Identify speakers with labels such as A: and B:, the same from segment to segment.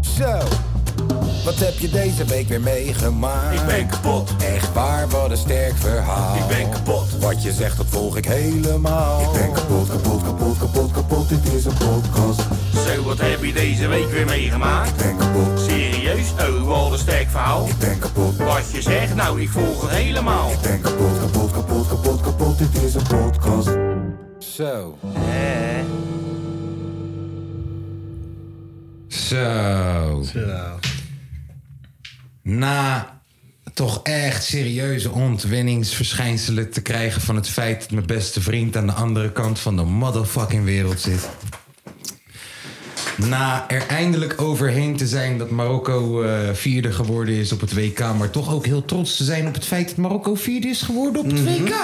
A: Zo, wat heb je deze week weer meegemaakt?
B: Ik ben kapot.
A: Echt waar, wat een sterk verhaal.
B: Ik ben kapot.
A: Wat je zegt, dat volg ik helemaal.
C: Ik ben kapot, kapot, kapot, kapot, kapot, dit is een podcast.
B: Zo, wat heb je deze week weer meegemaakt?
C: Ik ben kapot,
B: Serieus? Oh, wat een sterk verhaal.
C: ik ben kapot,
B: Wat je zegt, nou, ik volg het
D: Oh.
B: helemaal.
C: ik ben kapot, kapot, kapot, kapot, kapot, dit is een podcast.
A: Zo.
D: Zo. Na toch echt serieuze ontwinningsverschijnselen te krijgen van het feit dat mijn beste vriend aan de andere kant van de motherfucking wereld zit. Na er eindelijk overheen te zijn dat Marokko eh, vierde geworden is op het WK, maar toch ook heel trots te zijn op het feit dat Marokko vierde is geworden op het
E: Mhm.
D: WK.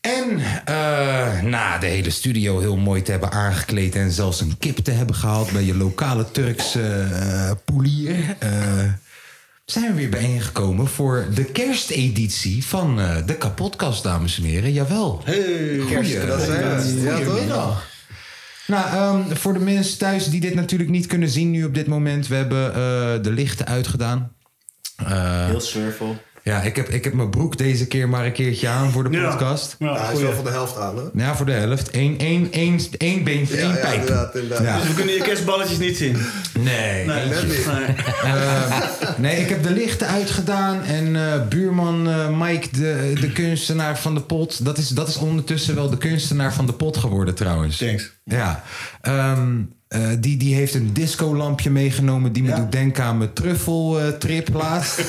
D: En eh, na de hele studio heel mooi te hebben aangekleed en zelfs een kip te hebben gehaald bij je lokale Turkse eh, poelier, eh, zijn we weer bijeengekomen voor de kersteditie van eh, de kapotkast, dames en heren. Jawel. Hey,
F: dat zijn we. Ja, toch?
D: Nou, ehm, voor de mensen thuis die dit natuurlijk niet kunnen zien nu op dit moment, we hebben eh, de lichten uitgedaan. Eh,
G: Heel surfel.
D: Ja, ik heb, ik heb mijn broek deze keer maar een keertje aan voor de podcast.
F: Ja,
C: Hij is wel van de helft aan, hè?
D: Ja, voor de helft. Eén, één, één, één beentje, één
C: ja,
D: pijp.
C: inderdaad, inderdaad.
D: Ja.
F: Dus we kunnen je kerstballetjes niet zien.
D: Nee. Eh, Nee.
C: Net niet.
F: Nee.
D: ik heb de lichten uitgedaan en eh, buurman eh, Mike, de, de kunstenaar van de pot. Dat is, dat is ondertussen wel de kunstenaar van de pot geworden trouwens.
F: Thanks.
D: Ja. Ehm, eh, die, die heeft een discolampje meegenomen die me doet denken aan mijn truffeltrip laatst.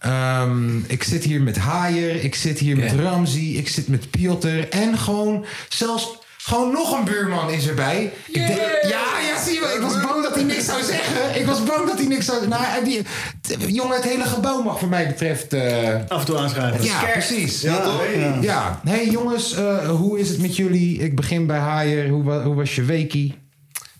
D: Ehm, ik zit hier met Haier, ik zit hier met Ramzi, ik zit met Piotr. En gewoon zelfs gewoon nog een buurman is erbij. Ik denk- ja, ja, zie je wel. Ik was bang dat hij niks zou zeggen. Ik was bang dat hij niks zou... Nou, eh, die, t- jongen, het hele gebouw mag voor mij betreft... eh,
F: Af en toe aanschrijven.
D: ja, precies.
C: Ja, toch?
F: Ja.
D: Ja, hey jongens, eh, hoe is het met jullie? Ik begin bij Haier. Hoe, wa- hoe was je weekie?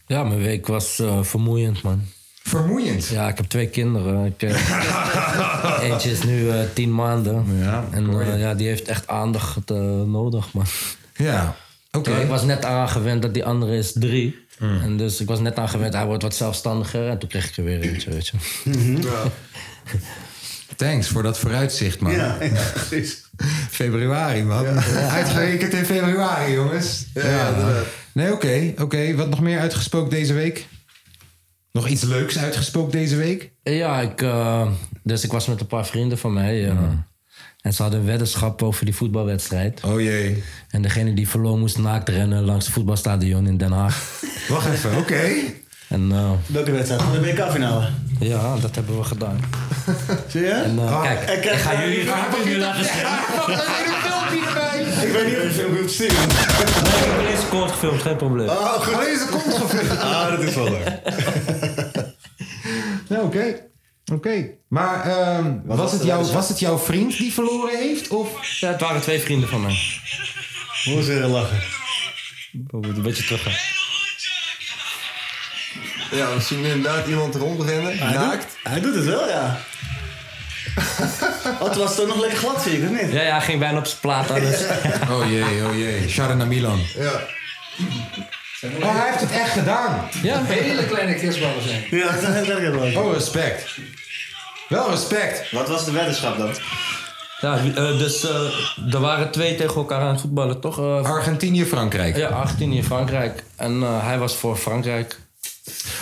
G: Ja, mijn week was eh, vermoeiend, man.
D: Vermoeiend.
G: Ja, ik heb twee kinderen. Ik, eh, eentje is nu eh, tien maanden.
D: Ja,
G: en eh, ja, die heeft echt aandacht eh, nodig, man.
D: Ja, oké. Mm.
G: Ik was net aangewend dat die andere is drie. En dus ik was net aangewend, hij wordt wat zelfstandiger. En toen kreeg ik er weer eentje, weet je.
D: Thanks voor dat vooruitzicht, man.
F: Ja, ja, precies.
D: Februari, man. Uitgerekend in februari, jongens. Ja,
C: inderdaad.
D: Nee, oké. oké. Wat nog meer uitgesproken deze week? Nog iets leuks uitgesproken deze week?
G: Ja, ik, eh, dus ik was met een paar vrienden van mij. eh,
D: Mhm.
G: En ze hadden een weddenschap over die voetbalwedstrijd.
D: Oh jee.
G: En degene die verloor moest naakt rennen langs het voetbalstadion in Den Haag.
D: Wacht even, oké.
G: en eh,
F: Welke wedstrijd? Van De WK-finale.
G: ja, dat hebben we gedaan.
F: Zie je?
G: En, eh,
D: Ah.
G: kijk,
F: en kijk,
G: ik ga
F: eh,
G: jullie
F: ik ga
G: ik laten
F: Ik weet niet of je film wilt zien.
G: Nee, ik heb alleen kort gefilmd, geen probleem.
D: Alleen ze komt
C: Ah, dat is wel leuk.
D: Nou, oké. Oké. Maar ehm, was, het jouw, was het jouw vriend die verloren heeft? Of...
G: Ja, het waren twee vrienden van mij.
F: Hoe ze lachen.
G: We moeten een beetje teruggaan.
C: Ja, we zien inderdaad iemand rondrennen, naakt.
F: Hij doet het wel, ja. Oh, het was toch nog lekker glad, zie ik, of niet?
G: Ja, ja, hij ging bijna op zijn plaat aan. dus-
D: Oh jee, oh jee. Sharon naar Milan.
C: Ja.
D: Oh, hij heeft het echt gedaan.
G: Ja,
H: Hele kleine kerstballen zijn.
F: Ja, dat is lekker wel.
D: Oh, respect. Wel respect.
I: Wat was de weddenschap dan?
G: ja eh, dus eh, er waren twee tegen elkaar aan het voetballen, toch? Eh,
D: Argentinië, Frankrijk.
G: ja, 18 in Frankrijk. En eh, hij was voor Frankrijk.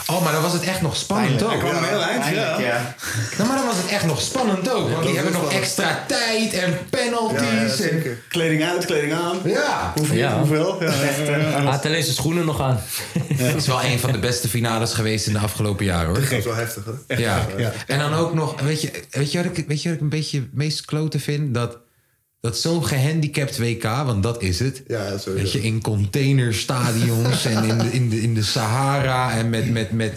D: Oh, maar dan was het echt nog spannend ook.
F: kwam een heel eind, ja.
I: Eindelijk, ja.
D: Nou, maar dan was het echt nog spannend ook. Want die hebben nog extra tijd en penalties. Ja, en...
F: Kleding uit, kleding aan.
D: ja.
F: Hoeveel?
G: Ja.
F: Hoeveel? Ja, ja, ja, ja.
G: Hij had alleen zijn schoenen nog aan.
D: Het is wel een van de beste finales geweest in de afgelopen jaren, hoor.
C: Dat is wel heftig, hè?
D: Ja. En dan ook nog, weet je, weet je, wat, ik, weet je wat ik een beetje het meest klote vind? Dat, dat zo'n gehandicapt WK, want dat is het.
C: Ja, sowieso.
D: Weet je, in containerstadions en in de, in de, in de Sahara en met, met, met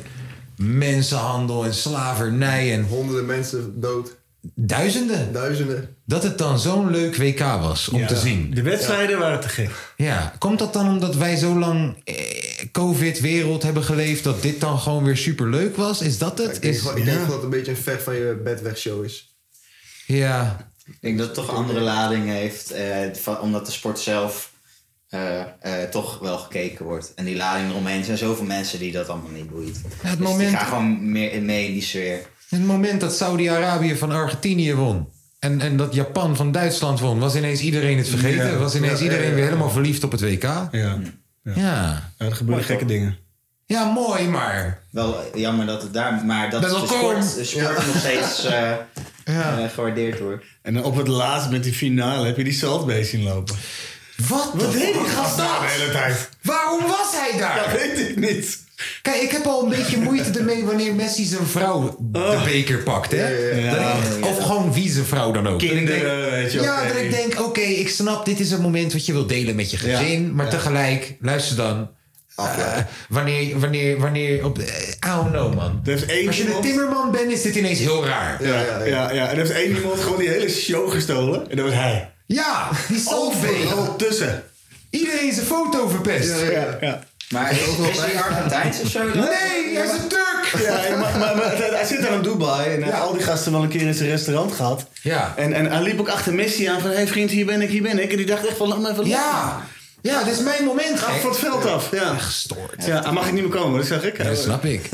D: mensenhandel en slavernij en
C: Honderden mensen dood,
D: duizenden.
C: duizenden.
D: Dat het dan zo'n leuk WK was om te zien.
F: De wedstrijden waren te gek.
D: Ja, komt dat dan omdat wij zo lang eh, COVID-wereld hebben geleefd dat dit dan gewoon weer super leuk was? Is dat het?
C: Ik denk,
D: Is,
C: gewoon- ik denk dat het een beetje een vecht van je bed weg show is.
D: ja.
I: Ik denk dat het toch een andere lading heeft, eh, van- omdat de sport zelf eh, eh,
H: toch wel gekeken wordt. En die lading eromheen. Er zijn zoveel mensen die dat allemaal niet boeit. dus
D: moment-
H: die gaan gewoon meer mee in die sfeer.
D: Het moment dat Saudi-Arabië van Argentinië won. En, en dat Japan van Duitsland won. Was ineens iedereen het vergeten.
F: Ja.
D: Was ineens
F: Ja, ja,
D: iedereen
F: ja,
D: weer
F: ja.
D: helemaal verliefd op het WK. Ja.
F: Ja.
D: Ja,
F: Ja, er gebeuren gekke dingen.
D: mooi, maar.
H: Wel eh, jammer dat het daar... Maar dat
D: Dat
H: de
D: wel
H: sport,
D: komt.
H: de sport nog steeds eh, eh, gewaardeerd wordt.
F: En dan op het laatst met die finale heb je die saltbeest zien lopen.
D: Wat?
F: Wat
D: de-
F: deed die gast daar de hele tijd?
D: Waarom was hij daar?
F: Dat weet ik niet.
D: Kijk, ik heb al een beetje moeite ermee wanneer Messi zijn vrouw de beker pakt. Hè?
F: Oh. ja,
D: Dat
F: ja.
D: ik- Of gewoon wie zijn vrouw dan ook.
F: Kinderen, weet je
D: Ja,
F: oké.
D: dat ik denk, oké, ik snap, dit is een moment wat je wilt delen met je gezin. Maar tegelijk, luister dan. eh, wanneer, wanneer, wanneer, op, eh, I don't know, man.
F: Er heeft één
D: Als je een
F: iemand-
D: timmerman bent, is dit ineens heel raar.
F: Ja, ja, ja. En er heeft één iemand gewoon die hele show gestolen. En dat was hij.
D: Ja, die salve.
F: Overal tussen.
D: Iedereen zijn foto verpest.
F: Ja, ja.
H: Maar is hij Argentijns of zo? dan?
D: Nee, hij is een Turk.
F: Ja, maar, maar, maar hij- hij zit daar in Dubai en hij heeft al die gasten wel een keer in zijn restaurant gehad.
D: Ja.
F: En, en hij liep ook achter Messi aan van, hé hey vriend, hier ben ik, hier ben ik. En die dacht echt van, laat me even
D: Ja, ja dit is mijn moment.
F: Af van
D: gek.
F: het veld af. Ja,
D: Gestoord.
F: ja hij mag ik niet meer komen, dat zeg ik.
D: Dat snap ik.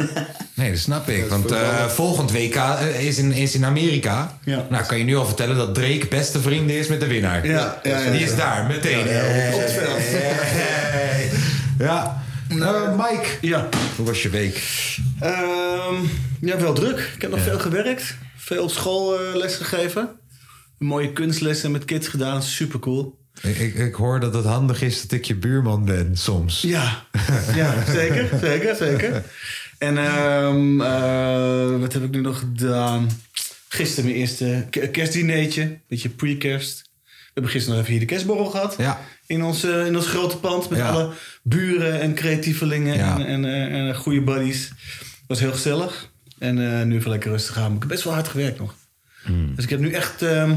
D: Nee, dat snap ik. Want eh, volgend WK eh, is in, is in Amerika.
F: Ja.
D: Nou, kan je nu al vertellen dat Drake beste vrienden is met de winnaar. Dus
F: Ja, ja, ja.
D: Die is daar, meteen. Hey.
F: Op het veld.
D: Hey. Ja. Eh, Mike,
F: Ja.
D: hoe was je week?
F: Ehm, ja, wel druk. Ik heb nog veel gewerkt. Veel op school eh, les gegeven. Mooie kunstlessen met kids gedaan. Super cool.
D: Ik, ik, ik hoor dat het handig is dat ik je buurman ben soms.
F: Ja, ja zeker, zeker, zeker. En ehm, eh, wat heb ik nu nog gedaan? Gisteren mijn eerste k- kerstdineetje. Beetje pre-kerst. We hebben gisteren nog even hier de kerstborrel gehad.
D: Ja.
F: In, ons, eh, in ons grote pand met
D: Ja.
F: alle buren en creatievelingen
D: Ja.
F: en, en, eh, en goede buddies. was heel gezellig. En eh, nu even lekker rustig aan. Maar ik heb best wel hard gewerkt nog.
D: Hmm.
F: Dus ik heb nu echt ehm,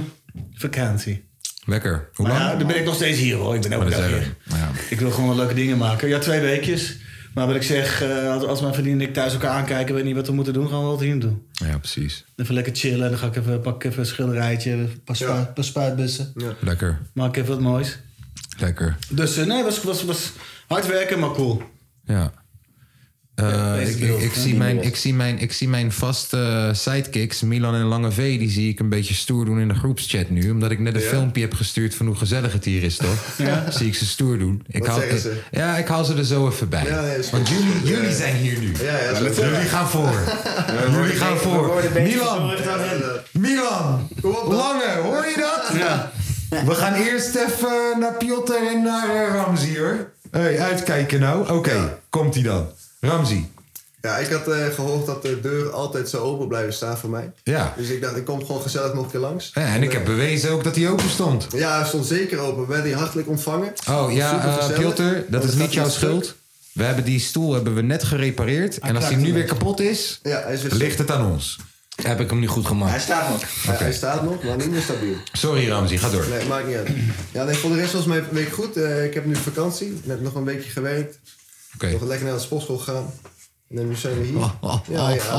F: vakantie.
D: Lekker. Hoe
F: Maar
D: lang?
F: Nou ja, dan ben ik nog steeds hier hoor. Ik ben
D: Maar
F: elke
D: dat
F: dag
D: is
F: hier.
D: erg. Ja.
F: Ik wil gewoon wel leuke dingen maken. Ja, twee weekjes. Maar wat ik zeg, eh, als, als mijn vriendin en ik thuis elkaar aankijken... weet niet wat we moeten doen, gaan we wat hier doen.
D: ja, precies.
F: Even lekker chillen. Dan ga ik even, pak ik even een schilderijtje. Een paar, spuit, paar spuitbussen.
D: Lekker.
F: Maak even wat moois.
D: Lekker.
F: Dus eh, nee, was, was, was hard werken, maar cool.
D: Ja. Eh,
F: deze
D: ik,
F: beeld,
D: ik, ik
F: hè,
D: zie
F: die
D: mijn,
F: beeld.
D: ik, zie mijn, ik zie mijn vaste eh, sidekicks, Milan en Lange V, die zie ik een beetje stoer doen in de groepschat nu. Omdat ik net een filmpje heb gestuurd van hoe gezellig het hier is, toch? Zie ik ze stoer doen. Ik haal,
I: zeggen ze?
D: Ja, ik haal ze er zo even bij.
I: Ja, nee, is goed.
D: Want jullie, jullie zijn hier nu.
I: Ja, ja, zo.
D: Jullie gaan voor. Jullie gaan voor. Milan, Milan, Lange, hoor je dat? We gaan eerst even naar Piotr en naar eh, Ramzi hoor. hey, uitkijken nou. Oké, komt hij dan. Ramzi.
I: Ja, ik had eh, gehoord dat de deuren altijd zo open blijven staan voor mij.
D: Ja.
I: Dus ik dacht, ik kom gewoon gezellig nog een keer langs. Eh,
D: Ja, en ik heb bewezen ook dat hij open stond.
I: Ja, hij stond zeker open. We werden hier hartelijk ontvangen.
D: Oh ja, eh,
I: Supergezellig.
D: Piotr, dat
I: Want
D: is
I: het
D: niet
I: gaat
D: jouw
I: weer stuk.
D: schuld. We hebben die stoel hebben we net gerepareerd. En als hij nu weer kapot is,
I: Ja, hij is weer stuk.
D: ligt het aan ons.
G: Heb ik hem niet goed
H: Hij
G: gemaakt.
H: staat nog.
I: Ja, Hij staat nog, maar niet meer stabiel.
D: Sorry Ramzi, ga door.
I: Nee, maakt niet uit. Ja, nee, voor de rest was mijn week goed. Eh, ik heb nu vakantie. Net nog een weekje gewerkt.
D: Oké.
I: Nog lekker naar de sportschool gegaan. En nu zijn we hier.
D: Oh, oh,
I: Ja, ja, zeker, zeker.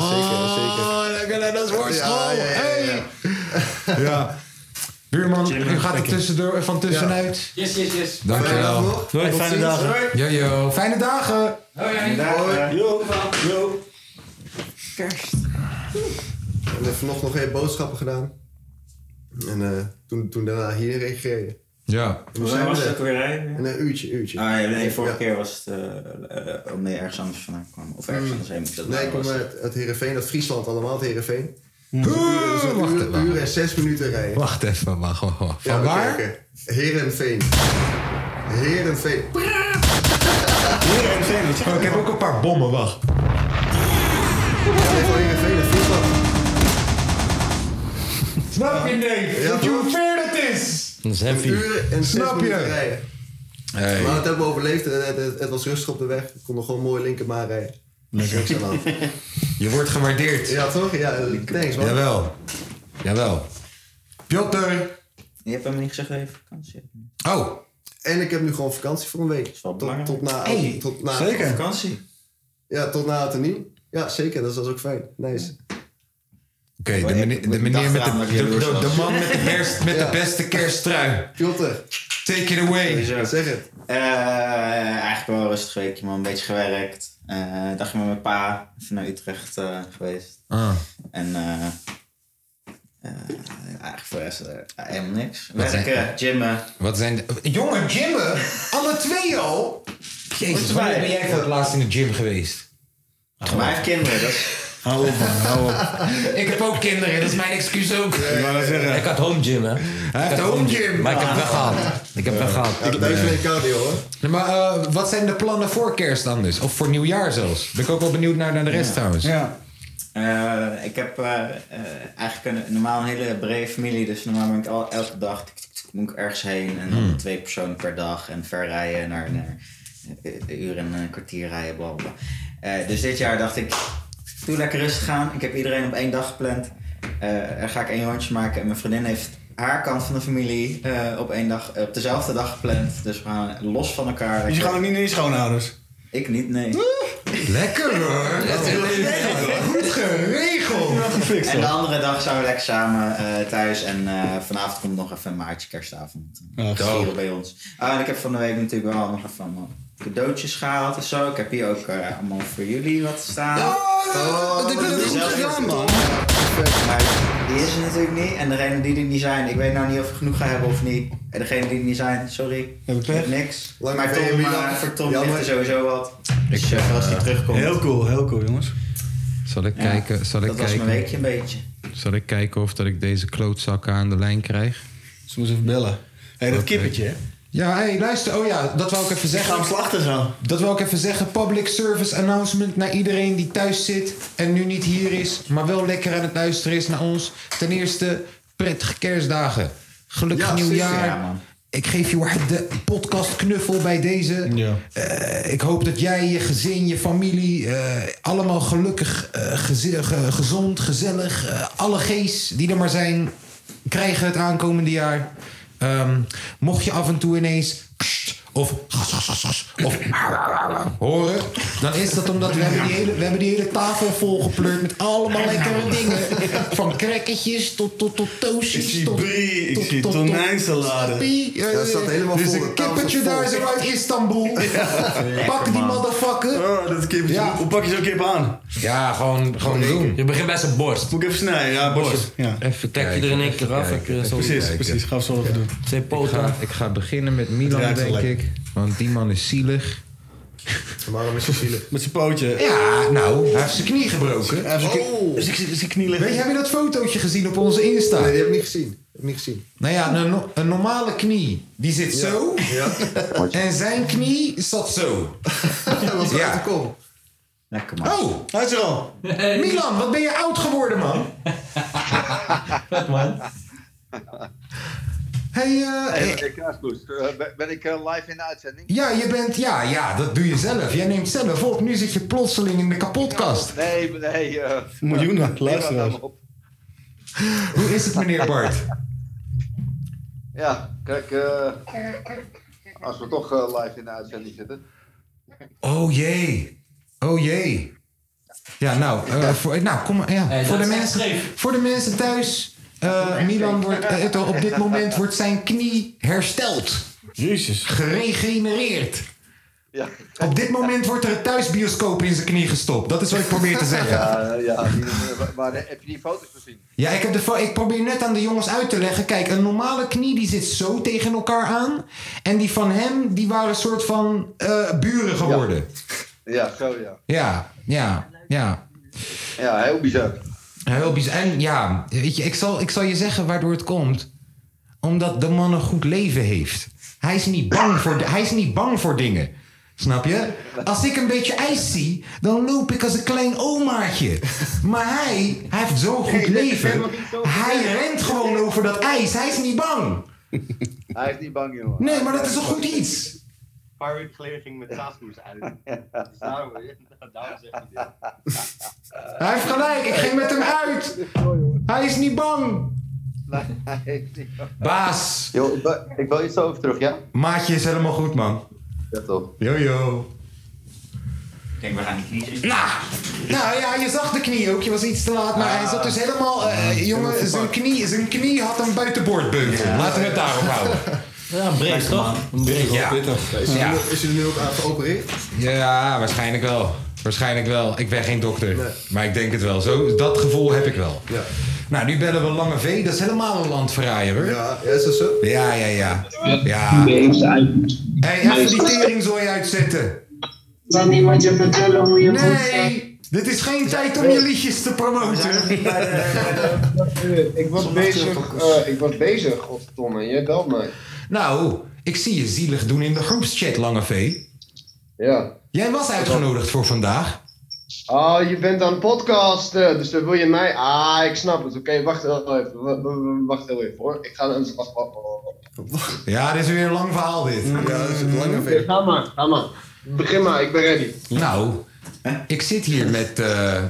D: Oh, lekker naar de sportschool.
I: Ja, ja, ja, ja,
D: Hey. Ja. Buurman, u gaat er tussendoor, van tussenuit.
G: Yes, yes, yes.
I: Fijne dag
D: Dankjewel.
I: nog.
F: Doei, fijne dagen.
D: Jojo, fijne dagen.
F: Yo, yo.
I: En eh, vanochtend nog even boodschappen gedaan. En eh, toen, toen daarna hierheen gereden.
D: Ja.
I: Hoe zijn we er? In een uurtje, uurtje.
H: Ah, ja, nee, vorige
I: Ja.
H: keer was het eh, eh, nee, ergens anders vandaan kwam. Of ergens anders heen. Dat
I: Hmm. Nee, ik kom eh,
H: was
I: uit, uit Heerenveen, uit Friesland allemaal, het Heerenveen. Dus
D: Oeh,
I: een
D: Wacht
I: uur, uur
D: even.
I: en zes minuten rijden.
D: Wacht even, wacht, wacht, wacht. Van
I: Ja, oké,
D: waar?
I: oké. Heerenveen. Heerenveen.
F: Hier en Veen, weet je.
D: Oh, ik heb ook een paar bommen, wacht.
I: Ja, nee, gewoon Heerenveen uit Friesland.
D: Snap je, nee?
I: Ja,
D: Wat je
I: toch?
D: hoe ver dat is?
G: Dat is
I: Een
G: heavy.
I: uur en zes
D: Snap je?
I: minuten rijden. Maar het hebben we overleefd. en Het, het, het was rustig op de weg. We konden gewoon mooi linkermaan rijden. Niks aan de hand.
D: Je wordt gewaardeerd.
I: Ja, toch? Ja, thanks man.
D: Jawel. Jawel. Piotr.
H: Je hebt hem niet gezegd dat je vakantie hebt.
D: Oh.
I: En ik heb nu gewoon vakantie voor een week.
H: wel
I: Tot,
H: belangrijk.
I: tot na,
F: Hey,
I: tot na,
F: Zeker.
H: Vakantie?
I: Ja, tot na het en nieuw. Ja, zeker. Dat is, dat is ook fijn. Nice.
D: Oké, de, meneer- de meneer met de, de, de- de man met, de, herst, met de beste kersttrui.
I: Piotr,
D: Take it away.
I: zeg het.
H: Eh, eigenlijk wel een rustig weekje, man. Een beetje gewerkt. Eh dagje met mijn pa. Even naar Utrecht eh, geweest.
D: Ah.
H: En eh, eh, eigenlijk voor de rest eh, helemaal niks. Werken, gymmen.
D: Wat zijn de... Jongen, gymmen! Alle twee al! Jezus, wanneer ben jij voor het laatst in de gym geweest?
H: Maar hij heeft kinderen, dat is...
F: Hou op, man, hou op.
D: Ik heb ook kinderen, dat is mijn excuus ook.
F: Ik wou dat zeggen.
G: Ik had home gym, hè.
D: Hij heeft home gym.
G: Maar ik heb weggehaald. Ik heb weggehaald.
I: Dat is geen cardio hoor.
D: Nee, Maar eh, wat zijn de plannen voor kerst dan dus? Of voor nieuwjaar zelfs? Ben ik ook wel benieuwd naar, naar de rest trouwens.
F: Ja.
H: Eh, ik heb eh, eh, eigenlijk een, normaal een hele brede familie, dus normaal ben ik al, elke dag tik, tik, tik, moet ik ergens heen en
D: Hmm.
H: dan twee personen per dag en verrijden naar, naar eh, een uur en een kwartier rijden, bla bla. bla. Eh, dus dit jaar dacht ik, doe lekker rustig aan. Ik heb iedereen op één dag gepland. Eh, er ga ik één rondje maken en mijn vriendin heeft haar kant van de familie eh, op één dag, op dezelfde dag gepland. Dus we gaan los van elkaar.
F: Dus je gaat ook niet naar je schoonouders?
H: Ik niet, nee.
D: Lekker hoor! Dat is heel Goed geregeld!
H: En de andere dag zijn we lekker samen eh, thuis. En eh, vanavond komt nog even een maartje kerstavond. Vieren bij ons. Ah, en ik heb van de week natuurlijk wel nog even allemaal cadeautjes gehaald en zo. Ik heb hier ook eh, allemaal voor jullie wat staan.
D: Oh, dit is goed
H: Zelf-
D: gedaan man!
H: Maar die is er natuurlijk niet. En degene die er niet zijn, ik weet nou niet of ik genoeg ga hebben of niet. En degene die er niet zijn, sorry.
F: Heb ik
H: Ik heb
F: pech?
H: niks.
I: Lang
H: maar Tom,
I: leven,
H: eh,
I: Milan.
H: voor Tom
I: Jammer.
H: ligt er sowieso wat. Dus eh, als die terugkomt.
F: Heel cool, heel cool, jongens.
D: Zal ik
H: Ja,
D: kijken, zal ik
H: dat was mijn
D: kijken,
H: weekje een beetje.
D: zal ik kijken of dat ik deze klootzakken aan de lijn krijg?
F: Ze moeten even bellen. Hé, dat kippetje, hè?
D: Ja, hé, luister. Oh ja, dat wou ik even
F: Ik ga
D: zeggen.
F: hem slachten zo.
D: Dat wil ik even zeggen. Public service announcement naar iedereen die thuis zit en nu niet hier is, maar wel lekker aan het luisteren is naar ons. Ten eerste, prettige kerstdagen. Gelukkig
I: Ja,
D: nieuwjaar.
H: precies. Ja, man.
D: ik geef je de podcastknuffel bij deze.
F: Ja.
D: Eh, ik hoop dat jij, je gezin, je familie, eh, allemaal gelukkig, eh, geze- ge- gezond, gezellig, eh, alle gees die er maar zijn, krijgen het aankomende jaar. Ehm, mocht je af en toe ineens kst, of gas, gas, gas, gas, of horen, dan is dat omdat we hebben die hele, we hebben die hele tafel volgepleurd met allemaal lekkere dingen. Van krekketjes tot, tot, tot toosjes.
F: Ik zie
D: tot-
F: brie, ik
D: tot-
F: zie
D: tot- tot-
F: tonijnsalade.
D: Pie, eh,
I: Dat staat helemaal
D: dus
I: vol,
D: een
I: de tafel
D: kippertje
I: vol.
D: daar zo uit Istanbul. Pak die
H: man.
D: motherfucker.
F: Oh, dat kippetje.
D: Ja.
F: Hoe pak je zo'n kip aan?
D: Ja, gewoon, gewoon doen.
G: Je begint bij zijn borst.
F: Moet ik even snijden? Ja, bosje. Ja.
D: Even
G: Trek je er in één keer af. heb je zo
F: Precies, precies. Ga zo even doen.
G: eh, Twee poten.
D: ik ga beginnen met
F: Het
D: Milan,
F: raakt
D: denk
F: gelijk.
D: ik. Want die man is zielig.
I: Waarom is het zielig?
F: Met zijn pootje.
D: Ja, nou, hij heeft zijn knie gebroken.
F: Even zijn
I: Oh.
F: knie- Dus zijn- zijn- zijn knie
D: Weet je,
F: leggen.
D: heb je dat fotootje gezien op onze Insta?
I: Nee, die heb ik niet gezien. Die Heb ik niet gezien.
D: Nou ja, een, no- een normale knie, die zit zo. En zijn knie zat zo.
I: Dat was
D: Ja.
I: uit de kom.
H: Lekker man.
D: Oh,
F: Hij is er al.
D: Milan, wat ben je oud geworden, man? Hey, eh, eh,
E: Hey, Kaaskoes, eh, ben- ben ik eh, live in de uitzending?
D: ja, je bent, ja, ja, dat doe je zelf. Jij neemt zelf op. Nu zit je plotseling in de kapotkast.
E: Nee, nee. eh
F: Miljoenen
E: Nederland nam
F: luisteraars.
E: op.
D: Hoe is het, meneer Bart?
E: Ja, kijk, eh, als we toch eh, live in de uitzending zitten.
D: Oh jee. Oh jee. Ja, nou, eh, voor, nou kom maar. Ja.
G: Eh, dat
D: voor, de
G: is echt
D: mensen,
G: scheef.
D: voor de mensen thuis. eh, Milan wordt, eh, het- op dit moment wordt zijn knie hersteld.
F: Jezus.
D: Geregenereerd.
E: Ja,
D: Op dit moment wordt er een thuisbioscoop in zijn knie gestopt. Dat is wat ik probeer te zeggen. Ja,
E: ja, ja die- maar eh, heb je die foto's gezien?
D: ik, heb de, fo- ik probeer net aan de jongens uit te leggen. Kijk, een normale knie die zit zo tegen elkaar aan. En die van hem, die waren een soort van eh, buren geworden.
E: Ja, zo ja.
D: Ja, ja, ja.
E: Ja, heel bizar.
D: Ja, Heel bizar. En ja, weet je, ik zal, ik zal je zeggen waardoor het komt. Omdat de man een goed leven heeft. Hij is niet bang voor, hij is niet bang voor dingen. Snap je? Als ik een beetje ijs zie, dan loop ik als een klein omaatje. Maar hij, hij heeft zo'n goed leven. Hij rent gewoon over dat ijs. Hij is niet bang.
E: Hij is niet bang, jongen.
D: Nee, maar dat is een goed iets.
J: Pirate Clear ging met Tasmoes uit. Dus daarom, daarom zegt hij dit.
D: Hij heeft gelijk. Ik ging met hem uit. Hij is niet bang.
E: Nee, hij is niet bang.
D: Baas,
E: Yo, ik bel- ik bel iets over terug, ja?
D: maatje is helemaal goed, man.
E: Ja, toch.
D: Yo, yo.
H: Ik denk, we gaan niet kniezen.
D: Nou, nou ja, je zag de knie ook. Je was iets te laat, maar hij zat dus helemaal... eh, jongen, zijn knie, zijn knie had een buitenboordbeugel. Laten we het daarop houden.
G: Ja, breed toch?
I: Breed,
D: Ja.
I: Is hij
D: Ja.
I: nu- is hij er nu ook aan geopereerd?
D: Ja, waarschijnlijk wel. Waarschijnlijk wel. Ik ben geen dokter. Maar ik denk het wel. Zo, dat gevoel heb ik wel.
I: Ja.
D: Nou, nu bellen we Lange V. Dat is helemaal een landverraaier, hoor.
I: Ja, is dat zo?
D: Ja, ja, ja. ja. Hey, even die teringzooi uitzetten.
K: Dan niemand je vertellen hoe je
D: Nee.
K: moet zijn.
D: Dit is geen tijd om je liedjes te promoten.
E: Ik was bezig, eh, ik was bezig, godverdomme. Jij belt mij.
D: Nou, ik zie je zielig doen in de groepschat, Lange V.
E: Ja.
D: Jij was uitgenodigd voor vandaag.
E: Oh, je bent aan het podcasten, dus dan wil je mij... Ah, ik snap het. Oké, wacht heel even. W- w- w- Wacht heel even hoor. Ik ga... Wacht, wacht, wacht, wacht.
D: Ja, dit is weer een lang verhaal, dit. Ja, dat is een lange
E: Oké, Mm. Ga maar, ga maar. Begin maar, ik ben ready.
D: Nou, ik zit hier met eh,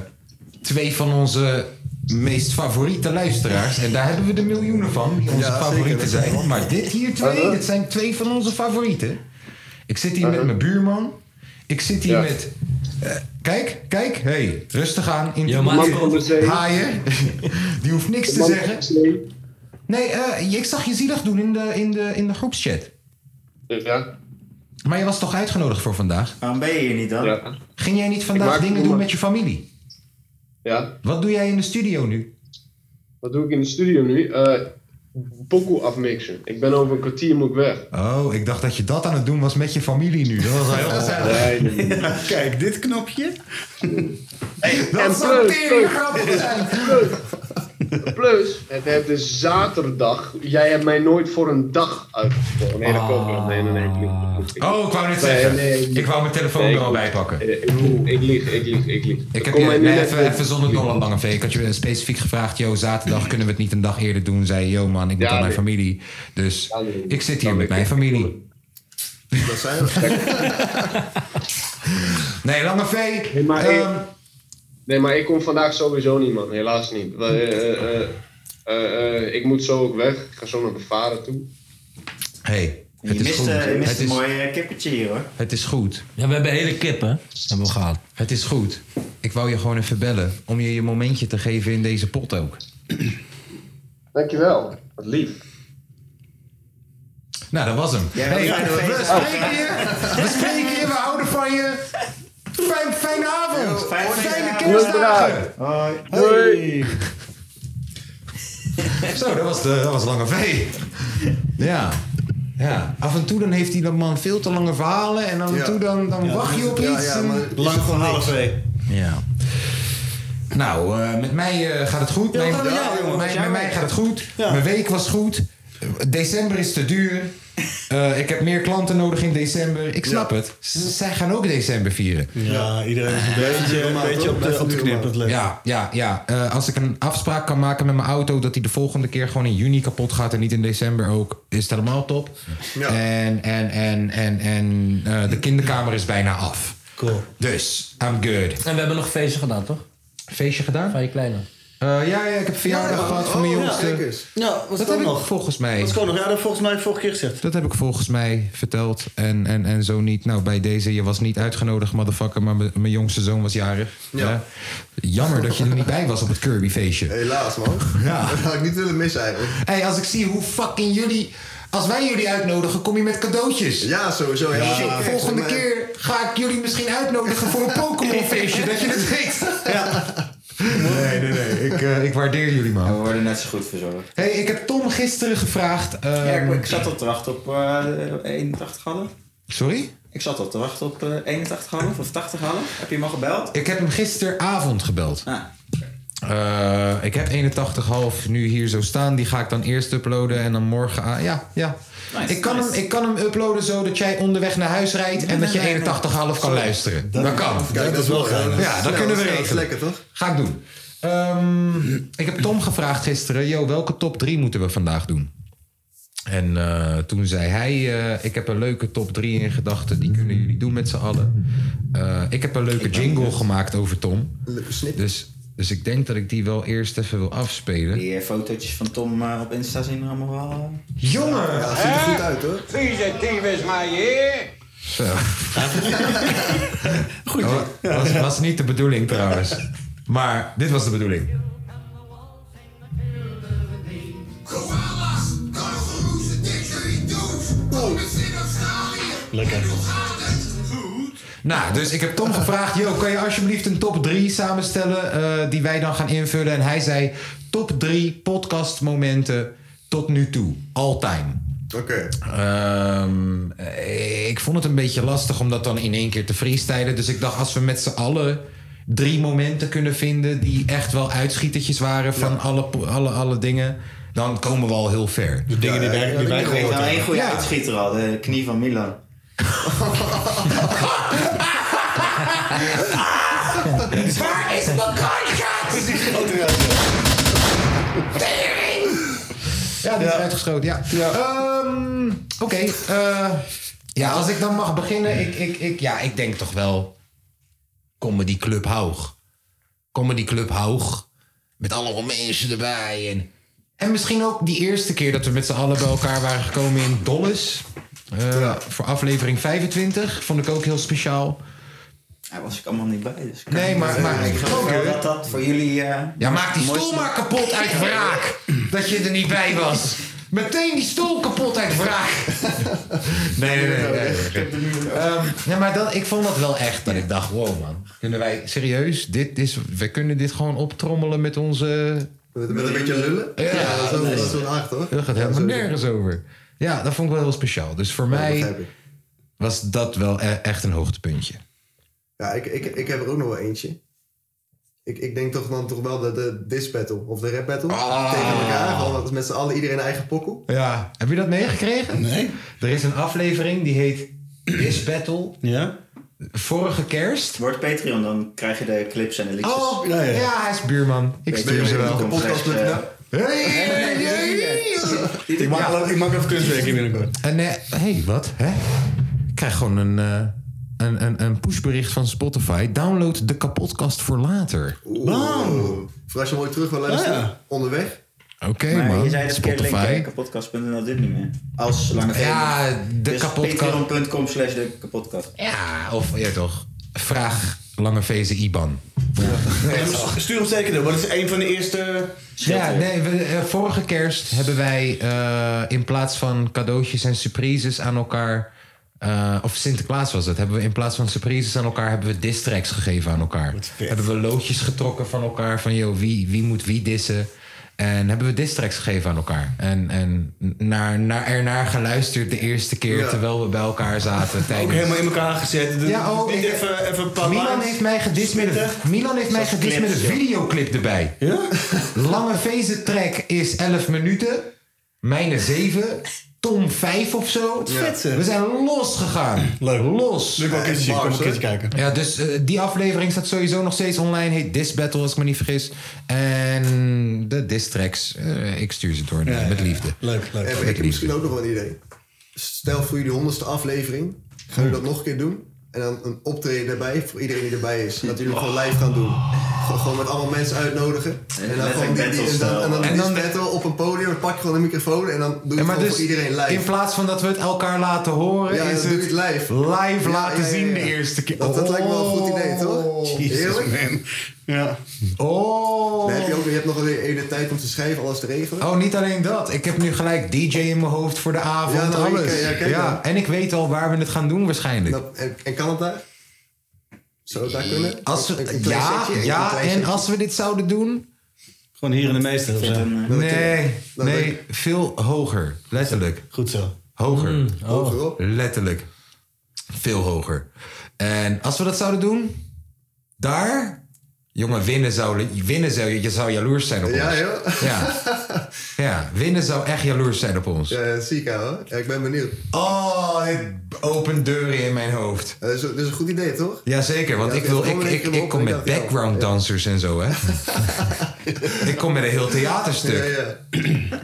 D: twee van onze meest favoriete luisteraars. En daar hebben we de miljoenen van, die onze
I: Ja, zeker,
D: favorieten
I: dat zijn
D: zijn.
I: we.
D: Maar dit hier twee,
I: Uh-huh.
D: dit zijn twee van onze favorieten. Ik zit hier met mijn buurman. Ik zit hier
I: Ja.
D: met... eh, kijk, kijk, hey, rustig aan. In
G: Ja, maar- dus
D: Haaien. Die hoeft niks te zeggen. Nee, eh, ik zag je zielig doen in de, in de, in de groepschat.
E: Ja.
D: Maar je was toch uitgenodigd voor vandaag?
H: Waarom ben je hier niet dan?
E: Ja.
D: Ging jij niet vandaag
E: maak-
D: dingen doen met je familie?
E: Ja.
D: Wat doe jij in de studio nu?
E: Wat doe ik in de studio nu? Eh pokoe afmixen. Ik ben over een kwartier moet ik weg.
D: Oh, ik dacht dat je dat aan het doen was met je familie nu. Dat was wel heel gezellig.
E: Nee, nee, nee.
F: Kijk, dit knopje.
E: En
D: Dat zou
E: plus,
D: tering
E: plus.
D: grappig zijn.
E: Plus, het heeft de zaterdag. Jij hebt mij nooit voor een dag uitgesproken. Nee,
D: Ah.
E: dat komt wel. Nee, nee, nee. ik lieg.
D: Oh, ik wou net
E: Nee,
D: zeggen.
E: nee, nee.
D: Ik wou mijn telefoon
E: Nee,
D: er al
E: ik-
D: bij pakken.
E: Eh, Ik lieg, ik lieg, ik lieg. Ik, lieg.
D: Ik heb
E: Kom mij
D: je
E: nu
D: nee,
E: net
D: even,
E: weer-
D: even zonder Nolan Langevee. Ik had je eh, specifiek gevraagd, yo, zaterdag kunnen we het niet een dag eerder doen. Zei je, yo man, ik moet
E: Ja,
D: aan mijn
E: nee.
D: familie. Dus
E: Ja, nee.
D: ik zit hier
E: Dan
D: met
E: ben
D: mijn
E: ik-
D: familie.
I: Dat zijn we.
D: Nee, Langevee.
E: Nee, maar ik-
D: ehm,
E: Nee, maar ik kom vandaag sowieso niet, man. Helaas niet. Eh, eh, eh, eh, eh, ik moet zo ook weg. Ik ga zo naar mijn vader toe.
D: hey,
H: Je
D: het is
H: mist,
D: goed.
H: eh, je mist
D: Het
H: een
D: is,
H: mooi kippetje hier hoor.
D: het is goed.
G: Ja, we hebben hele kip, hè? Hebben we gehad.
D: Het is goed. Ik wou je gewoon even bellen. Om je je momentje te geven in deze pot ook.
E: Dankjewel. Wat lief.
D: Nou, dat was hem.
H: Ja,
D: hey,
H: dat
D: we,
H: was Oh. hem.
D: spreken je. We spreken je. We houden van je. Fijn, fijne avond.
H: fijne
D: Fijne
H: avond.
D: kerstdagen.
H: Hoi.
E: Hoi.
D: Zo, dat was, de, eh, dat was Lange V. Ja. ja. Af en toe dan heeft die man veel te lange verhalen. En af en
I: Ja.
D: toe dan, dan wacht je op
I: Ja,
D: iets.
I: ja,
D: en-
I: maar
F: Lang gewoon half twee.
D: Ja. Nou, eh, met mij eh, gaat het goed. Nee,
F: wat
D: met-
F: met jou, jongen?
D: met-
F: Met
D: met
F: jou?
D: mij gaat het goed. Mijn week was goed. December is te duur. Eh, ik heb meer klanten nodig in december. Ik snap het. Z- zij gaan ook december vieren.
F: Ja, iedereen is een beetje, een
I: normaal,
F: beetje
I: toch?
F: op de,
I: Blijft
F: op de
I: normaal.
F: knip. Dat leuk.
D: Ja, ja, ja. Eh, als ik een afspraak kan maken met mijn auto... dat hij de volgende keer gewoon in juni kapot gaat... en niet in december ook, is het helemaal top.
I: Ja.
D: En, en, en, en, en eh, de kinderkamer is bijna af.
F: Cool.
D: Dus, I'm good.
G: En we hebben nog een feestje gedaan, toch?
D: Feestje gedaan?
G: Van je kleine.
D: Eh, ja, ja, ik heb verjaardag gehad van mijn
I: Oh,
D: jongste.
I: kijk eens.
F: Ja, was
D: Dat
F: dat
D: heb ik
F: nog?
D: volgens mij.
F: Dat is gewoon nog. Ja, dat heb ik volgens mij vorige keer gezegd.
D: Dat heb ik volgens mij verteld. En, en, en zo niet. Nou, bij deze, je was niet uitgenodigd, motherfucker. Maar m- mijn jongste zoon was jarig.
I: Ja.
D: Hè? Jammer dat je er niet bij was op het Kirby-feestje.
I: Helaas, man.
D: Ja.
I: Dat had ik niet willen missen eigenlijk.
D: Hé, hey, als ik zie hoe fucking jullie... Als wij jullie uitnodigen, kom je met cadeautjes.
I: Ja, sowieso. Ja,
D: Shit,
I: Kijk,
D: volgende
I: maar-
D: keer ga ik jullie misschien uitnodigen voor een Pokémon-feestje. dat je het weet. Nee, nee, nee. Ik, eh, ik waardeer jullie,
H: We
D: man.
H: worden net zo goed verzorgd.
D: hey, ik heb Tom gisteren gevraagd...
H: Ja,
D: ehm,
H: ik, ik zat al te wachten op eh 81 hadden.
D: Sorry?
H: Ik zat al te wachten op eh 81 half of 80 half. Heb je hem al gebeld?
D: Ik heb hem gisteravond gebeld.
H: Ah.
D: Eh, ik heb 81,5 nu hier zo staan. Die ga ik dan eerst uploaden en dan morgen aan. Ja, ja.
H: Nice,
D: ik, kan
H: nice.
D: hem, ik kan hem uploaden zodat jij onderweg naar huis rijdt en dat je 81,5 kan luisteren. Dat kan.
I: Kijk, dat is wel gaaf.
D: Ja, dat kunnen we
I: dat is
D: regelen.
I: lekker, toch?
D: Ga ik doen. Ehm, ik heb Tom gevraagd gisteren: Yo, welke top 3 moeten we vandaag doen? En eh, toen zei hij: eh, Ik heb een leuke top 3 in gedachten. Die kunnen jullie doen met z'n allen. Eh, ik heb een leuke jingle gemaakt over Tom.
I: Leuke snip.
D: Dus, dus ik denk dat ik die wel eerst even wil afspelen.
H: Die eh, fotootjes van Tom eh, op Insta zien er allemaal wel. eh,
D: Jongen!
I: Ja, ziet er goed uit, hoor.
B: Vieze tyfus, maar je.
D: Goed. Oh, was, was niet de bedoeling trouwens. Maar dit was de bedoeling.
L: Koalas, kangoeroes en dikke doos.
D: Nou, dus ik heb Tom gevraagd: Yo, kan je alsjeblieft een top 3 samenstellen eh, die wij dan gaan invullen? En hij zei: Top 3 podcastmomenten tot nu toe. All time.
I: Oké.
D: Ehm, ik vond het een beetje lastig om dat dan in één keer te freestylen. Dus ik dacht, als we met z'n allen drie momenten kunnen vinden... die echt wel uitschietertjes waren van alle, po- alle, alle dingen... dan komen we al heel ver. De
H: Ja, ja, eh, ja, Ik weet wel één goede uitschieter al, de knie van Milan.
A: Waar is mijn contract?
I: is die grote ruimte.
D: Ja, die is uitgeschoten, ja. Ehm, Oké, eh, ja, als ik dan mag beginnen. Ik, ik, ik, ja, ik denk toch wel Comedy Club Haug. Comedy Club Haug. Met allemaal mensen erbij. En, en misschien ook die eerste keer dat we met z'n allen bij elkaar waren gekomen in Dolles. Eh, Voor aflevering 25. Vond ik ook heel speciaal.
H: Daar was ik allemaal niet bij. Dus ik kan
D: Nee,
H: niet
D: maar,
H: zeggen.
D: maar
H: ik geloof wel dat dat voor jullie... eh,
D: ja, maak
H: het
D: die stoel
H: mooiste-
D: maar kapot uit wraak. Dat je er niet bij was. Meteen die stoel kapot uit wraak. Nee, nee, nee. nee, nee, nee. Ehm, nee, maar dat, ik vond dat wel echt. Dat ik dacht, wow man. Kunnen wij serieus? Dit is, we kunnen dit gewoon optrommelen met onze...
I: Met, met een beetje lullen?
D: Ja,
I: dat is wel- dat is wel aardig, hoor.
D: Dat gaat helemaal nergens over. Ja, dat vond ik wel heel speciaal. Dus voor mij
I: begrijp ik.
D: was dat wel e- echt een hoogtepuntje.
I: Ja, ik, ik, ik heb er ook nog wel eentje. Ik, ik denk toch dan toch wel de, de diss battle of de rap battle.
D: Ah.
I: Tegen elkaar, gewoon wat met z'n allen iedereen eigen pokkel.
D: Ja. Heb je dat meegekregen? Nee. Er is een aflevering die heet This Battle.
F: Ja?
D: Vorige kerst.
H: Word Patreon, dan krijg je de clips en de liedjes.
D: Oh, ja, hij is buurman. Ik
H: Weet
D: stuur
H: je,
D: ze
H: die
D: wel.
H: complex, eh,
F: Ik maak, wel- ik maak even kunstwerking binnenkort.
D: En hé, hey, wat? Hè? Ik krijg gewoon een, eh, een, een, een pushbericht van Spotify. Download de kapotkast voor later.
I: Bam! Voor als je mooi terug wil luisteren, onderweg.
D: Oh, Oké,
H: maar
D: man.
H: je zei het verkeerd link, hè?
D: Spotify.
H: kapotkast.nl dit niet meer. Als zolang
D: Ja, de kapotkast-
H: Patreon.com slash de kapotkast.
D: Ja, of ja toch. Vraag Lange Vezen IBAN.
F: dus Stuur hem zeker door, want het is een van de eerste...
D: Ja, nee, we, eh, vorige kerst hebben wij eh, in plaats van cadeautjes en surprises aan elkaar. eh, of Sinterklaas was het. Hebben we in plaats van surprises aan elkaar. hebben we distracts gegeven aan elkaar. Hebben we loodjes getrokken van elkaar. van joh, wie, wie moet wie dissen. En hebben we distracts gegeven aan elkaar. En, en naar, naar, ernaar geluisterd de eerste keer.
F: Ja.
D: terwijl we bij elkaar zaten.
F: Ook
D: Tijdens...
F: helemaal in elkaar gezet. De-
D: Ja, ook.
F: Niet
D: Ik-
F: even, even een paar
D: Milan
F: lines.
D: heeft mij gedist met een, Milan heeft mij
F: Zoals
D: gedist met een
F: clips, ja.
D: videoclip erbij. Lange Vezen track is 11 minuten. Mijne 7. Tom 5 of zo.
F: vet, zeg.
D: We zijn los gegaan. Leuk. Los.
F: Leuk wel een keertje, kom een keertje kijken.
D: Ja, dus eh, die aflevering staat sowieso nog steeds online. Heet This Battle, als ik me niet vergis. En de diss tracks. eh, ik stuur ze door. met liefde.
F: Leuk, leuk.
I: Heb ik heb misschien ook nog wel een idee. Stel voor jullie honderdste aflevering. Gaan jullie
D: Hm.
I: dat nog een keer doen? En dan een optreden erbij voor iedereen die erbij is. Dat jullie
D: Oh.
I: hem gewoon live gaan doen. Gewoon- Gewoon met allemaal mensen uitnodigen. En dan
H: Met
I: gewoon
H: een
I: die, die- en
H: battle
I: dan, en dan
D: style.
I: die battle op een podium. Dan pak je gewoon een microfoon en dan doe je
D: Ja,
I: het
D: maar
I: gewoon
D: dus
I: voor iedereen live.
D: in plaats van dat we het elkaar laten horen,
I: Ja,
D: is
I: dan doe
D: het
I: je het live. Ja,
D: laten
I: ja, ja,
D: zien
I: ja.
D: de eerste keer.
I: Dat, dat lijkt me wel een goed idee,
D: Oh.
I: toch? Heerlijk.
F: Ja.
D: Oh.
I: Dan heb je, ook, je hebt nog een hele tijd om te schrijven, alles te regelen.
D: Oh, niet alleen dat. Ik heb nu gelijk DJ in mijn hoofd voor de avond.
I: Ja, nou, je
D: alles.
I: ken- ja, ken je
D: ja,
I: wel.
D: en ik weet al waar we het gaan doen waarschijnlijk.
I: Dat- en, en kan het daar? Zou het daar kunnen?
D: Als we,
I: Een- een klein
D: ja,
I: setje, een
D: ja
I: klein
D: en
I: setje.
D: als we dit zouden doen...
F: Gewoon hier in de meester of zo.
H: eh,
D: Nee, nee veel hoger. Letterlijk.
F: Goed zo.
D: Hoger.
I: Hoger op.
D: Letterlijk. Veel hoger. En als we dat zouden doen, daar... Jongen, winnen zou, winnen zou, je zou jaloers zijn op
I: Ja,
D: ons.
I: joh.
D: Ja. ja, winnen zou echt jaloers zijn op ons.
I: Ja, dat zie ik aan, hoor. Ja, ik ben benieuwd.
D: Oh, dit opent deuren in mijn hoofd.
I: Ja, dat, is, dat is een goed idee, toch?
D: Jazeker, want
I: Ja,
D: ik, wil,
I: dat
D: ik,
I: kom ik
D: ik,
I: hem
D: ik
I: op,
D: kom
I: ik
D: met
I: dacht, ja.
D: background dancers en zo, hè? ik kom met een heel theaterstuk.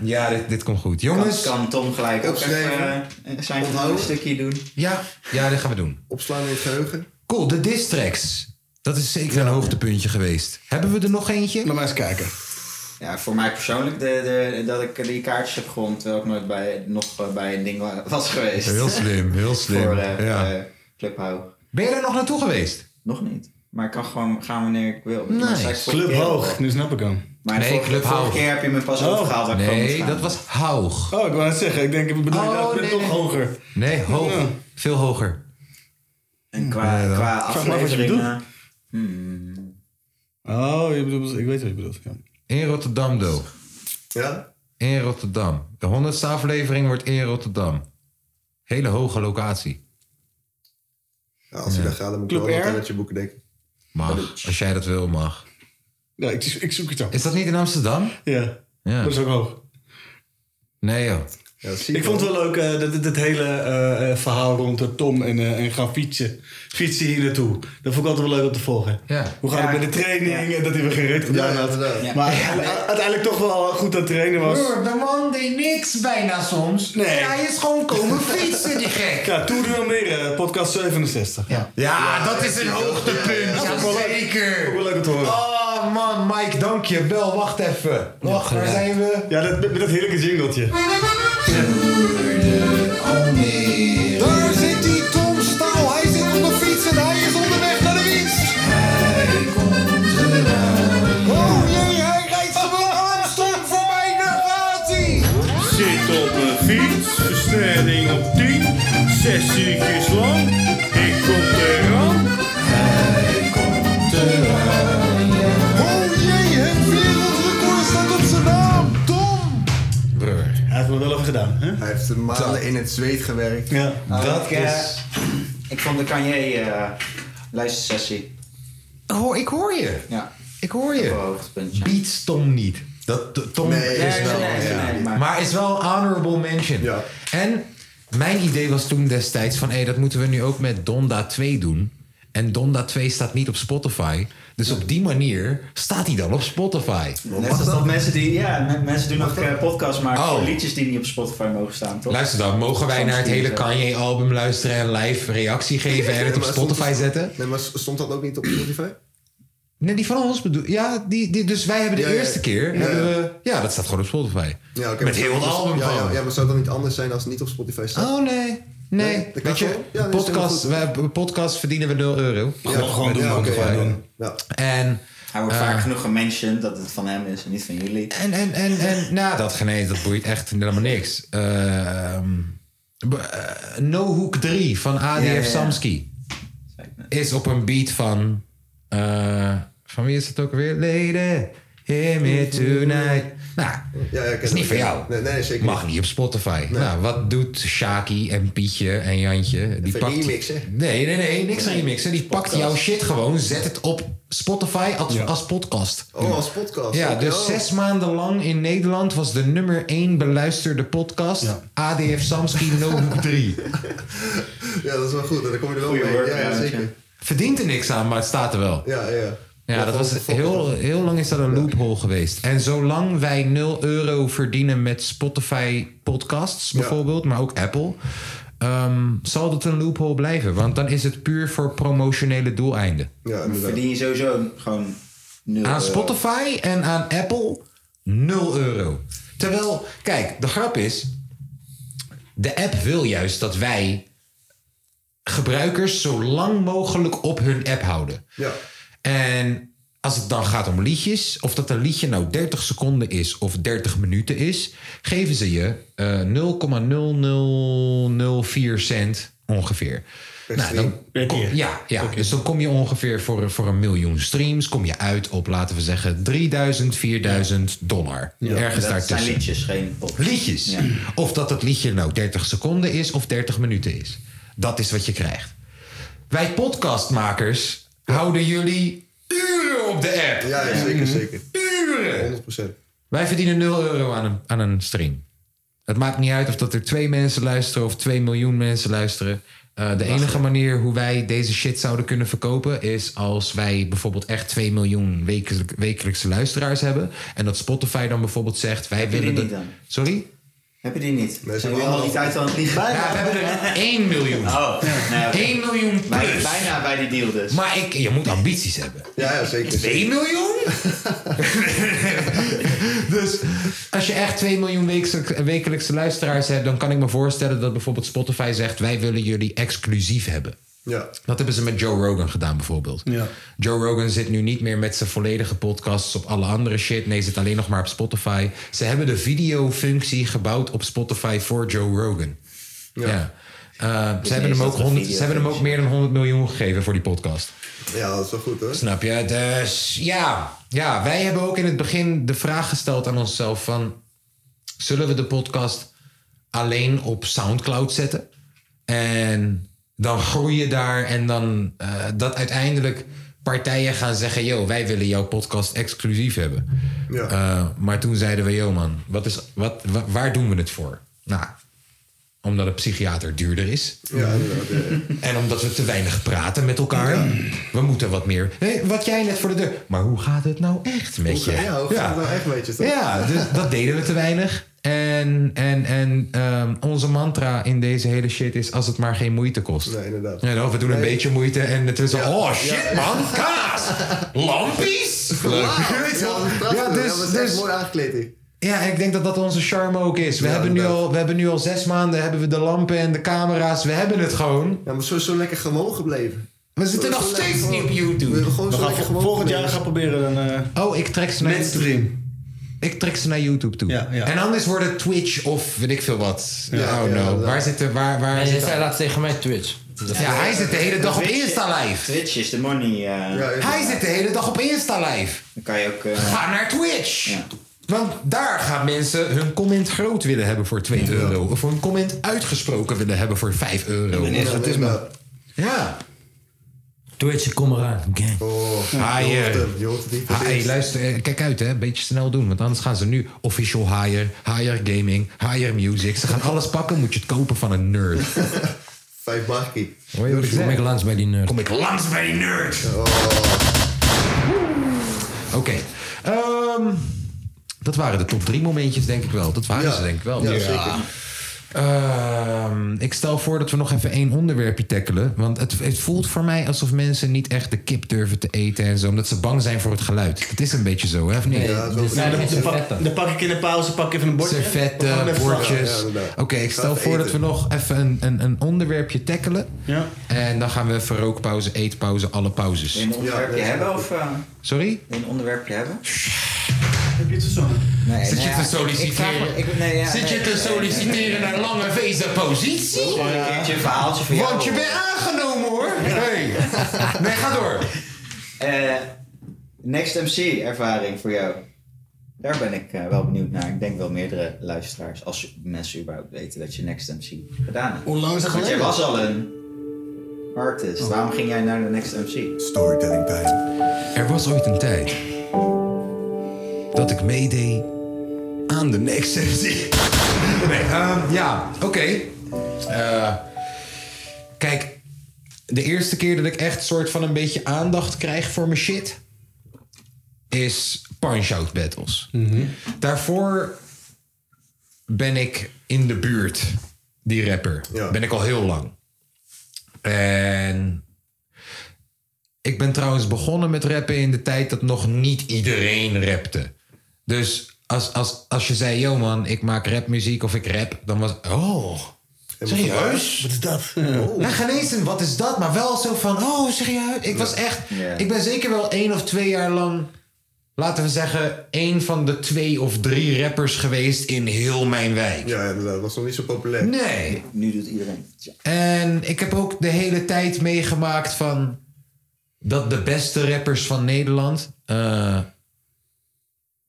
D: Ja, dit, dit komt goed. Jongens,
H: Kan, kan Tom gelijk ook even eh, zijn gewoon stukje doen.
D: ja, ja, dit gaan we doen.
I: Opslaan in het geheugen.
D: Cool, de distracks. Dat is zeker een hoogtepuntje geweest. Hebben we er nog eentje?
F: Laten we eens kijken.
H: Ja, voor mij persoonlijk de, de, dat ik die kaartjes heb gewonnen, terwijl ik nooit bij, nog eh, bij een ding wa- was geweest.
D: Heel slim, heel slim.
H: voor eh
D: ja.
H: eh, Club Hoog.
D: Ben je daar nog naartoe geweest?
H: Nog niet. Maar ik kan gewoon gaan wanneer ik wil.
D: Nice.
H: Dat zei ik vorige
F: Club
H: keer al.
F: hoog, nu snap ik hem.
H: Maar de
D: Nee,
H: vorige,
D: Club
H: vorige
D: Haug.
H: keer heb je me pas
F: Oh.
H: overgehaald. waar ik kwam
D: Nee,
H: staan.
D: dat was Haug.
F: Oh, ik wou net zeggen, ik denk, ik bedoel,
D: Oh,
F: ik dacht, ik ben
D: nee,
F: toch
D: nee.
F: hoger.
D: Nee, hoog. Veel hoger.
H: En qua,
F: Ja, ja.
H: qua
F: Ik vraag me af wat je
H: afleveringen...
F: bedoelt.
D: Hmm.
F: Oh, je bedoelt, ik weet wat je bedoelt. Ja.
D: In Rotterdam, Do.
I: Ja?
D: In Rotterdam. De 100ste aflevering wordt in Rotterdam. Hele hoge locatie.
I: Ja, als je
D: Ja.
I: daar gaat, dan moet je
D: Club
I: wel
D: R?
I: een met je boeken denken.
D: Mag. Als jij dat wil, mag.
F: Ja, ik, ik zoek het op.
D: Is dat niet in Amsterdam?
F: Ja.
D: Ja.
F: Dat is ook hoog.
D: Nee, joh.
F: ik vond het wel leuk, eh, dat, dat, dat hele eh, eh, verhaal rond eh, Tom en, eh, en gaan fietsen. Fietsen hier naartoe. Dat vond ik altijd wel leuk om te volgen.
D: Ja.
F: Hoe gaat het met de training? En dat hij weer geen reet gedaan had. Maar uiteindelijk- uiteindelijk toch wel goed aan het trainen was.
D: de man deed niks bijna soms.
F: Nee.
D: En hij is gewoon komen fietsen, die gek.
F: Ja, Tour de Almere, podcast 67. Ja,
D: Ja, dat is een hoogtepunt.
F: Ja,
D: Ja,
F: dat vond ik wel leuk.
D: zeker.
F: Ook wel leuk om te horen.
D: Oh man, Mike, dank je wel. Wacht even. Wacht, waar zijn we?
F: Ja, dat, met, met dat heerlijke jingletje.
A: Daar zit die Tom Staal. Hij zit op de fiets en hij is onderweg naar de winst. Hij komt eruit. Oh jee, hij rijdt gewoon Armstrong voorbij. Daar gaat hij.
L: Zit op een fiets, versnelling op 10, 6 uurtjes lang. Ik kom eraan. Hij komt eraan.
A: Oh jee, het wereldrecord staat op zijn naam. Tom.
F: Hij heeft me wel even gedaan. Hè?
I: Hij heeft maanden in het zweet gewerkt. Ah,
F: Ja,
H: ik, eh, Ik vond de Kanye eh luistersessie.
D: Hoor, Oh, ik hoor je.
H: Ja.
D: Ik hoor je. Beats Tom niet. Dat, t- Tom
H: Nee,
D: is
H: nee,
D: wel.
H: nee,
D: ja.
H: nee, maar-
D: maar... is wel een honorable mention. En mijn idee was toen destijds van... hé, dat moeten we nu ook met Donda 2 doen. En Donda 2 staat niet op Spotify. Dus op die manier staat hij dan op Spotify.
H: Net als dat mensen die, ja, men- mensen die nog eh, podcasts maken
D: Oh.
H: voor liedjes die niet op Spotify mogen staan, toch?
D: Luister dan, mogen wij
H: Soms
D: naar het hele
H: niet, eh.
D: Kanye-album luisteren... en live reactie geven en het op
I: Maar stond
D: Spotify
I: dat-
D: zetten?
I: Nee, maar stond dat ook niet op Spotify?
D: Nee, die van ons bedoel Ja, die, die, dus wij hebben de
I: Ja, ja, ja.
D: eerste keer...
I: Ja, ja.
D: hebben we, ja, dat staat gewoon op Spotify.
I: Ja, oké,
D: Met
I: maar
D: heel het
I: zou-
D: album
I: ja, ja,
D: gewoon.
I: ja, maar zou dat niet anders zijn als het niet op Spotify staat?
D: Oh nee. Nee,
I: Nee, dat
D: weet
I: kan
D: je,
I: toch? Ja, nee, is
D: podcast,
I: helemaal
D: wij, podcast verdienen we 0 euro.
H: Ja, gewoon doen,
D: Ja,
H: gewoon
D: oké,
H: doen,
D: ja,
H: gewoon
D: ja.
H: doen.
D: En,
H: Hij wordt
D: eh,
H: vaak genoeg gementioned dat het van hem is en niet van jullie.
D: En, en, en, en nou, dat genees, dat boeit echt helemaal niks. Ehm, b- eh, no Hook 3 van ADF
H: Ja, ja, ja.
D: Samsky is op een beat van. eh, van wie is het ook alweer? Lady, hear me tonight. Nou,
I: dat
D: is niet voor jou.
I: Nee, nee, zeker
D: Mag niet op Spotify. Nou, wat doet Shaki en Pietje en Jantje? Die
I: Even remixen.
D: Nee, nee, nee, niks aan remixen. Die pakt
I: Podcast.
D: jouw shit gewoon, zet het op Spotify als, als podcast.
I: Oh, als podcast.
D: Ja,
I: Oké,
D: dus
I: oh.
D: zes maanden lang in Nederland was de nummer één beluisterde podcast ADF Samsky No Hook 3.
I: Ja, dat is wel goed. Dan kom je er wel
D: Goeie
I: mee.
D: work,
I: ja, ja,
D: ja,
I: zeker.
D: Verdient er niks aan, maar het staat er wel.
I: Ja, ja.
D: Ja, dat
I: volgens-
D: was
I: volgens-
D: heel, heel lang is dat een loophole geweest. En zolang wij 0 euro verdienen met Spotify podcasts bijvoorbeeld, maar ook Apple, ehm, zal dat een loophole blijven. Want dan is het puur voor promotionele doeleinden.
H: Dan verdien je sowieso gewoon nul
D: Aan
H: euro.
D: Spotify en aan Apple 0 euro. Terwijl, kijk, de grap is. De app wil juist dat wij gebruikers zo lang mogelijk op hun app houden.
I: Ja.
D: En als het dan gaat om liedjes, of dat een liedje nou 30 seconden is of 30 minuten is, geven ze je eh, 0,0004 cent ongeveer. Nou, dan kom- ja, ja dus dan kom je ongeveer voor, voor een miljoen streams, kom je uit op, laten we zeggen, 3000, 4000 dollar. Ergens
H: dat
D: daartussen.
H: zijn liedjes, geen pop.
D: Liedjes. Of dat het liedje nou 30 seconden is of 30 minuten is. Dat is wat je krijgt. Wij podcastmakers houden jullie uren op de app.
I: Ja, ja,
D: Mhm.
I: zeker, zeker.
D: Uren.
I: 100%.
D: Wij verdienen 0 euro aan een, aan een stream. Het maakt niet uit of dat er twee mensen luisteren of 2 miljoen mensen luisteren. Eh, de enige manier hoe wij deze shit zouden kunnen verkopen is als wij bijvoorbeeld echt 2 miljoen wekelijk- wekelijkse luisteraars hebben. En dat Spotify dan bijvoorbeeld zegt: wij
H: Heb je die
D: willen.
H: niet
D: dat-
H: dan?
D: Sorry?
H: Heb je die niet? We
D: zijn
H: zijn al die tijd aan het liegen.
D: Ja, we hebben er 1 miljoen.
H: Oh, nee, oké.
D: 1 miljoen
H: Bij-
D: plus.
H: bijna bij die deal dus.
D: Maar ik, je moet ambities hebben.
I: Ja, ja zeker.
D: 2 miljoen? dus als je echt 2 miljoen wekelijkse, wekelijkse luisteraars hebt, dan kan ik me voorstellen dat bijvoorbeeld Spotify zegt: wij willen jullie exclusief hebben.
I: Ja.
D: Dat hebben ze met Joe Rogan gedaan bijvoorbeeld.
F: Ja.
D: Joe Rogan zit nu niet meer met zijn volledige podcasts op alle andere shit. Nee, zit alleen nog maar op Spotify. Ze hebben de videofunctie gebouwd op Spotify voor Joe Rogan. Ja. Eh, ze, hebben
I: is dat
D: hem ook
I: een
D: 100,
I: video
D: ze hebben hem ook meer dan 100 miljoen gegeven voor die podcast.
I: Ja, dat is wel goed hoor.
D: Snap je? Dus ja, ja, wij hebben ook in het begin de vraag gesteld aan onszelf van... zullen we de podcast alleen op Soundcloud zetten? En dan groei je daar en dan eh, dat uiteindelijk partijen gaan zeggen... yo, wij willen jouw podcast exclusief hebben. Eh, maar toen zeiden we, yo man, wat is, wat, wa- waar doen we het voor? Nou, omdat een psychiater duurder is.
I: Ja, inderdaad. ja, ja.
D: En omdat we te weinig praten met elkaar. We moeten wat meer. Hé, wat jij net voor de deur. Maar hoe gaat het nou echt met je?
I: Hoe- Ja, hoe gaat het nou echt met je, toch?
D: Ja, dus dat deden we te weinig. En, en, en ehm, onze mantra in deze hele shit is: als het maar geen moeite kost.
I: Nee, inderdaad.
D: Ja, nou, we doen een beetje moeite en het is zo: oh shit
I: Ja.
D: man, kaas! Lampies!
I: Wauw,
D: Weet je wel?
I: Ja, prachtig.
D: Ja,
I: Ja,
D: dus-
I: dat was echt
D: dus-
I: mooi aangekleed. hier.
D: Ja, ik denk dat dat onze charme ook is. We,
I: Ja,
D: hebben, nu al, we hebben nu al zes maanden hebben we de lampen en de camera's. We hebben het gewoon.
I: Ja, maar zo, zo lekker gewoon gebleven.
D: We zitten
I: Zo-
D: nog
I: zo lekker
D: steeds niet
I: gewoon-
D: op YouTube.
I: We hebben gewoon
F: We
I: zo
F: gaan
I: lekker
F: vol-
I: gewoon
F: volgend jaar
I: gebleven.
F: gaan proberen een... eh,
D: Oh, ik trek ze naar
F: Mainstream.
D: YouTube. Ik trek ze naar YouTube toe. En anders wordt het Twitch of weet ik veel wat.
G: Ja,
D: I don't
G: ja,
D: know.
G: ja.
D: waar zitten... Waar, waar
G: Hij
D: zitten-
G: zei laatst tegen mij Twitch.
D: Ja, hij zit de hele dag op
H: Twitch-
D: Insta live.
H: Twitch is de money. eh.
D: Hij zit de hele dag op Insta live.
H: Dan kan je ook... eh,
D: Ga naar Twitch. Want daar gaan mensen hun comment groot willen hebben voor 2 euro. Of hun comment uitgesproken willen hebben voor 5 euro.
G: ben nepotisme.
D: Ja. ja.
G: Twitch, kom eraan. Gang.
D: Haier. Ha- hey, luister, eh, kijk uit hè. Beetje snel doen. Want anders gaan ze nu official higher, higher gaming, higher music. Ze gaan alles pakken. Moet je het kopen van een nerd.
I: Vijf barkie.
D: Hoor je wat ik zeg?
G: Kom ik langs bij die nerd.
D: Kom ik langs bij die nerd.
I: Oh,
D: Oké. Ehm, dat waren de top drie momentjes, denk ik wel. Dat waren
I: Ja.
D: ze, denk ik wel.
I: Ja, zeker.
D: Ehm, ik stel voor dat we nog even één onderwerpje tackelen. Want het, het voelt voor mij alsof mensen niet echt de kip durven te eten en zo. Omdat ze bang zijn voor het geluid. Het is een beetje zo, hè? Of niet?
H: Dus
F: Ja, dan, dan pak, dan pak ik in de pauze pak ik even een bordje. We gaan
D: Servetten,
F: even
D: bordjes.
F: vlaggen.
D: Oké, ik stel voor dat we nog even een, een, een onderwerpje tackelen.
F: Ja.
D: En dan gaan we even rookpauze, eetpauze, alle pauzes.
H: Wil je een onderwerpje hebben of... eh,
D: Sorry?
H: wil je een onderwerpje hebben?
F: Heb je het verzonnen?
H: Nee,
D: Zit
H: nou
D: je
H: ja,
D: te
H: ik- Ik vraag
D: solliciteren?
H: me- ik- nee, ja, nee,
D: Zit
H: nee,
D: je te
H: nee, nee, nee.
D: solliciteren naar lange vezenpositie?
H: Wil gewoon een keertje een verhaaltje van jou.
D: Want je bent aangenomen hoor. Hey. Nee, ga door.
H: Eh, Next MC ervaring voor jou. Daar ben ik eh, wel benieuwd naar. Ik denk wel meerdere luisteraars, als mensen überhaupt weten dat je Next MC gedaan hebt.
M: Hoe lang is dat
H: Want jij
M: geleden?
H: was al een
D: Oh.
H: artist. Waarom ging jij naar de Next MC?
D: Storytelling bij. Er was ooit een tijd dat ik meedeed aan de next sessie. Nee, ehm, ja, oké. Eh, kijk, de eerste keer dat ik echt soort van een beetje aandacht krijg voor mijn shit is punch-out battles. Daarvoor ben ik in de buurt, die rapper. Ben ik al heel lang. En ik ben trouwens begonnen met rappen in de tijd dat nog niet iedereen rapte. Dus als, als, als je zei, yo man, ik maak rapmuziek of ik rap, dan was oh, serieus?
F: Wat is dat? Oh.
D: Nou, geen eens een wat is dat, maar wel zo van, oh, serieus? Ik was echt,
F: Ja.
D: ik ben zeker wel één of twee jaar lang, laten we zeggen, één van de twee of drie rappers geweest in heel mijn wijk.
I: Ja, inderdaad. Dat was nog niet zo populair.
D: Nee.
H: Nu doet iedereen.
D: En ik heb ook de hele tijd meegemaakt van dat de beste rappers van Nederland. eh,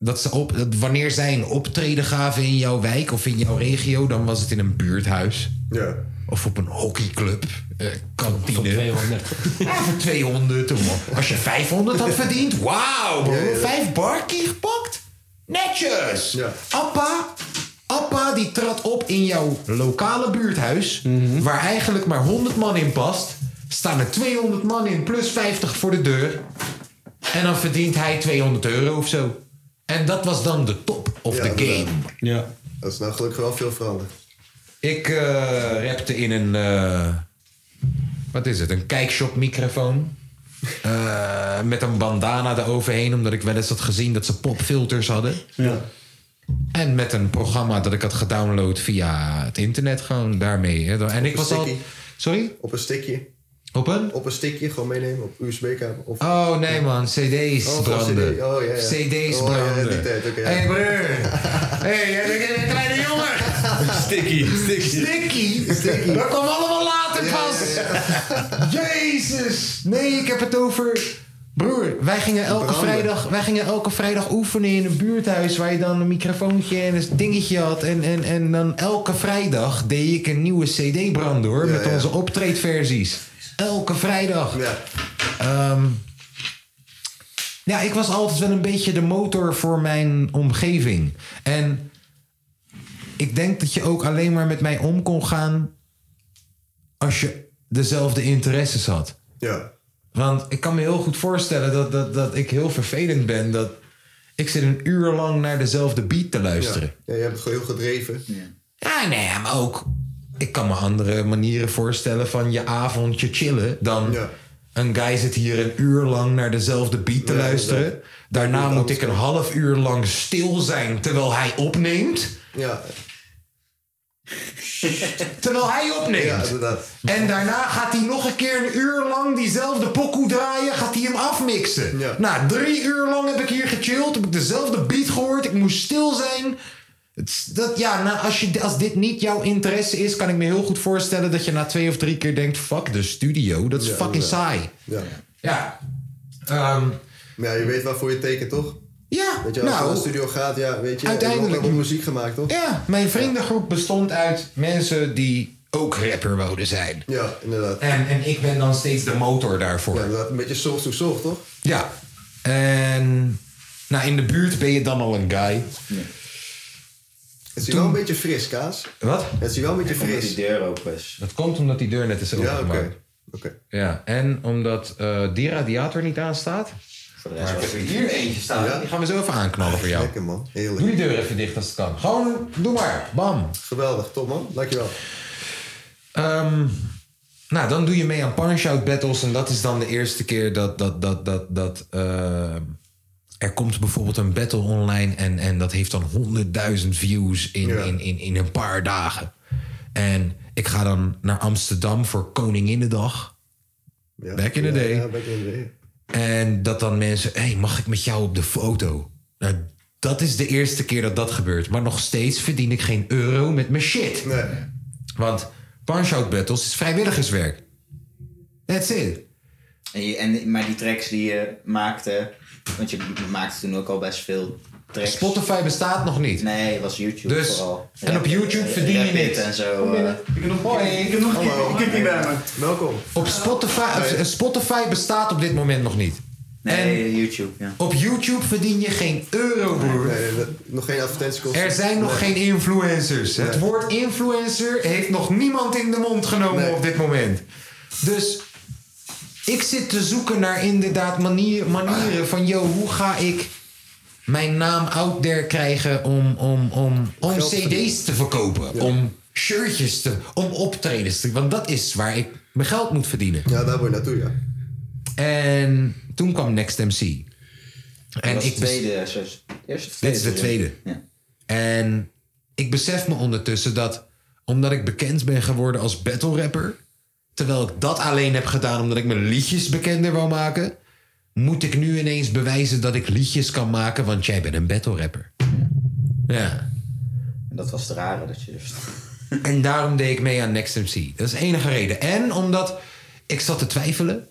D: dat ze op, dat wanneer zij een optreden gaven in jouw wijk of in jouw regio, dan was het in een buurthuis.
I: Ja.
D: Of op een hockeyclub, eh, kantine. Voor 200. Ja, voor 200. of Als je 500 had verdiend, wauw, bro.
I: Ja, ja.
D: Vijf barkie gepakt? Netjes! Appa, Appa die trad op in jouw lokale buurthuis,
I: Mhm.
D: waar eigenlijk maar 100 man in past. Staan er 200 man in, plus 50 voor de deur. En dan verdient hij 200 euro of zo. En dat was dan de top of
I: Ja,
D: the
I: inderdaad.
D: game.
F: Ja.
I: Dat is nou gelukkig wel veel veranderd.
D: Ik eh, rapte in een. eh, wat is het? Een kijkshop microfoon. Eh, met een bandana eroverheen, omdat ik wel eens had gezien dat ze popfilters hadden. En met een programma dat ik had gedownload via het internet, gewoon daarmee. Hè. En ik was al. Sorry?
I: Op een stickje.
D: Op een?
I: Op een stickje, gewoon meenemen op USB-kabel. Of...
D: Oh nee man, cd's
I: Oh, gewoon
D: branden.
I: CD. Oh, ja, ja.
D: Cd's
I: Oh, ja, ja,
D: branden.
I: die tijd, oké, ja.
D: hey, broer. eh, hey, jij bent een kleine jongen.
F: Sticky. Sticky.
D: Sticky. Dat kwam allemaal podcast! Jezus! Nee, ik heb het over. Broer, wij gingen, elke
A: Branden.
D: vrijdag, wij gingen elke vrijdag oefenen in een buurthuis waar je dan een microfoontje en een dingetje had. En, en, en dan elke vrijdag deed ik een nieuwe CD branden hoor, met onze optreedversies. Elke vrijdag. Ja. ja, ik was altijd wel een beetje de motor voor mijn omgeving. En ik denk dat je ook alleen maar met mij om kon gaan als je dezelfde interesses had.
I: Ja.
D: Want ik kan me heel goed voorstellen dat, dat, dat ik heel vervelend ben. Dat ik zit een uur lang naar dezelfde beat te luisteren.
I: Ja, je hebt het gewoon heel gedreven.
D: Ja, nee, maar ook... Ik kan me andere manieren voorstellen van je avondje chillen... dan een guy zit hier een uur lang naar dezelfde beat te luisteren. Daarna moet ik een half uur lang stil zijn terwijl hij opneemt.
I: Ja.
D: Terwijl hij opneemt.
I: Ja, inderdaad.
D: En daarna gaat hij nog een keer een uur lang diezelfde pokoe draaien. Gaat hij hem afmixen. Nou, drie uur lang heb ik hier gechilled. Heb ik dezelfde beat gehoord. Ik moest stil zijn. Het is- dat, ja, nou, als, je, als dit niet jouw interesse is, kan ik me heel goed voorstellen dat je na twee of drie keer denkt: fuck de studio. Dat is
I: Ja,
D: fucking
I: inderdaad.
D: saai.
I: Ja.
D: Ja. Ehm,
I: ja, je weet waarvoor je tekent, toch?
D: Ja,
I: Weet je, als je
D: nou,
I: naar de studio gaat, ja, weet je.
D: uiteindelijk-
I: Je hebt ook muziek gemaakt, toch?
D: Ja, mijn vriendengroep bestond uit mensen die ook rapper wouden zijn.
I: Ja, inderdaad.
D: En, en ik ben dan steeds de motor daarvoor. Ja,
I: inderdaad. Een beetje soft to soft, toch?
D: Ja. En nou, in de buurt ben je dan al een guy.
I: Het is hier wel een beetje fris, Kaas.
D: Wat?
I: Het is hier wel een beetje fris.
H: die deur open dus. is.
D: Dat komt omdat die deur net is
I: Ja,
D: opengemaakt.
I: oké.
D: Ja, en omdat eh, die radiator niet aanstaat. Maar ik heb er hier eentje staan. Die gaan we zo even aanknallen voor jou.
I: Lekker man. Heerlijk.
D: Doe die deur even dicht als het kan. Gewoon, doe maar. Bam.
I: Geweldig, top man. Dankjewel.
D: Ehm, nou, dan doe je mee aan punch-out battles. En dat is dan de eerste keer dat, dat, dat, dat, dat ehm, er komt bijvoorbeeld een battle online. En, en dat heeft dan 100.000 views in, in, in, in een paar dagen. En ik ga dan naar Amsterdam voor Koninginnedag.
I: Ja.
D: Back in the day.
I: Ja, back in the day.
D: En dat dan mensen, hé, hey, mag ik met jou op de foto? Nou, dat is de eerste keer dat dat gebeurt. Maar nog steeds verdien ik geen euro met mijn shit. Want punch-out battles is vrijwilligerswerk. That's it.
H: En je, en, maar die tracks die je maakte, want je maakte toen ook al best veel tracks.
D: Spotify bestaat nog niet.
H: Nee, het was YouTube
D: Dus-
H: vooral.
D: en op YouTube verdien je
H: Rapid
D: niks.
H: En zo. eh,
F: Ik heb nog Ik heb nog een kikkie bij me.
I: Welkom.
D: Op Spotify, op- Spotify bestaat op dit moment nog niet.
H: nee, YouTube, ja.
D: Op YouTube verdien je geen euro, broer.
I: nog geen advertentiekosten.
D: Er zijn nog
I: Nee.
D: geen influencers. Het woord influencer heeft nog niemand in de mond genomen op dit moment. Dus ik zit te zoeken naar inderdaad manier, manieren van... yo, hoe ga ik mijn naam out there krijgen om, om, om, om
A: Geld
D: cd's
A: verdienen.
D: te verkopen? Om shirtjes te... om optredens te... want dat is waar ik mijn geld moet verdienen.
I: Ja, daar moet je naartoe, ja.
D: En toen kwam Next MC.
H: Dat was
D: ik
H: de tweede, eh, zo- eerste of
D: dit is de tweede. En ik besef me ondertussen dat omdat ik bekend ben geworden als battle rapper, terwijl ik dat alleen heb gedaan omdat ik mijn liedjes bekender wou maken, moet ik nu ineens bewijzen dat ik liedjes kan maken, want jij bent een battle rapper. Ja.
H: En dat was het rare dat je dus...
D: En daarom deed ik mee aan Next MC. Dat is de enige reden. En omdat ik zat te twijfelen.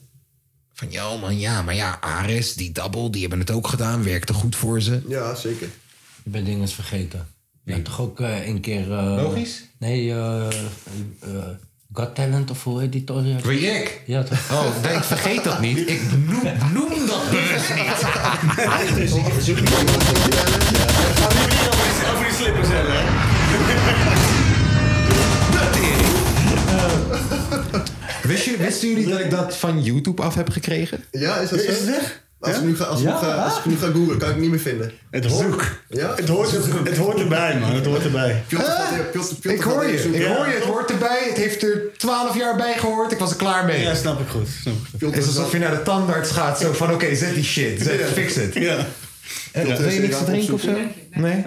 D: Van, ja oh man, ja, maar ja, Ares, die Double, die hebben het ook gedaan. Werkte goed voor ze.
I: Ja, zeker.
G: Ik ben dingen eens vergeten. Je hebt toch ook eh, een keer... eh,
D: Logisch?
G: Nee, eh eh God Talent of hoe heet die toch?
D: Project?
G: Ja, toch?
D: Oh, nee, ik vergeet dat niet. Ik noem, noem dat bewust niet.
F: Over die slippers hebben. hè?
D: Wist je, wisten jullie dat ik dat van YouTube af heb gekregen?
I: Ja, is dat zo?
F: Is het weg?
I: Als, ik nu ga, als,
D: Ja?
I: ik nu ga, als ik nu ga googlen, kan ik het niet meer vinden.
F: Het hoort,
I: Ja?
F: het, hoort, het hoort erbij, man. Het hoort erbij.
D: Ik hoor je, ik hoor je, het hoort erbij. Het heeft er twaalf jaar bij gehoord. Ik was er klaar mee.
F: Ja, snap ik goed. Snap ik goed.
D: Het is alsof je naar de tandarts gaat. Zo van, oké, zet die shit. Zet, fix het.
F: Ja.
D: En
F: Ja.
D: wil je niks te drinken of zo?
F: Nee.
D: Nee?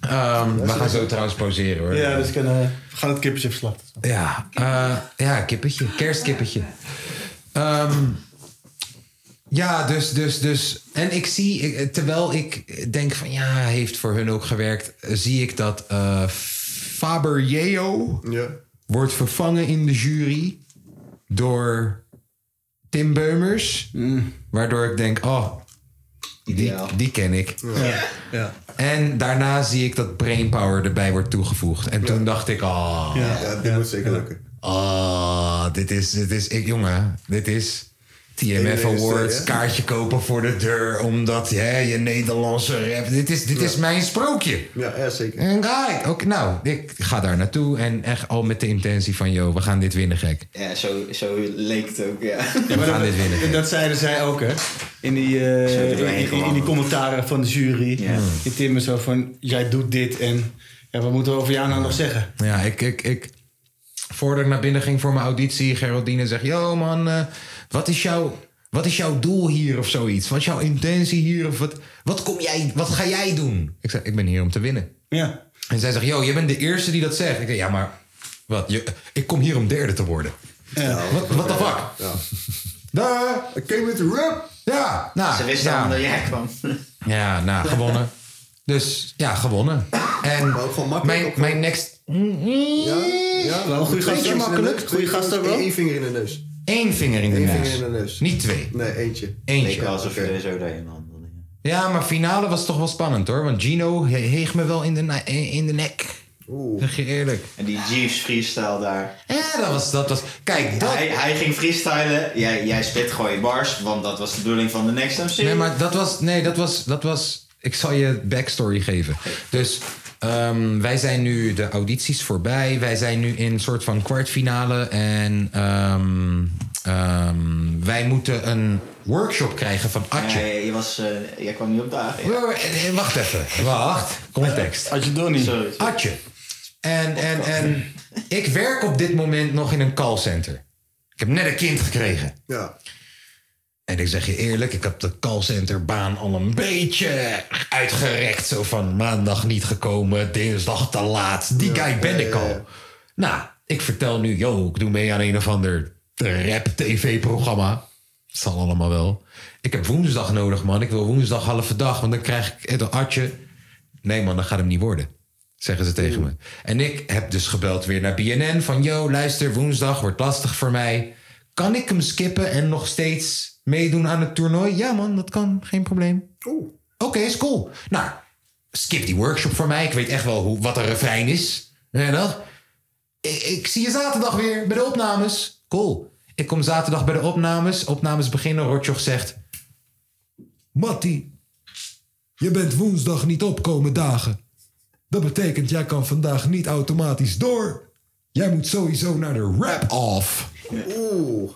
D: Ehm, we gaan zo trouwens pauzeren hoor.
F: Ja, dus ik kan, eh, we gaan het kippertje verslachten.
D: Ja, eh, ja kippetje. Kerstkippetje. Ehm, ja, dus, dus, dus. En ik zie, ik- eh, terwijl ik denk van ja, hij heeft voor hun ook gewerkt, eh, zie ik dat eh Faber Yeo, wordt vervangen in de jury door Tim Beumers.
F: Mm.
D: Waardoor ik denk, oh, die, die ken ik.
F: Ja. Ja.
D: En daarna zie ik dat Brainpower erbij wordt toegevoegd. En toen dacht ik, oh...
F: Ja,
D: dit moet zeker lukken. Oh, dit is, dit is... Ik, jongen, dit is... TMF
F: Eén
D: Awards,
F: eerste, hè?
D: kaartje kopen voor de deur... omdat hè, je Nederlandse rap... Dit is, dit is mijn sprookje.
I: Ja, ja zeker.
D: En kijk, ook, nou, ik ga daar naartoe... en echt al met de intentie van... yo, we gaan dit winnen, gek.
H: Ja, zo, zo leek het ook, ja.
D: We gaan dit winnen.
F: En dat zeiden zij ook, hè? In die, eh,
H: Zo doorheen
F: in, in- in die
H: gewandeld.
F: commentaren van de jury.
D: Ja.
F: Die Tim is zo van, jij doet dit en ja, wat moeten we over jou nou nog zeggen?
D: Ja, ik, ik, ik. Voordat ik naar binnen ging voor mijn auditie, Geraldine zegt: Yo man, eh, wat, is jouw, wat is jouw doel hier of zoiets? Wat is jouw intentie hier? Of wat, wat, kom jij, wat ga jij doen? Ik zeg: Ik ben hier om te winnen.
F: Ja.
D: En zij zegt: Yo, je bent de eerste die dat zegt. Ik zeg: Ja, maar wat? Je, ik kom hier om derde te worden. Wat- What the fuck?
I: Ja.
D: Daar,
I: ik came with the rap.
D: Ja, nou.
H: Ze wisten
D: ja.
H: allemaal dat jij kwam.
D: Ja, nou, gewonnen. Dus ja, gewonnen. En mijn, mijn next. Ja,
I: ja
D: wel een goede gast.
I: Beetje
D: Makkelijk.
I: Twee
D: Goede gast
I: vingers-
D: ook wel.
I: Eén vinger in de neus.
D: Eén vinger in de
I: Eén
D: neus.
I: vinger in de neus.
D: Niet twee.
I: Nee, eentje.
D: Eentje.
H: Alsof je er zo doorheen man.
D: Ja, maar finale was toch wel spannend hoor. Want Gino he- heeg me wel in de, na- eh, in de nek. Oeh. Zeg je eerlijk.
H: En die Jeeves freestyle daar.
D: Ja, dat was... Dat was kijk,
H: dat... Hij, hij ging freestylen, jij, jij spit gewoon je bars, want dat was de bedoeling van de Next MC.
D: Nee, maar dat was. Nee, dat was. Dat was ik zal je backstory geven. Dus ehm, wij zijn nu de audities voorbij. Wij zijn nu in een soort van kwartfinale. En ehm, ehm, wij moeten een workshop krijgen van Atje.
H: Ja, je, je was, eh, jij kwam niet op dagen.
D: Ja, maar, eh, eh, wacht even. Wacht. Context.
F: Atje Donnie.
H: Sorry.
D: Atje. En, en, en ik werk op dit moment nog in een callcenter. Ik heb net een kind gekregen.
I: Ja.
D: En ik zeg je eerlijk, ik heb de callcenterbaan al een beetje uitgerekt. Zo van maandag niet gekomen, dinsdag te laat. Die guy ben ik al. Nou, ik vertel nu, yo, ik doe mee aan een of ander rap-tv-programma. Dat zal allemaal wel. Ik heb woensdag nodig, man. Ik wil woensdag halve dag, want dan krijg ik het atje. Nee, man, dat gaat hem niet worden. Zeggen ze tegen me. En ik heb dus gebeld weer naar BNN van... yo, luister, woensdag wordt lastig voor mij. Kan ik hem skippen en nog steeds meedoen aan het toernooi? Ja, man, dat kan. Geen probleem. Oké, is cool. Nou, skip die workshop voor mij. Ik weet echt wel hoe, wat een refrein is. En dat. Ik, ik zie je zaterdag weer bij de opnames. Cool. Ik kom zaterdag bij de opnames. Opnames beginnen. Rotjoch zegt... Mattie, je bent woensdag niet opkomen dagen. Dat betekent, jij kan vandaag niet automatisch door. Jij moet sowieso naar de rap-off.
I: Oeh.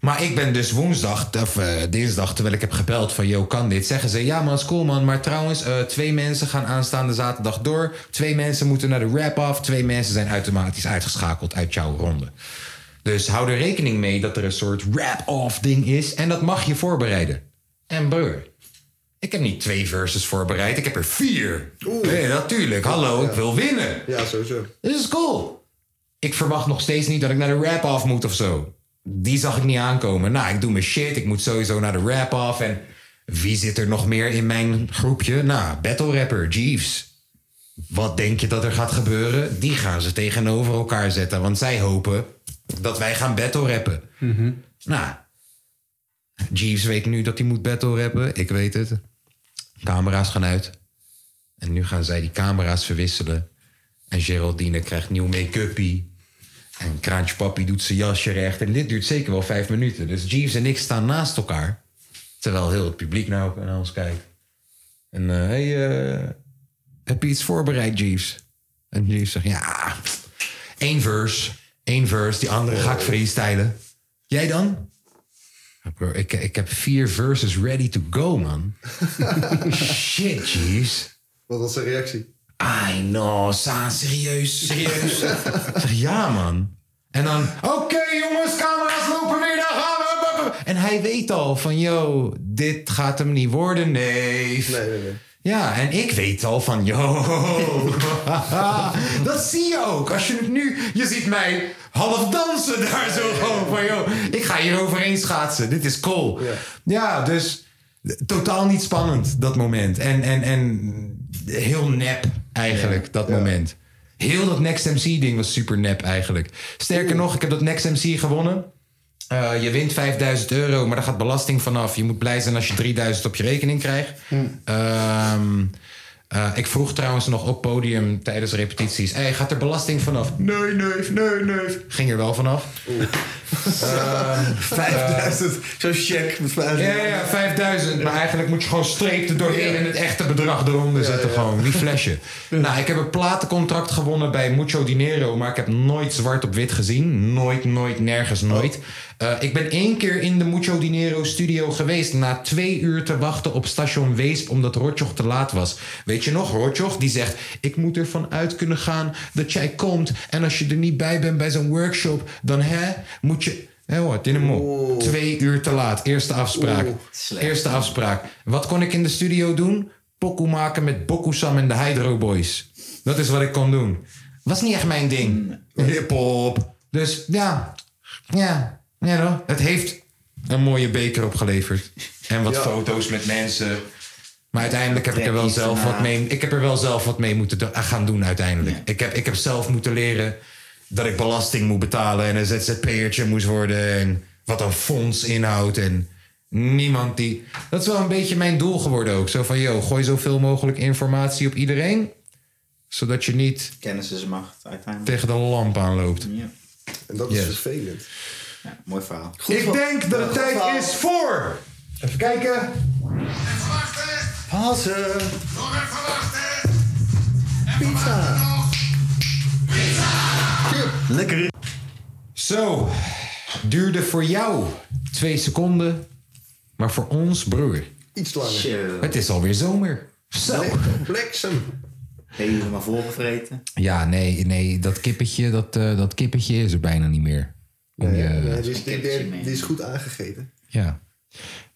D: Maar ik ben dus woensdag, of eh, dinsdag, terwijl ik heb gebeld van... Yo, kan dit? Zeggen ze, ja man, is cool man. Maar trouwens, eh, twee mensen gaan aanstaande zaterdag door. Twee mensen moeten naar de wrap-off. Twee mensen zijn automatisch uitgeschakeld uit jouw ronde. Dus hou er rekening mee dat er een soort wrap-off ding is. En dat mag je voorbereiden. En broer, ik heb niet twee verses voorbereid. Ik heb er vier. Nee, natuurlijk. Hallo, ik wil winnen.
I: Ja, sowieso.
D: Dit is cool. Ik verwacht nog steeds niet dat ik naar de rap-off moet of zo. Die zag ik niet aankomen. Nou, ik doe mijn shit. Ik moet sowieso naar de rap-off. En wie zit er nog meer in mijn groepje? Nou, battle rapper Jeeves. Wat denk je dat er gaat gebeuren? Die gaan ze tegenover elkaar zetten. Want zij hopen dat wij gaan battle rappen. Nou, Jeeves weet nu dat hij moet battle rappen. Ik weet het. Camera's gaan uit. En nu gaan zij die camera's verwisselen. En Geraldine krijgt nieuw make-uppie. En Kraantje Papi doet zijn jasje recht. En dit duurt zeker wel vijf minuten. Dus Jeeves en ik staan naast elkaar. Terwijl heel het publiek nou ook naar ons kijkt. En eh, hey, eh, heb je iets voorbereid, Jeeves? En Jeeves zegt, ja, één verse. Één verse, die andere ga ik freestylen. Jij dan? Ja, Ah, Bro, ik, ik heb vier verses ready to go, man. Shit, Jeeves.
I: Wat was zijn reactie?
D: I know, Saan, serieus, serieus. Ik zeg, ja, man. En dan, oké jongens, camera's lopen weer, daar gaan we. Hup, hup, hup. En hij weet al van, yo, dit gaat hem niet worden, neef. Nee, nee, nee. Ja, en ik weet al van, yo. dat zie je ook. Als je het nu, je ziet mij half dansen daar zo gewoon van, yo. Ik ga hier overheen schaatsen, dit is cool. Ja, dus totaal niet spannend, dat moment. En, en, en heel nep eigenlijk, dat moment. Heel dat Next MC-ding was super nep eigenlijk. Sterker nog, ik heb dat Next MC gewonnen. Eh, je wint 5000 euro, maar daar gaat belasting vanaf. Je moet blij zijn als je 3000 op je rekening krijgt. Ehm, eh, ik vroeg trouwens nog op podium tijdens repetities: hey, gaat er belasting vanaf? Nee, nee, nee, nee. Ging er wel vanaf. Eh,
F: 5000, zo check met 5000.
D: Ja, ja, ja, 5000. Maar eigenlijk moet je gewoon streep er doorheen en het echte bedrag eronder zetten. Gewoon, die flesje. Nou, ik heb een platencontract gewonnen bij Mucho Dinero, maar ik heb nooit zwart op wit gezien. Nooit, nooit, nergens,
F: Oh.
D: nooit. Eh, ik ben één keer in de Mucho Dinero studio geweest na twee uur te wachten op station Weesp omdat Rotjoch te laat was. Weet je nog, Rotjoch die zegt: Ik moet ervan uit kunnen gaan dat jij komt. En als je er niet bij bent bij zo'n workshop, dan hè, moet je. Hé hoor, in hem op. Twee uur te laat. Eerste afspraak. Eerste afspraak. Wat kon ik in de studio doen? Pokoe maken met Bokusam en de Hydro Boys. Dat is wat ik kon doen. Was niet echt mijn ding. Hip-hop. Dus ja. Ja. Ja, hoor. Het heeft een mooie beker opgeleverd. En wat
M: Ja.
D: foto's met mensen. Maar uiteindelijk heb ik er wel
M: Trekkies
D: zelf
M: na.
D: wat mee. Ik heb er wel zelf wat mee moeten do- eh, gaan doen uiteindelijk. Ik, heb, ik heb zelf moeten leren dat ik belasting moet betalen en een ZZP'ertje moest worden. En wat een fonds inhoudt. En niemand die. Dat is wel een beetje mijn doel geworden ook. Zo van yo, gooi zoveel mogelijk informatie op iedereen. Zodat je niet
H: Kennis is macht, uiteindelijk.
D: tegen de lamp aanloopt.
I: En dat is
D: Yes.
I: vervelend.
H: Ja, mooi verhaal.
D: Ik denk dat het tijd is voor. Even kijken.
F: Pasen.
I: Pizza.
F: Lekker.
D: Zo, duurde voor jou twee seconden. Maar voor ons, broer.
I: Iets langer.
D: Het is alweer zomer. Zo.
I: Bliksem.
H: Helemaal volgevreten.
D: Ja, nee, nee dat, kippetje, dat, eh, dat kippetje is er bijna niet meer. Om je-
I: Ja, die, is, die, die- die is goed aangegeten.
D: ja.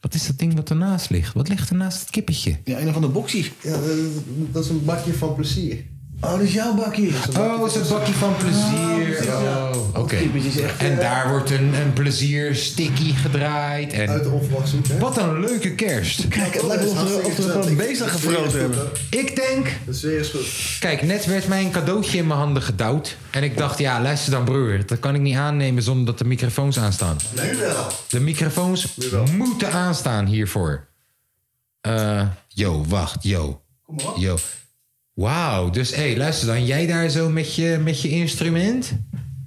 D: Wat is dat ding wat ernaast ligt? Wat ligt ernaast het kippetje?
F: Ja, een of andere boxie.
I: Ja, dat, dat is een bakje van plezier.
F: Oh, dat is jouw bakje.
D: Oh, dat is het bakje van plezier. Oh, oké. En daar wordt een, een plezier sticky gedraaid. En... Uit
I: de onverwachte
D: Wat een leuke kerst.
F: Kijk, het
I: Oh,
F: lijkt wel of we- of we gewoon bezig gefroten hebben.
D: Ik denk...
I: Dat is weer eens goed.
D: Kijk, net werd mij een cadeautje in mijn handen gedouwd. En ik dacht, ja, luister dan broer. Dat kan ik niet aannemen zonder dat de microfoons aanstaan.
I: Nu wel.
D: De microfoons moeten aanstaan hiervoor. Eh, yo, wacht, yo. Yo. Wauw, dus hé, luister dan. Jij daar zo met je, met je instrument?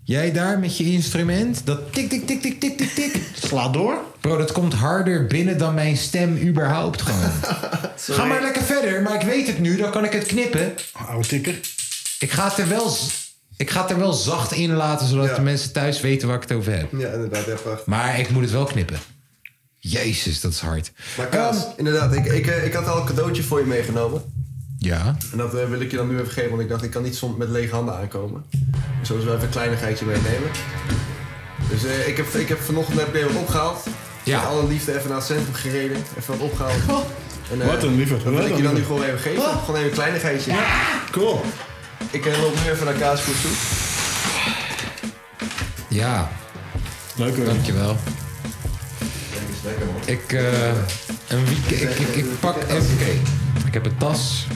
D: Jij daar met je instrument? Dat tik, tik, tik, tik, tik, tik, tik. Slaat door. Bro, dat komt harder binnen dan mijn stem überhaupt gewoon. Ga maar lekker verder, maar ik weet het nu. Dan kan ik het knippen.
F: Oude tikker.
D: Ik ga het er wel, z- ik ga het er wel zacht in laten, zodat de mensen thuis weten waar ik het over heb.
I: Ja, inderdaad, echt waar.
D: Maar ik moet het wel knippen. Jezus, dat is hard.
I: Maar Kaas, inderdaad, ik, ik, eh, ik had al een cadeautje voor je meegenomen.
D: Ja.
I: En dat eh, wil ik je dan nu even geven, want ik dacht, ik kan niet soms met lege handen aankomen. Dus zullen we wel even een kleinigheidje meenemen. Dus eh, ik, heb, ik heb vanochtend heb ik weer wat opgehaald.
D: Ja.
I: Met alle liefde even naar het centrum gereden, even wat opgehaald.
D: Oh.
I: eh,
F: Wat een lieverd.
I: Dat wil
F: Wat
I: ik
F: een
I: je dan nu
F: lieverd.
I: gewoon even geven. Gewoon even een kleinigheidje.
F: Cool.
I: Ik eh, loop nu even naar Kaasvoet toe.
D: Ja.
F: Leuk hoor.
D: Dankjewel. Ik, eh, een week, ik, ik, ik pak... Oké, ik heb een tas.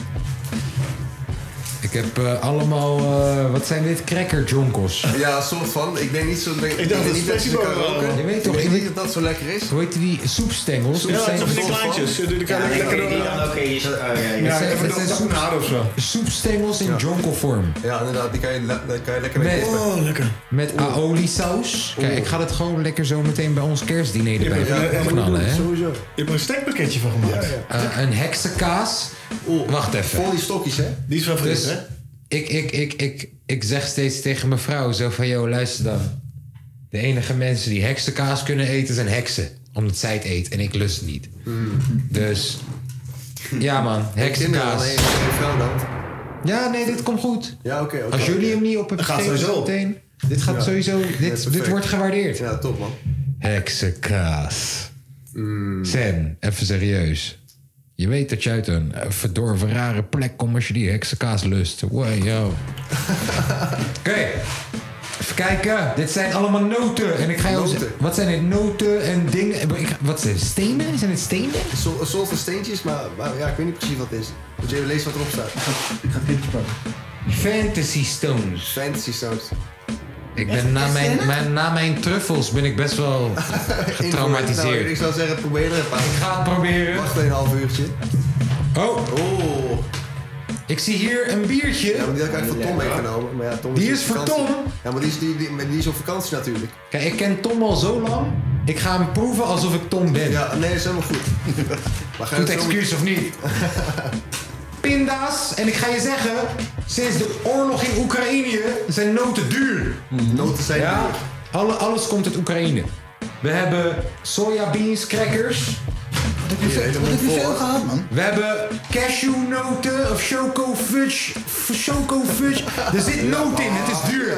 D: Ik heb eh, allemaal... eh, wat zijn dit? Cracker jonkels.
I: Ja, soort van. Ik denk niet zo. Ik, denk, ik denk niet dat je ze kan roken.
D: Je weet toch,
I: ik
D: ik
I: denk niet dat dat zo lekker is.
D: Hoe heet die soepstengels?
I: Ja, het zijn van die kleintjes. Die kan
H: Ja,
I: ik
H: die
I: lekker
H: die
I: door- eh,
H: dan ook in je... oh, ja, ja.
I: Ja,
D: Het
I: even
D: het
I: dat- dat moet naar of zo.
D: Soepstengels in jonkelvorm.
I: Ja, inderdaad, die kan je, le- daar kan je Oh, lekker mee
D: Met,
I: kopen.
F: lekker.
D: met aioli saus. Kijk, ik ga dat gewoon lekker zo meteen bij ons kerstdiner erbij knallen, hè?
I: Sowieso.
F: Je hebt er een snackpakketje van gemaakt.
D: Eh, een heksenkaas. Wacht even.
I: Vol die stokjes, hè?
F: Die is wel fris,
D: Dus
F: hè?
D: Ik, ik, ik, ik, ik zeg steeds tegen mijn vrouw zo van... Yo, luister dan. De enige mensen die heksenkaas kunnen eten zijn heksen. Omdat zij het eet en ik lust het niet.
I: Hmm.
D: Dus... Ja man, heksenkaas.
I: Kinderen alleen, geen vrouw dan.
D: Ja, nee, dit komt goed.
I: Ja, oké. oké,
D: Als jullie
I: oké.
D: hem niet op het
I: Dat gaat sowieso op.
D: meteen... Dit gaat
I: Ja.
D: sowieso...
I: Ja,
D: Dit,
I: perfect.
D: dit wordt gewaardeerd.
I: Ja, top man.
D: Heksenkaas.
I: Mm.
D: Sam, even serieus. Je weet dat je uit een eh, verdorven rare plek komt als je die heksenkaas lust. Wow, yo. Oké. Even kijken. Dit zijn allemaal noten. En ik ga jou
I: Noten.
D: Wat zijn dit? Noten en dingen. Ik ga- Wat zijn dit? Stenen? Zijn dit stenen?
I: Een soort- Een soort van steentjes, maar, maar ja, ik weet niet precies wat het is. Moet je even lezen wat erop staat. Ik ga het kindje pakken.
D: Fantasy Stones.
I: Fantasy Stones.
D: Ik ben na mijn, mijn- na mijn truffels ben ik best wel
I: Nou, ik
D: getraumatiseerd.
I: zou zeggen, probeer er een paar. Ik
D: ga het proberen.
I: Wacht een half uurtje.
D: Oh. Ik zie hier een biertje.
I: Ja, maar die had ik eigenlijk voor Tom meegenomen. Maar ja, Tom
D: Die
I: op
D: is voor
I: vakantie.
D: Tom?
I: Ja, maar die is, die, die, maar die is op vakantie natuurlijk.
D: Kijk, ik ken Tom al zo lang. Ik ga hem proeven alsof ik Tom ben.
I: Ja, nee, is helemaal goed. Maar ga je
D: Goed
I: het zo
D: excuus of niet? Pinda's, en ik ga je zeggen, sinds de oorlog in Oekraïne zijn noten duur.
I: Mm. Noten zijn
D: ja? Alle, alles komt uit Oekraïne. We hebben sojabeans, crackers. Wat heb
I: je veel- wat heb je veel gehad,
D: man? We hebben cashewnoten of choco fudge. f- Choco fudge. Er zit noot in, het is duur.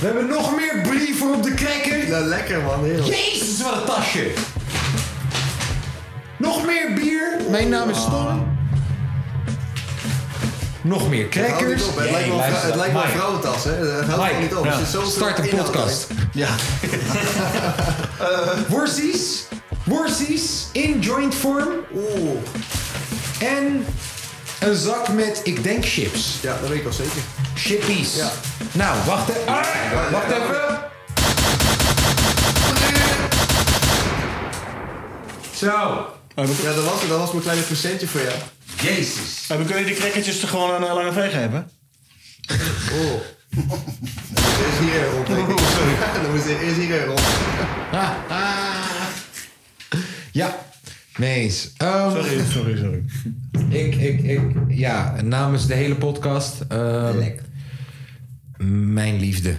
D: We hebben nog meer brie voor op de cracker.
I: Ja, lekker man, heel.
D: Jezus, wat een tasje. Nog meer bier. Mijn naam is Tom. Nog meer
I: Het houdt
D: crackers.
I: niet op, hè. Het lijkt wel een vrou- het lijkt wel een vrouwentas, hè? Het houdt gewoon niet op. Er zit zoveel
D: Start een
I: inhoud
D: podcast. Ja.
I: Ah, eh.
D: Worsies. Worsies in joint vorm.
I: Oeh.
D: En een zak met, ik denk, chips.
I: Ja, dat weet ik wel zeker.
D: Chippies. Nou, wacht even. Ah, wacht even. Zo.
F: Oh,
I: Ja, dat was, dat was mijn kleine presentje voor jou.
D: Jezus.
F: Maar we kunnen die crackertjes er gewoon aan een lange veeg hebben.
I: Oh. Er is hier een rond, denk ik. Dan moet er- is hier een rond.
D: Ah. Ja, mee eens. Ehm, sorry,
F: sorry, sorry.
D: Ik, ik, ik, ja, namens de hele podcast. ehm, mijn liefde.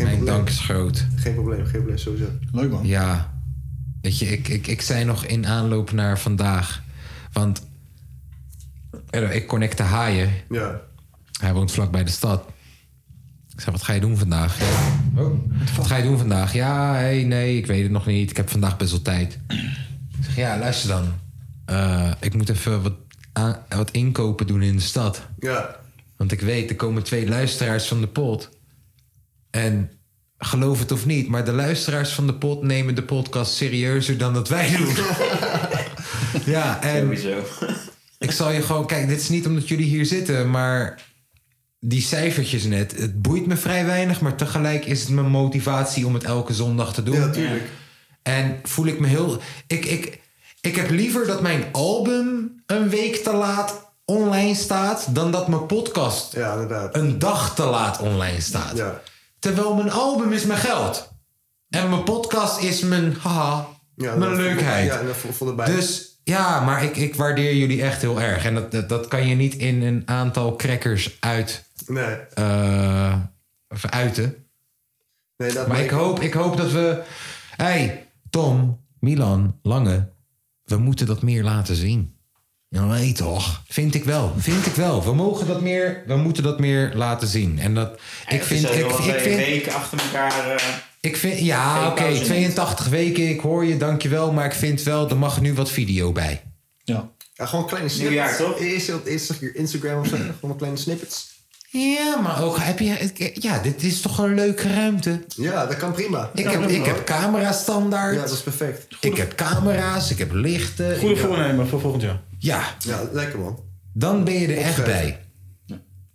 D: mijn dank is groot.
I: Geen probleem, geen probleem, sowieso.
F: Leuk man.
D: Ja. Weet je, ik, ik, ik zei nog in aanloop naar vandaag. Want eh, ik connecte haaien.
I: Ja.
D: Hij woont vlakbij de stad. Ik zei, wat ga je doen vandaag? wat ga je doen vandaag? Ja, hey, nee, ik weet het nog niet. Ik heb vandaag best wel tijd. Ik zeg, ja, luister dan. Eh, ik moet even wat, aan- wat inkopen doen in de stad.
I: Ja.
D: Want ik weet, er komen twee luisteraars van de pot. En geloof het of niet, maar de luisteraars van de pot nemen de podcast serieuzer dan dat wij doen. ja, en ik zal je gewoon, kijk, dit is niet omdat jullie hier zitten, maar die cijfertjes net, het boeit me vrij weinig, maar tegelijk is het mijn motivatie om het elke zondag te doen. Ja,
I: tuurlijk.
D: En voel ik me heel, ik, ik, ik heb liever dat mijn album een week te laat online staat, dan dat mijn podcast een dag te laat online staat. Terwijl mijn album is mijn geld. En mijn podcast is mijn haha,
I: Ja,
D: mijn
I: dat-
D: leukheid.
I: Ja, en dat vo- voelde bij.
D: Dus ja, maar ik, ik waardeer jullie echt heel erg. En dat, dat, dat kan je niet in een aantal crackers uit,
I: Nee.
D: eh, of uiten.
I: Nee, dat
D: maar ik hoop, ik hoop dat we... hey, Tom, Milan, Lange. We moeten dat meer laten zien. Ja, nee toch? Vind ik wel. Vind ik wel. We mogen dat meer... We moeten dat meer laten zien. En dat... Ik vind... Ik, ik
H: vind...
D: vind... Oh,
H: weken achter elkaar... eh,
D: Ik vind, ja,
H: Geen
D: oké,
H: pauze
D: 82 weken, ik hoor je, dankjewel. Maar ik vind wel, er mag nu wat video bij.
I: Ja, gewoon kleine snippets.
D: Nieuwjaar, toch?
I: Eerst op eerst op je Instagram of zo. Gewoon kleine snippets.
D: Ja, maar ook heb je. Ja, dit is toch een leuke ruimte.
I: Ja, dat kan prima.
D: Ik heb, ik heb camera standaard.
I: Ja, dat is perfect.
D: Ik heb camera's, ik heb lichten.
F: Goede
D: ik heb-
F: voornemen voor volgend jaar.
D: Ja.
I: Ja, lekker man.
D: Dan ben je er echt bij.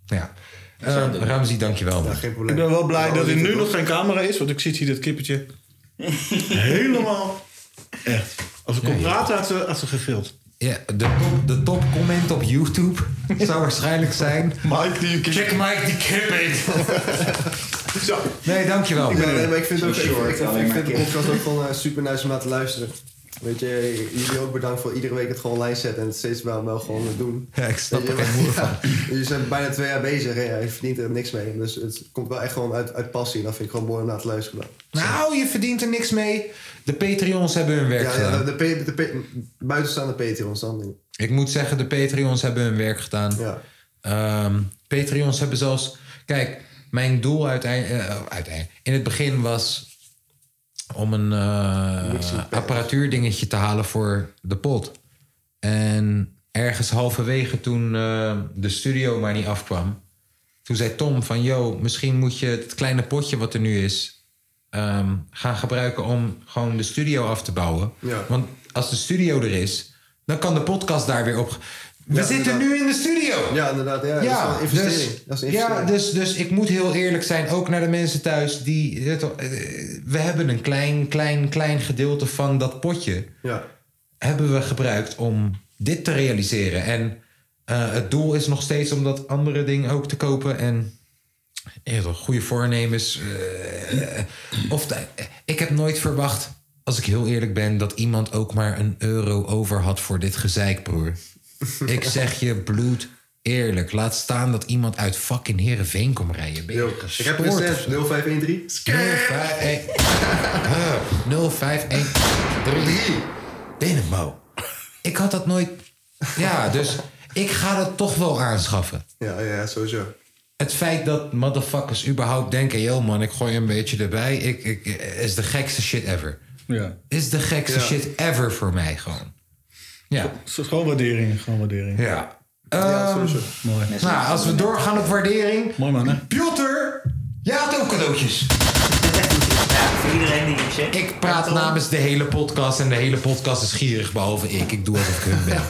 D: Ja. Eh Ramzi, dankjewel. man.
F: Ik ben wel blij dat er nu nog geen camera is, want ik zit hier dat kippetje helemaal echt. Als ik kon
D: Ja, ja.
F: praten, had ze, had ze gefild.
D: Ja, de top, de top comment op YouTube zou waarschijnlijk zijn...
F: Mike die
D: Check Mike die kippet. Nee, dankjewel.
I: Ik, ben, nee, maar ik vind, het ook, ik, vind- ik, vind- ik vind de
D: het
I: podcast ook gewoon eh, super nice om naar te luisteren. Weet je, jullie ook bedankt voor iedere week het gewoon online zetten en het steeds wel, wel gewoon doen.
D: Ja, ik snap
I: Weet
D: er
I: je,
D: geen moer van.
I: ja, Jullie zijn bijna twee jaar bezig en ja, je verdient er niks mee. Dus het komt wel echt gewoon uit, uit passie en dat vind ik gewoon mooi om naar te luisteren. dan.
D: Nou, je verdient er niks mee. De Patreons hebben hun werk
I: Ja,
D: gedaan.
I: ja, de, de, de, de buitenstaande Patreons dan.
D: Ik moet zeggen, de Patreons hebben hun werk gedaan. Ehm, Patreons hebben zelfs... Kijk, mijn doel uiteindelijk... eh, uiteindelijk in het begin was om een eh apparatuurdingetje te halen voor de pot. En ergens halverwege toen eh, de studio maar niet afkwam... toen zei Tom van... yo, misschien moet je het kleine potje wat er nu is... ehm, gaan gebruiken om gewoon de studio af te bouwen.
I: Ja.
D: Want als de studio er is, dan kan de podcast daar weer op. We zitten nu in de studio.
I: Ja, inderdaad. Ja, dat is wel een investering.
D: Dus,
I: dat is een
D: ja,
I: investering.
D: dus, dus ik moet heel eerlijk zijn, ook naar de mensen thuis. Die, eh, toch, eh, we hebben een klein, klein, klein gedeelte van dat potje
I: Ja.
D: hebben we gebruikt om dit te realiseren. En eh, het doel is nog steeds om dat andere ding ook te kopen. En ja, toch, goede voornemens. eh, eh, of de- ik heb nooit verwacht, als ik heel eerlijk ben, dat iemand ook maar een euro over had voor dit gezeik, broer. ik zeg je bloed eerlijk. Laat staan dat iemand uit fucking Heerenveen komt rijden. Ben je
I: Ik heb een
D: gestoord
I: recept, 0513.
D: 0513. Dynamo. Ik had dat nooit. Ja, dus ik ga dat toch wel aanschaffen.
I: Ja, ja, sowieso.
D: Het feit dat motherfuckers überhaupt denken: yo man, ik gooi een beetje erbij, ik, ik, is de gekste shit ever.
F: Ja.
D: Is de gekste
F: Ja.
D: shit ever voor mij gewoon. Ja.
F: Gewoon waardering, gewoon waardering.
D: Ja.
F: Ja, Ehm,
D: sowieso.
F: Mooi.
D: Nou, als we doorgaan op waardering.
F: Mooi man, hè?
D: Pjotter, jij had ook cadeautjes.
H: voor iedereen die shit.
D: Ik praat namens de hele podcast en de hele podcast is gierig, behalve ik. Ik doe alsof ik hun ben.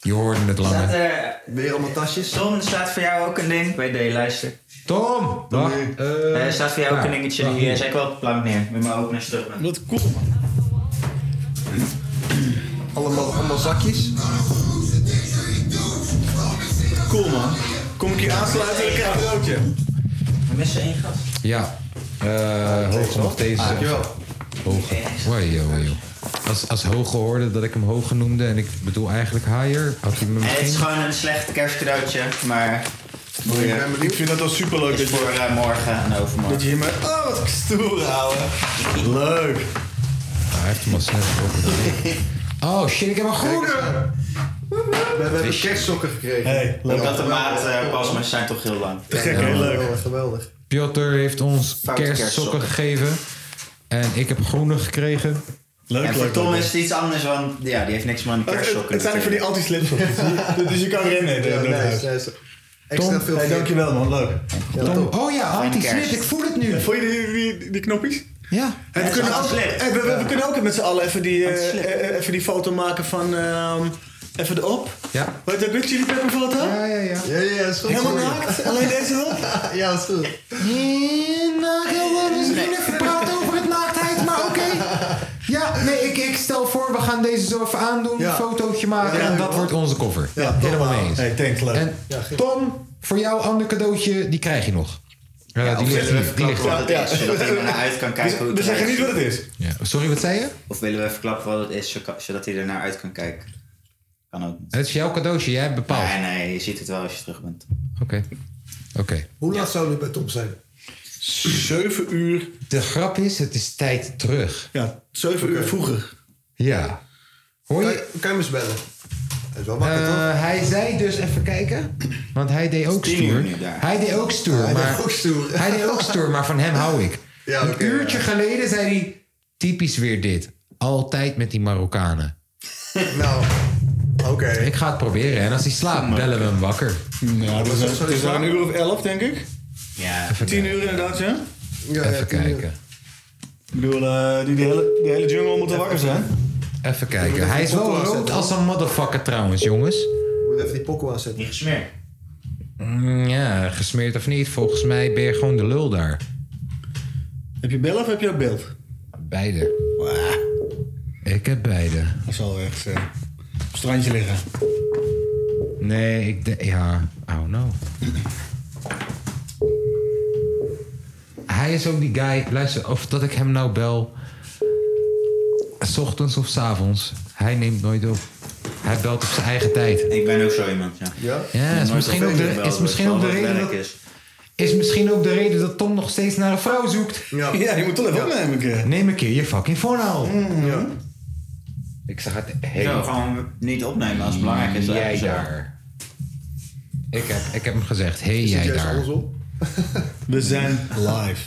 D: Je hoorde het
H: Staat
D: langer.
H: er...
I: Weer allemaal tasjes?
H: Tom, er staat voor jou ook een ding. Ik weet dat je luistert.
D: Tom! Wacht.
H: Eh, er staat voor jou ook
D: ja,
H: een dingetje.
D: wacht
H: Hier,
D: hier.
H: zet ik wel op de plank neer. Met mijn open als je terug bent.
F: Wat cool, man.
I: Allemaal, allemaal zakjes.
F: Cool man. Kom ik hier aansluiten en ik krijg een broodje.
H: We missen één gast.
D: Ja. Eh hoger nog deze.
I: Dankjewel.
D: Hoger. Wai, joh, wai, joh. Als, als hoger hoorde dat ik hem hoger noemde en ik bedoel eigenlijk higher, had hij me
H: Eh, het is
D: misschien...
H: gewoon een slecht kerstcadeautje, maar...
F: Ik vind dat wel superleuk.
H: Is voor eh, morgen en overmorgen.
F: Dat je hier maar... Oh, wat stoer, ouwe. Leuk.
D: Hij heeft hem al snel opengedaan. Oh shit, ik heb een groene!
I: We hebben kerstsokken gekregen.
F: Hey,
H: Ook dat de maat eh, pas, maar ze zijn toch heel lang.
I: Te gek, heel leuk. Oh, Geweldig.
D: Piotr heeft ons
H: Foute
D: kerstsokken
H: kerstsokken.
D: gegeven. En ik heb groene gekregen.
H: en voor Tom is het iets anders, want ja, die heeft niks meer aan de kerstsokken.
F: Het zijn ook voor die anti-slips. dus je- Dus je kan rennen.
I: Ja,
F: door het
I: nice,
F: huis.
I: nice. Extra veel
F: hey,
I: veer.
F: dankjewel man, leuk.
D: Tom, oh ja, anti-slip, ik voel het nu.
F: Voel je die, die, die knopjes?
D: Ja.
F: Hey, we,
H: Ja,
F: kunnen
H: het
F: ook,
H: is anti-slip.
F: hey, we, we- we kunnen ook met z'n allen even die, eh,
H: Anti-slip.
F: eh, even die foto maken van... ehm, even erop.
D: Ja.
F: Weet je ook jullie pepper foto?
D: Ja, ja, ja.
I: Ja, ja, dat is goed.
F: Helemaal
I: Sorry.
F: naakt? Alleen deze wel?
I: Ja, dat is goed.
D: We
H: Nee.
D: even praten over het naaktheid, maar oké. Ja, nee, ik, ik stel voor, we gaan deze zo even aandoen,
I: Ja.
D: een fotootje maken
I: Ja, ja,
D: en
I: ja.
D: dat wordt onze cover.
I: Ja, top,
D: Helemaal mee
I: man.
D: eens.
F: Hey, thanks, leuk.
D: En Tom, voor jou ander cadeautje, die krijg je nog. Eh,
H: Ja,
D: die
H: of
D: ligt
H: willen we
D: hier, die
H: verklappen wat
D: ligt hier.
H: het is, zodat iedereen naar uit kan kijken hoe
F: We
H: het
F: zeggen
H: eruit
F: niet wat het is.
D: Ja. Sorry, wat zei je?
H: Of willen we verklappen wat het is, zodat- zodat hij ernaar uit kan kijken? Kan ook niet.
D: Het is jouw cadeautje, jij bepaalt.
H: Nee, nee, je ziet het wel als je terug bent.
D: Oké. Oké.
I: Hoe laat zou het bij Tom zijn?
F: 7 uur.
D: De grap is, het is tijd terug.
F: Ja, 7 uur vroeger.
D: Ja. Hoor
I: Kan
D: je?
I: je, kan je hem eens bellen? Dat is wel makkelijk,
D: Eh,
I: toch?
D: hij zei dus, even kijken. Want hij deed ook
H: Tien uur
D: stoer.
H: nu daar.
D: Hij deed ook stoer,
I: Hij
D: maar...
I: deed ook stoer.
D: Hij deed ook stoer, maar van hem hou ik.
I: Ja,
D: een
I: oké,
D: uurtje
I: ja.
D: geleden zei hij... Typisch weer dit. Altijd met die Marokkanen.
I: Nou, oké.
D: Ik ga het proberen. En als hij slaapt, bellen we hem wakker.
F: Ja, het is,
I: Sorry,
F: het is wel een uur of 11, denk ik.
H: Ja,
F: 10 uur inderdaad, ja.
I: Ja, ja,
D: Even
I: tien uur.
D: kijken.
F: Ik bedoel, eh, die, die, hele, die hele jungle moet er wakker zijn.
D: Even kijken. Hij is wel
I: Even
D: rood
I: opzetten,
D: als een motherfucker trouwens, jongens.
I: Ik moet even die pokko aanzetten.
H: niet gesmeerd.
D: Mm, Ja, gesmeerd of niet. Volgens mij ben je gewoon de lul daar.
F: Heb je bellen of heb je ook beeld?
D: Beide.
F: Wah,
D: Ik heb beide.
F: dat zal echt eh, op het strandje liggen.
D: Nee, ik denk... Ja, oh no. Hij is ook die guy... Luister, of dat ik hem nou bel... S ochtends of s avonds. Hij neemt nooit op. Hij belt op zijn eigen tijd.
H: Ik ben ook zo iemand, ja.
I: Ja?
D: Ja, is misschien ook de, is
H: dus
D: misschien ook de reden dat, is misschien ook de reden dat Tom nog steeds naar een vrouw zoekt.
I: Ja.
F: Ja, je moet toch even
I: Ja.
F: opnemen een keer. Mm,
D: Neem een keer je fucking phone al.
I: Ja.
D: Ik zag het
H: Zo,
D: helemaal.
H: gewoon niet opnemen als het belangrijk is.
D: Jij
H: Even zo.
D: daar. Ik heb, ik heb hem gezegd, hey
I: Is het
D: jij
I: juist
D: daar.
I: andersom?
F: We zijn live.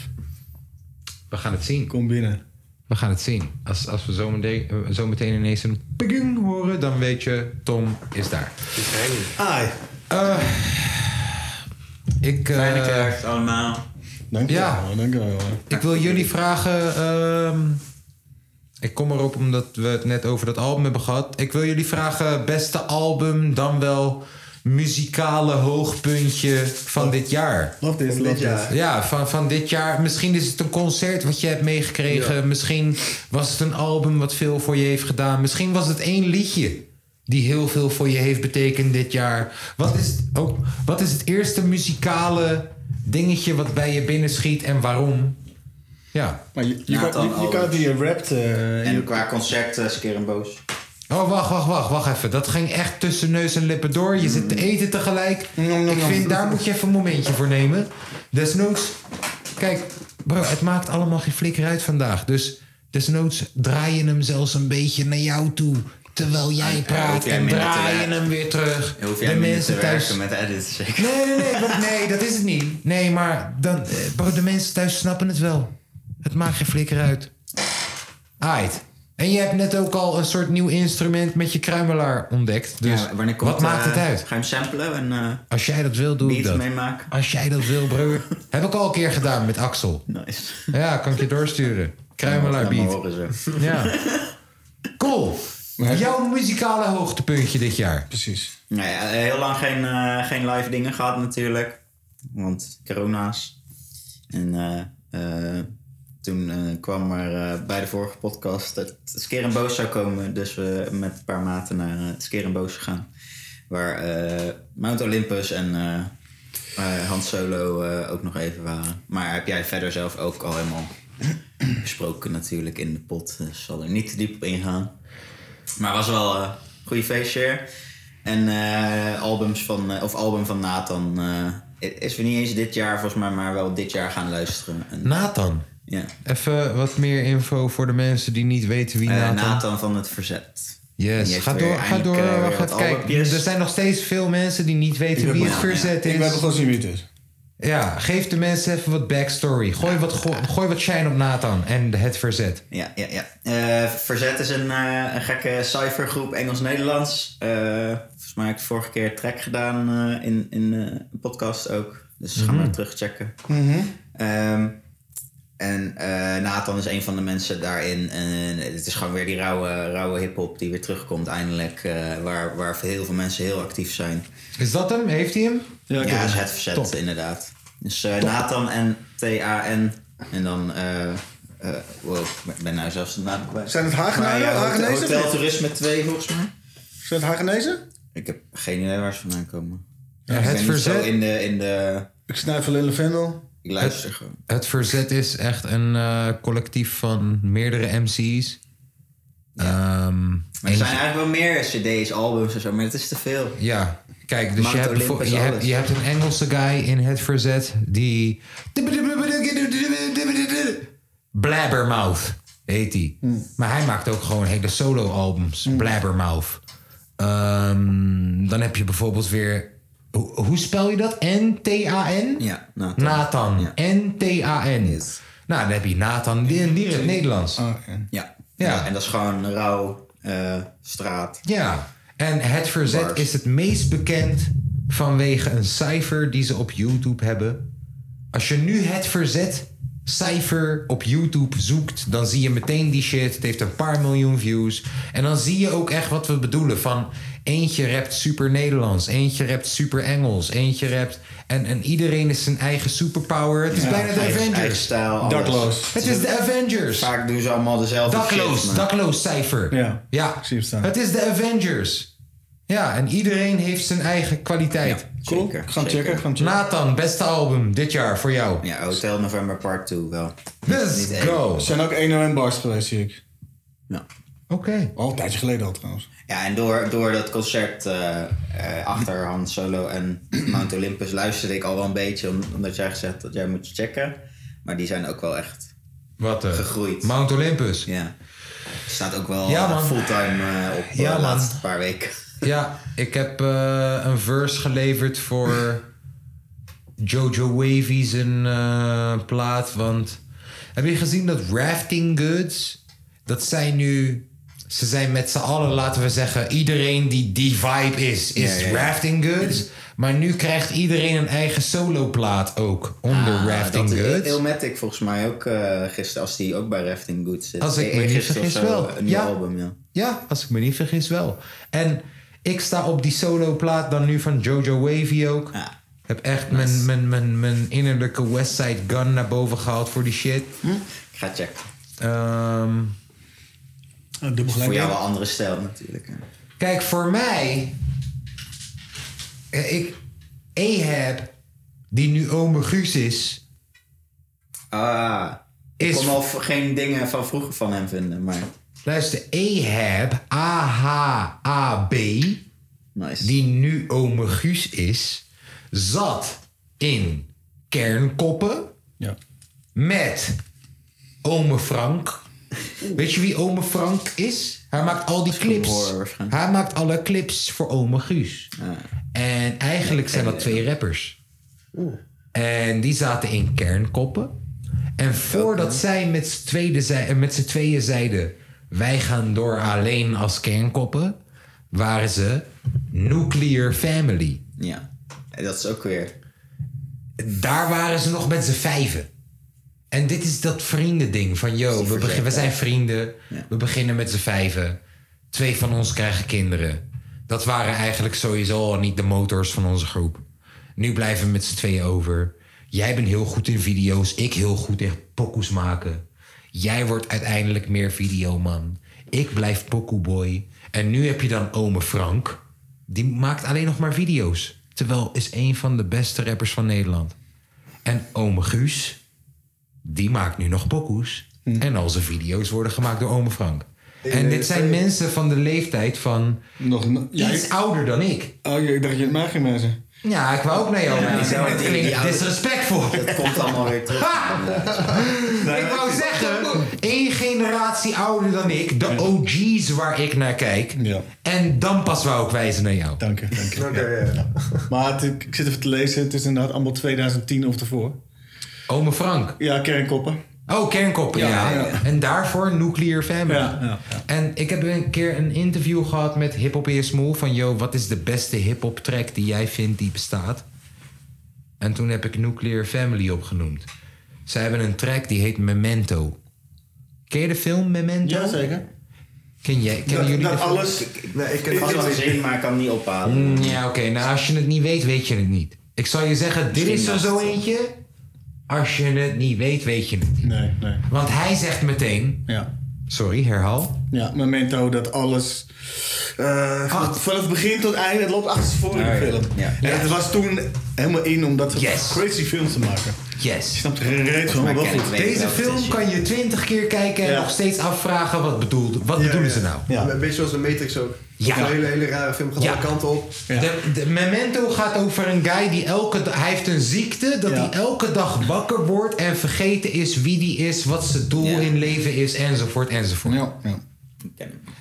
D: We gaan het zien.
F: Kom binnen.
D: We gaan het zien. Als, als we zometeen, eh, zometeen ineens een ping horen, dan weet je, Tom is daar.
F: Ai.
D: Eh, Ik, eh,
H: Fijne kerst allemaal.
F: Dank je wel,
D: Ja.
F: man, dank je wel. man.
D: ik wil jullie vragen, ehm, Ik kom erop omdat we het net over dat album hebben gehad. Ik wil jullie vragen, beste album, dan wel muzikale hoogpuntje van dit jaar.
F: Love this,
D: van
F: love this.
D: Ja, van, van dit jaar. Misschien is het een concert wat je hebt meegekregen. Misschien was het een album wat veel voor je heeft gedaan. Misschien was het één liedje die heel veel voor je heeft betekend dit jaar. Wat is, oh, wat is het eerste muzikale dingetje wat bij je binnenschiet en waarom? Ja.
F: Maar je,
D: je kan- je- je kan het
F: hier rapt.
H: en qua concert uh, Skerenboos.
D: Oh, wacht, wacht, wacht, wacht even. Dat ging echt tussen neus en lippen door. Je zit te eten tegelijk. Ik vind, daar moet je even een momentje voor nemen. Desnoods, kijk, bro, het maakt allemaal geen flikker uit vandaag. Dus desnoods draai je hem zelfs een beetje naar jou toe. Terwijl jij praat en draai je hem weer terug.
H: Hoef
D: De
H: jij minder te
D: mensen thuis-
H: werken met edits, zeker?
D: Nee, nee, nee, want nee, dat is het niet. Nee, maar dan, eh, bro, de mensen thuis snappen het wel. Het maakt geen flikker uit. Aight. En je hebt net ook al een soort nieuw instrument met je kruimelaar ontdekt. Dus
H: Ja, wanneer komt,
D: wat maakt het
H: eh,
D: uit?
H: Ga je hem samplen en eh
D: Als jij dat wil, doe ik
H: beats
D: dat.
H: meemaken?
D: Als jij dat wil, broer. Heb ik al een keer gedaan met Axel. Nice. Ja, kan ik je doorsturen. Kruimelaar
H: Laat maar
D: beat.
H: horen zo.
D: Ja. Cool. Jouw muzikale hoogtepuntje dit jaar.
F: Precies.
H: Nou ja, heel lang geen, eh, geen live dingen gehad natuurlijk. Want corona's. En eh, eh, toen eh, kwam er eh, bij de vorige podcast dat Skeer en Boos zou komen. Dus we met een paar maten naar eh, Skeer en Boos gegaan. Waar eh, Mount Olympus en eh eh, Han Solo eh, ook nog even waren. Maar heb jij verder zelf ook al helemaal besproken natuurlijk in de pot. Dus zal er niet te diep op ingaan. Maar was wel eh, een goede feestje. En eh, albums van, eh, of album van Nathan eh, is we niet eens dit jaar volgens mij, maar wel dit jaar gaan luisteren. En,
D: Nathan.
H: Ja.
D: Even wat meer info voor de mensen die niet weten wie
H: Eh,
D: Nathan...
H: Nathan van het Verzet. En
D: Yes,
H: die
D: ga
H: heeft
D: door,
H: weer
D: ga door.
H: eindelijk, eh, weer
D: wacht
H: wat
D: even. Kijk,
H: albumpjes.
D: er zijn nog steeds veel mensen die niet weten wie het verzet is.
F: Ik ben gewoon zien wie het is.
D: Ja, geef de mensen even wat backstory. Gooi wat, go- gooi wat shine op Nathan en het verzet.
H: Ja, ja, ja. Eh, Verzet is een, eh, een gekke cyphergroep Engels-Nederlands. Eh, volgens mij heb ik vorige keer een track gedaan eh, in, in eh, een podcast ook. Dus ga
M: Mhm.
H: maar terugchecken.
M: Mhm.
H: Ehm, en eh, Nathan is een van de mensen daarin. En eh, het is gewoon weer die rauwe, rauwe hip-hop die weer terugkomt eindelijk. eh, waar, waar heel veel mensen heel actief zijn.
D: Is dat hem? Heeft hij hem?
H: Ja, is het verzet, inderdaad. Dus eh, Nathan en T-A-N. En dan. eh eh, wow, ik ben nou zelfs de naam kwijt.
F: Zijn het Hagenaar-
H: Nou ja, Hotel-
F: Hagenezen?
H: Hotel Toerisme 2 volgens mij.
F: Zijn het Hagenezen?
H: Ik heb geen idee waar ze vandaan komen.
D: Ja,
H: Ik
D: het
H: ben niet zo
D: verzet-
H: In de, in de,
F: ik snuif alleen Lavendel.
H: Ik luister gewoon.
D: Het verzet is echt een eh, collectief van meerdere MC's. Ehm,
H: Maar er
D: eentje-
H: zijn eigenlijk wel meer CD's, albums en zo, maar het is te veel.
D: Ja, kijk, dus
H: Mount
D: je hebt,
H: Olympus,
D: bijvoorbeeld- je, hebt,
H: alles.
D: je hebt een Engelse guy in het verzet die Blabbermouth heet hij. Maar hij maakt ook gewoon hele solo-albums. Blabbermouth. Ehm, dan heb je bijvoorbeeld weer. Hoe, hoe spel je dat? N-T-A-N?
H: Ja,
D: Nathan. N-T-A-N. Nou, dan heb je Nathan. Die, die in het Nederlands.
H: Ja.
D: Ja.
H: En dat is gewoon rauw, eh, straat.
D: Ja, en het verzet
H: Bars.
D: is het meest bekend vanwege een cijfer die ze op YouTube hebben. Als je nu het verzet cijfer op YouTube zoekt, dan zie je meteen die shit. Het heeft een paar miljoen views. En dan zie je ook echt wat we bedoelen van eentje rapt super Nederlands, eentje rapt super Engels, eentje rapt en, en iedereen is zijn eigen superpower. Het is
H: Ja,
D: bijna de
H: eigen-
D: Avengers.
H: eigen stijl, alles.
D: Het is de Avengers.
H: Vaak doen ze allemaal dezelfde
D: Dakloos,
H: shit, maar-
D: dakloos cijfer.
F: Ja,
D: ja.
F: ik zie hem staan.
D: Het is de Avengers. Ja, en iedereen heeft zijn eigen kwaliteit.
H: Cool. Zeker,
D: Gaan
H: zeker.
D: checken, gaan checken. Nathan, beste album dit jaar voor jou.
H: Ja, oh, Hotel November Part 2 wel.
D: Let's
H: Niet één.
D: go.
F: Er zijn ook 101 bars geweest, zie ik.
H: Ja.
D: Oké.
F: Al een tijdje geleden al trouwens.
H: Ja, en door, door dat concert eh, eh, achter Han Solo en Mount Olympus luisterde ik al wel een beetje, om- omdat jij gezegd dat jij moet checken. Maar die zijn ook wel echt
D: Wat, eh,
H: gegroeid.
D: Mount Olympus.
H: Ja. Staat ook wel
D: Ja,
H: eh,
D: man.
H: fulltime eh, op
D: Ja,
H: de
D: man.
H: laatste paar weken.
D: Ja, ik heb eh, een verse geleverd voor Jojo Wavy zijn eh, plaat. Want heb je gezien dat Rafting Goods, dat zijn nu... Ze zijn met z'n allen, laten we zeggen, iedereen die die vibe is, is
H: Ja, ja, ja.
D: Rafting Goods. Maar nu krijgt iedereen een eigen soloplaat ook. Onder
H: Ah,
D: Rafting
H: dat-
D: Goods.
H: Illmatic volgens mij ook eh, gisteren, als die ook bij Rafting Goods zit.
D: Als ik me niet
H: Eergisteren of
D: vergis
H: zo, eh,
D: wel.
H: Een nieuw
D: Ja.
H: album, ja.
D: Ja, als ik me niet vergis wel. En ik sta op die soloplaat dan nu van Jojo Wavy ook. Heb echt mijn, mijn, mijn, mijn innerlijke Westside Gun naar boven gehaald voor die shit.
H: Hm? Ik ga checken.
D: Ehm,
H: Voor jou wel andere stijl natuurlijk. hè.
D: Kijk, voor mij... eh, Ik... Ahab, die nu ome Guus is...
H: Ah, ik
D: Is-
H: kon al v- geen dingen van vroeger van hem vinden, maar...
D: Luister, Ahab, A-H-A-B, die nu ome Guus is, zat in Kernkoppen met ome Frank. Weet je wie ome Frank is? Hij maakt al die clips. Hij maakt alle clips voor ome Guus.
H: eh,
D: En eigenlijk zijn dat twee rappers. En die zaten in Kernkoppen. En voordat zij met z'n tweede zei- eh, met z'n tweeën zeiden... wij gaan door alleen als kernkoppen... waren ze Nuclear Family.
H: Ja, en dat is ook weer...
D: Daar waren ze nog met z'n vijven. En dit is dat vriendending van... yo, we, begin- we zijn vrienden, we beginnen met z'n vijven. Twee van ons krijgen kinderen. Dat waren eigenlijk sowieso al niet de motors van onze groep. Nu blijven we met z'n tweeën over. Jij bent heel goed in video's, ik heel goed in pokoes maken. Jij wordt uiteindelijk meer videoman. Ik blijf pokoeboy. En nu heb je dan ome Frank. Die maakt alleen nog maar video's. Terwijl is een van de beste rappers van Nederland. En ome Guus, die maakt nu nog pokoes.
F: Hm.
D: En al zijn video's worden gemaakt door ome Frank. En dit zijn mensen van de leeftijd van...
F: Nog,
D: iets ouder dan ik.
F: Oh, ik dacht je het maar ging mensen.
D: Ja, ik wou ook naar jou.
F: Ja,
D: maar
F: die zijn-
D: het
F: die- die
D: klinkt
F: oude-
D: disrespectvol.
H: Oh,
F: Dat komt allemaal weer terug.
D: Ha! ik wou zeggen, één generatie ouder dan ik, de OG's waar ik naar kijk. En dan pas wou ik wijzen naar jou.
F: Dank je, dank je. Maar het- ik, ik zit even te lezen, het is inderdaad allemaal 2010 of daarvoor.
D: Ome Frank.
F: Ja, kernkoppen.
D: Oh, kernkoppen, ja.
F: Ja, ja.
D: En daarvoor Nuclear Family. En ik heb een keer een interview gehad met Hip Hop Ear Small. Van, yo, wat is de beste hip-hop track die jij vindt die bestaat? En toen heb ik Nuclear Family opgenoemd. Zij hebben een track die heet Memento. Ken je de film Memento?
F: Jazeker.
D: Ken jij, kennen jullie de film?
I: Nee, ik
H: Ik
I: ken
H: kan het
I: alles
H: zien,
I: niet.
H: maar ik kan het niet ophalen.
D: Mm, Ja, oké. Nou, als je het niet weet, weet je het niet. Ik zal je zeggen, dit
H: Misschien
D: is er
H: dat.
D: zo eentje. Als je het niet weet, weet je het niet.
F: Nee, nee.
D: Want hij zegt meteen...
F: Ja.
D: Sorry, herhaal.
F: Ja, Memento, dat alles... eh, van- vanaf begin tot einde, het loopt achter voor in de film.
H: Ja.
F: En het was toen helemaal in om dat soort crazy films te maken.
D: Yes.
F: Je snapt er geen reet van, maar wel goed.
D: Deze film kan je twintig keer kijken en
F: Ja.
D: nog steeds afvragen wat, bedoelt, wat bedoelen ze nou.
I: Een beetje zoals de Matrix ook.
D: Ja.
I: Een hele, hele rare film gaat
D: Ja.
I: alle kanten op.
D: De, de Memento gaat over een guy die elke dag... Hij heeft een ziekte dat hij elke dag wakker wordt... en vergeten is wie die is, wat zijn doel in leven is, enzovoort, enzovoort.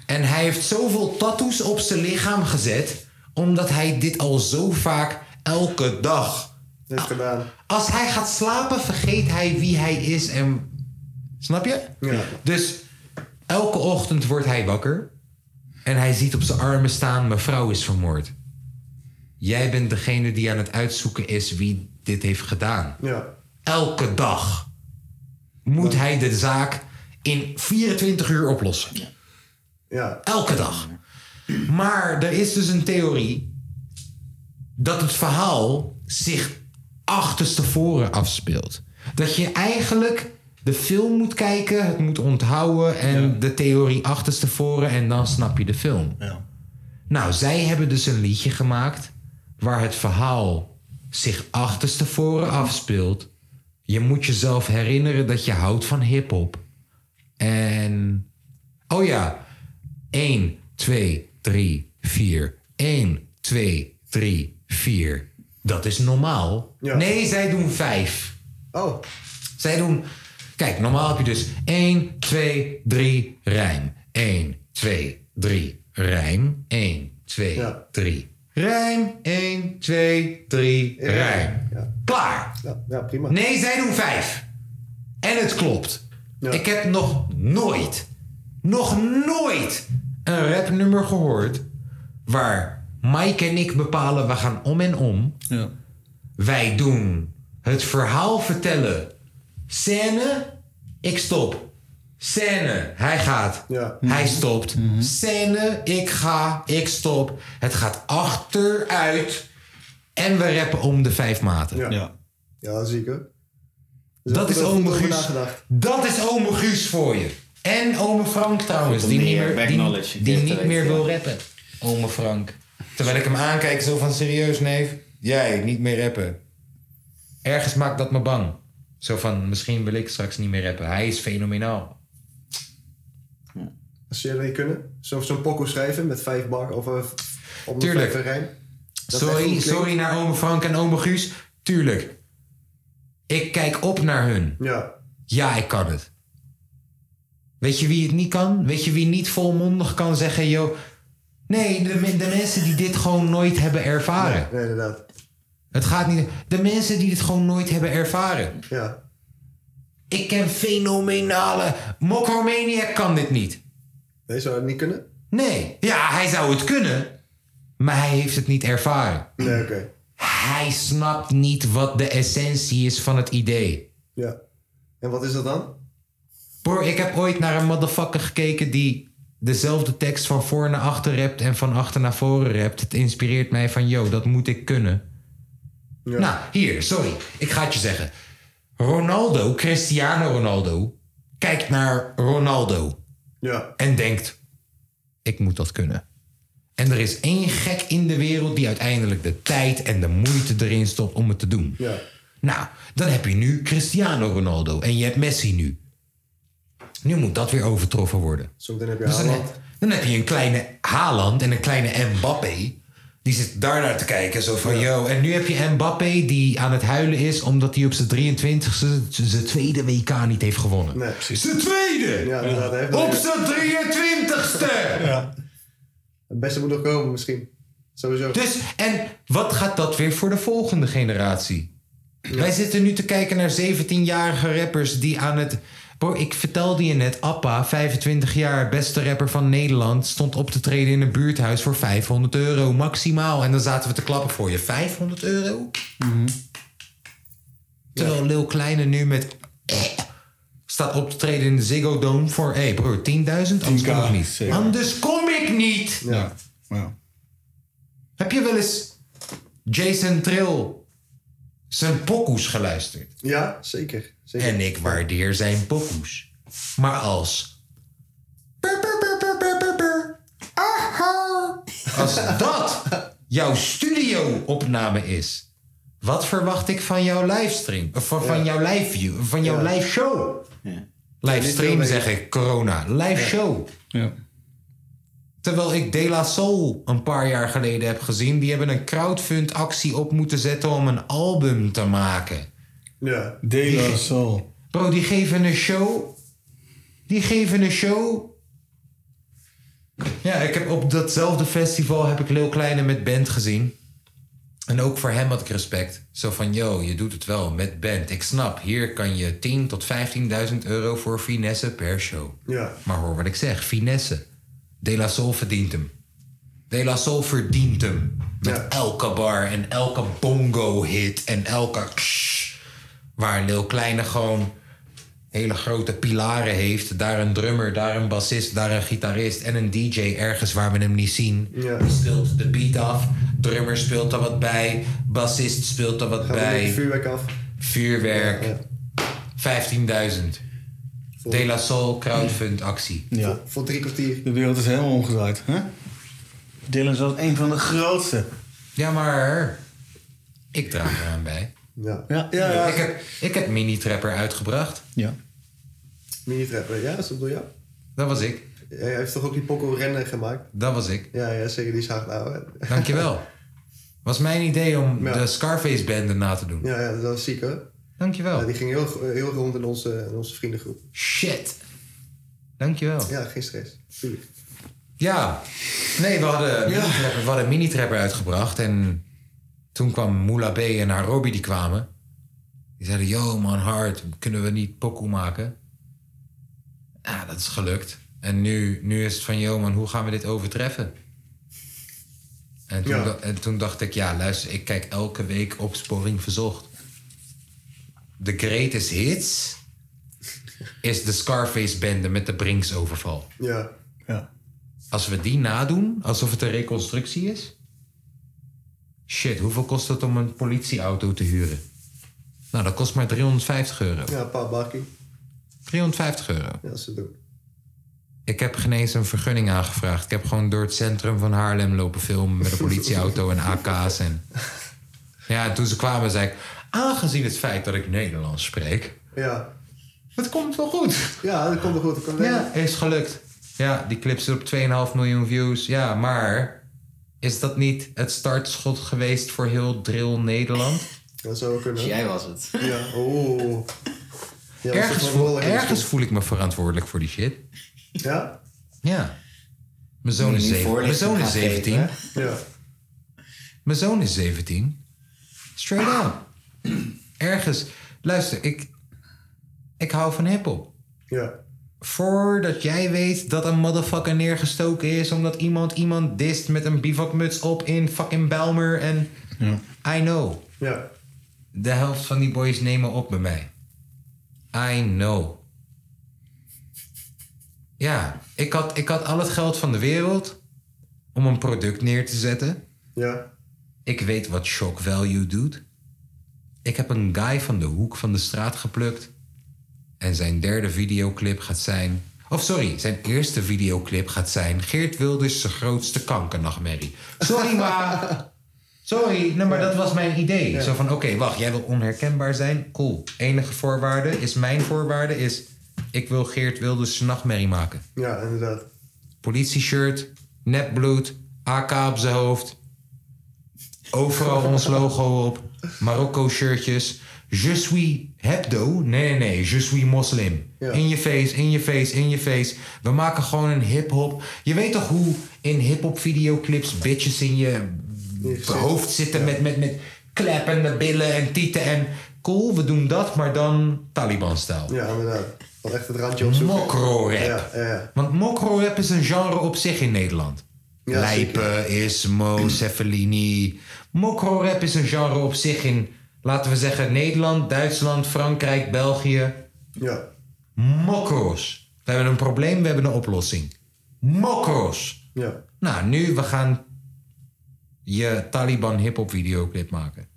D: En hij heeft zoveel tattoos op zijn lichaam gezet... omdat hij dit al zo vaak elke dag...
I: Heeft gedaan.
D: Als hij gaat slapen, vergeet hij wie hij is en... Snap je?
I: Ja.
D: Dus elke ochtend wordt hij wakker. En hij ziet op zijn armen staan: Mijn vrouw is vermoord. Jij bent degene die aan het uitzoeken is wie dit heeft gedaan.
I: Ja.
D: Elke dag moet hij de zaak in 24 uur oplossen.
I: Ja.
D: Elke dag. Maar er is dus een theorie dat het verhaal zich achterstevoren afspeelt. Dat je eigenlijk de film moet kijken, het moet onthouden en de theorie achterstevoren en dan snap je de film. Nou, zij hebben dus een liedje gemaakt waar het verhaal zich achterstevoren afspeelt. Je moet jezelf herinneren dat je houdt van hip-hop. En. Oh ja. 1, 2, 3, 4. 1, 2, 3, 4. Dat is normaal. Nee, zij doen 5.
I: Oh.
D: Zij doen. Kijk, normaal heb je dus 1, 2, 3, rijm. 1, 2, 3, rijm. 1, 2, 3. Rijm. 1, 2, 3, rijm. Klaar.
I: Ja, prima.
D: Nee, zij doen vijf. En het klopt. Ik heb nog nooit, nog nooit een rapnummer gehoord waar Mike en ik bepalen, we gaan om en om. Wij doen het verhaal vertellen. Scène, ik stop. Scène, hij gaat. Hij stopt. Scène, ik ga, ik stop. Het gaat achteruit. En we rappen om de vijf maten.
I: Ja, ja zie ik hoor. Dus
D: Dat
I: er
D: is
I: wordt goed
D: ome
I: over
D: Guus.
I: nagedacht.
D: Dat is ome Guus voor je. En ome Frank trouwens,
H: Goed
D: Dus die
H: om
D: niet
H: die,
D: meer,
H: eh,
D: die,
H: backnowledge een
D: die
H: keer te
D: niet
H: weten,
D: meer
H: ja.
D: wil rappen. Ome Frank. Terwijl ik hem aankijk zo van serieus neef, jij niet meer rappen. Ergens maakt dat me bang. Zo van misschien wil ik straks niet meer rappen. Hij is fenomenaal.
I: Als je dat niet kunnen, zo- zo'n pokoe schrijven met vijf bar of eh, op een
D: Tuurlijk.
I: vijf rijm. Dat echt
D: Sorry,
I: goed
D: sorry
I: klinkt.
D: naar ome Frank en ome Guus. Tuurlijk. Ik kijk op naar hun.
I: Ja.
D: Ja, ik kan het. Weet je wie het niet kan? Weet je wie niet volmondig kan zeggen, joh... Nee, de, men- de mensen die dit gewoon nooit hebben ervaren.
I: Nee, inderdaad.
D: Het gaat niet... De mensen die dit gewoon nooit hebben ervaren.
I: Ja.
D: Ik ken fenomenale... Mokromaniac kan dit niet.
I: Nee, zou het niet kunnen?
D: Nee. Ja, hij zou het kunnen. Maar hij heeft het niet ervaren.
I: Nee, oké.
D: Hij snapt niet wat de essentie is van het idee.
I: Ja. En wat is dat dan?
D: Broer, ik heb ooit naar een motherfucker gekeken die dezelfde tekst van voor naar achter rapt en van achter naar voren rapt. Het inspireert mij van, yo, dat moet ik kunnen. Nou, hier, sorry. Ik ga het je zeggen. Ronaldo, Cristiano Ronaldo, kijkt naar Ronaldo
I: Ja.
D: en denkt, ik moet dat kunnen. En er is één gek in de wereld die uiteindelijk de tijd en de moeite erin stopt om het te doen.
I: Ja.
D: Nou, dan heb je nu Cristiano Ronaldo en je hebt Messi nu. Nu moet dat weer overtroffen worden.
I: Zometeen heb je
D: Dus dan,
I: Haaland.
D: heb, dan heb je een kleine Haaland en een kleine Mbappé. Die zit daarnaar te kijken, zo van yo. En nu heb je Mbappé die aan het huilen is omdat hij op zijn 23e zijn tweede WK niet heeft gewonnen.
I: Nee,
D: precies. Zijn tweede!
I: Ja, inderdaad. hè.
D: Op zijn 23ste!
I: Ja. Het beste moet nog komen misschien. Sowieso.
D: Dus, en wat gaat dat weer voor de volgende generatie? Wij zitten nu te kijken naar 17-jarige rappers die aan het... Bro, ik vertelde je net, Appa, 25 jaar, beste rapper van Nederland... stond op te treden in een buurthuis voor 500 euro maximaal. En dan zaten we te klappen voor je. 500 euro? Terwijl Lil Kleine nu met... Eh, staat op te treden in de Ziggo Dome voor... Hé hey bro, 10.000? Anders kom ik niet.
N: Dus
D: Anders kom ik niet!
I: Ja.
D: Heb je wel eens Jason Trill zijn pokoes geluisterd?
I: Ja, zeker. zeker.
D: En ik waardeer zijn pokoes. Maar als... Als dat jouw studio-opname is... Wat verwacht ik van jouw livestream? Of van, van jouw live view? Van jouw live show? Livestream zeg ik, corona. Live show. Terwijl ik De La Soul een paar jaar geleden heb gezien. Die hebben een crowdfund actie op moeten zetten om een album te maken.
I: Ja.
F: De La Soul.
D: Bro, die geven een show. Die geven een show. Ja, ik heb op datzelfde festival heb ik Lil Kleine met band gezien. En ook voor hem had ik respect. Zo van, yo, je doet het wel met band. Ik snap, hier kan je 10 tot 15.000 euro voor finesse per show.
I: Ja.
D: Maar hoor wat ik zeg, finesse. De La Soul verdient hem. De La Soul verdient hem. Met elke bar en elke bongo-hit en elke... ksh. waar Lil Kleine gewoon hele grote pilaren heeft. Daar een drummer, daar een bassist, daar een gitarist en een DJ ergens waar we hem niet zien. Die speelt de beat af, drummer speelt er wat bij, bassist speelt er wat
I: Gaan we met het
D: bij.
I: vuurwerk af.
D: Vuurwerk. 15.000. De La Soul crowdfund actie.
F: Ja.
I: Voor drie kwartier.
F: De wereld is helemaal omgedraaid. Hè? Dylan is wel een van de grootste.
D: Ja, maar ik draag eraan bij.
I: Ja.
F: Ja,
D: Ik heb, ik heb Mini Trapper uitgebracht.
F: Ja.
I: Mini-trapper. Ja, is dat door jou?
D: Dat was ik.
I: Hij heeft toch ook die pokoe rennen gemaakt?
D: Dat was ik.
I: Ja, ja zeker. Die is hard nou, ouwe.
D: Dankjewel. Was mijn idee om de Scarface bende na te doen.
I: Ja, ja, dat was ziek hoor.
D: Dankjewel.
I: Ja, die ging heel, heel rond in onze, in onze vriendengroep.
D: Shit. Dankjewel.
I: Ja, geen stress. Tuurlijk.
D: Ja. Nee, we hadden, Mini Trapper- we hadden Mini Trapper uitgebracht. En toen kwam Moula B en haar Robbie die kwamen. Die zeiden, yo man, hard. Kunnen we niet pokoe maken? Ja, dat is gelukt. En nu, nu is het van, yo man, hoe gaan we dit overtreffen? En toen,
I: Ja.
D: da- en toen dacht ik, ja, luister, ik kijk elke week Opsporing Verzocht. The greatest hits is de Scarface-bende met de Brinksoverval.
I: Ja.
D: Als we die nadoen, alsof het een reconstructie is. Shit, hoeveel kost het om een politieauto te huren? Nou, dat kost maar 350 euro.
I: Ja, een paar bakkie.
D: 350 euro.
I: Ja, ze doen.
D: Ik heb geen eens een vergunning aangevraagd. Ik heb gewoon door het centrum van Haarlem lopen filmen met een politieauto en AK's. En... Ja, en toen ze kwamen zei ik, aangezien het feit dat ik Nederlands spreek,
I: Ja.
D: Het komt wel goed.
I: Ja, dat komt wel goed. Dat kan wel.
D: ja, is gelukt. Ja, die clip zit op 2,5 miljoen views. Ja, maar is dat niet het startschot geweest voor heel drill Nederland?
I: Dat zou wel kunnen.
D: Dus jij was
H: het.
I: Ja. Oeh. Ja, was
D: ergens
I: toch
D: voel,
I: wel heel
D: ergens voel ik me verantwoordelijk voor die shit.
I: Ja?
D: Ja. Mijn zoon
I: Moet
D: is,
I: je niet
D: zeven- mijn
I: voorlichting
D: zoon is
I: gaan geven,
D: 17.
I: Ja.
D: Mijn zoon is 17. Straight up. Ergens. Luister, ik, ik hou van hip-hop.
I: Ja.
D: Voordat jij weet dat een motherfucker neergestoken is omdat iemand iemand dist met een bivakmuts op in fucking Belmer en I know.
I: Ja.
D: De helft van die boys nemen op bij mij. I know. Ja, ik had, ik had al het geld van de wereld om een product neer te zetten.
I: Ja.
D: Ik weet wat shock value doet. Ik heb een guy van de hoek van de straat geplukt. En zijn derde videoclip gaat zijn. Of sorry, zijn eerste videoclip gaat zijn. Geert Wilders' zijn grootste kankernachtmerrie. Sorry, maar. Sorry, nee, maar dat was mijn idee. Zo van: oké, wacht, jij wil onherkenbaar zijn. Cool. Enige voorwaarde is mijn voorwaarde is. Ik wil Geert Wilders' zijn nachtmerrie maken.
I: Ja, inderdaad.
D: Politie-shirt, nepbloed, AK op zijn hoofd. Overal ons logo op. Marokko-shirtjes. Je suis hebdo. Nee, nee, nee. Je suis moslim.
I: Ja.
D: In je face, in je face, in je face. We maken gewoon een hip-hop. Je weet toch hoe in hip-hop videoclips bitches in je hoofd zitten met, met, met kleppende billen en tieten en. Cool, we doen dat, maar dan Taliban-stijl.
I: Ja, inderdaad. Wel echt het randje opzoeken.
D: Mokro-rap.
I: Ja, ja, ja.
D: Want mokro-rap is een genre op zich in Nederland.
I: Ja,
D: Lijpen, Ismo, Cefalini. Mokro-rap is een genre op zich in, laten we zeggen, Nederland, Duitsland, Frankrijk, België.
I: Ja.
D: Mokro's. We hebben een probleem, we hebben een oplossing. Mokro's.
I: Ja.
D: Nou, nu we gaan je Taliban hip-hop videoclip maken.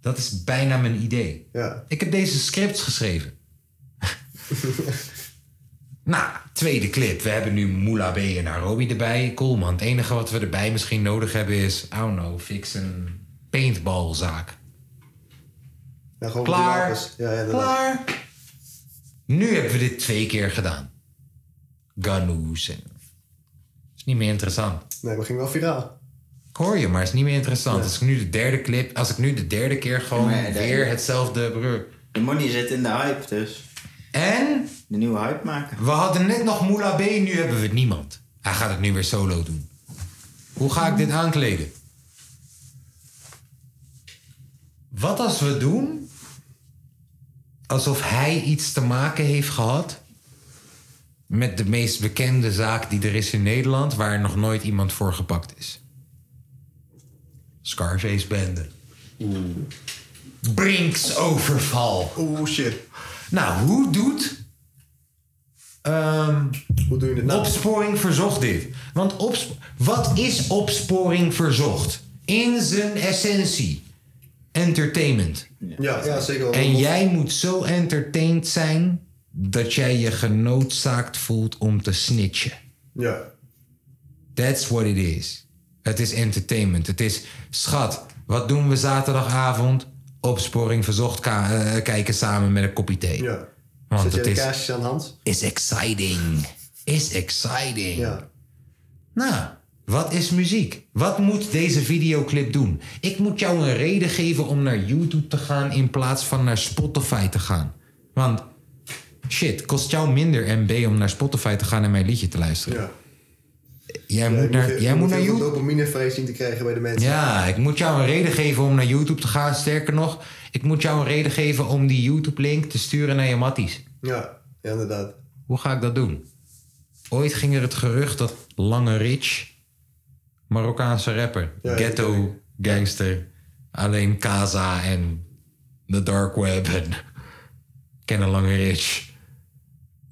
D: Dat is bijna mijn idee.
I: Ja.
D: Ik heb deze scripts geschreven. Nou, tweede clip. We hebben nu Moula B en Arobi erbij. Cool man. Het enige wat we erbij misschien nodig hebben is... I don't know, fix een paintballzaak.
I: Ja, gewoon
D: Klaar.
I: die wapens. Ja, ja, inderdaad.
D: Klaar. Nu hebben we dit twee keer gedaan. Ganoes. en- is niet meer interessant.
I: Nee, we gingen wel viraal.
D: Ik hoor je, maar het is niet meer interessant. Als ik nu de derde clip... Als ik nu de derde keer gewoon
H: Maar de-
D: weer hetzelfde... Broer.
H: De money zit in de hype dus.
D: En?
H: De nieuwe hype maken.
D: We hadden net nog Moula B, nu hebben we niemand. Hij gaat het nu weer solo doen. Hoe ga ik dit aankleden? Wat als we doen alsof hij iets te maken heeft gehad met de meest bekende zaak die er is in Nederland, waar nog nooit iemand voor gepakt is? Scarface-bende. Brinks-overval.
I: Oeh, shit.
D: Nou, hoe doet Ehm,
I: nou?
D: Opsporing verzocht dit. Want opsp- wat is opsporing verzocht? In zijn essentie. Entertainment.
I: Ja, ja zeker wel.
D: En jij moet zo entertained zijn dat jij je genoodzaakt voelt om te snitchen.
I: Ja.
D: That's what it is. Het is entertainment. Het is, schat, wat doen we zaterdagavond? Opsporing verzocht ka- eh, kijken samen met een kopje thee.
I: Ja.
D: Want
I: Zet je
D: het
I: de
D: is-
I: kaarsjes aan de hand?
D: Is exciting. Is exciting.
I: Ja.
D: Nou, wat is muziek? Wat moet deze videoclip doen? Ik moet jou een reden geven om naar YouTube te gaan in plaats van naar Spotify te gaan. Want shit, kost jou minder MB om naar Spotify te gaan en mijn liedje te luisteren.
I: Ja.
D: Jij moet naar, jij moet naar
I: YouTube. dopaminevrijs zien te krijgen bij de mensen.
D: ja, ik moet jou een reden geven om naar YouTube te gaan. Sterker nog, ik moet jou een reden geven om die YouTube-link te sturen naar je matties.
I: Ja, ja inderdaad.
D: Hoe ga ik dat doen? Ooit ging er het gerucht dat Lange Rich Marokkaanse rapper.
I: Ja,
D: Ghetto, gangster. Alleen Kaza en The Dark Web en kennen Lange Rich.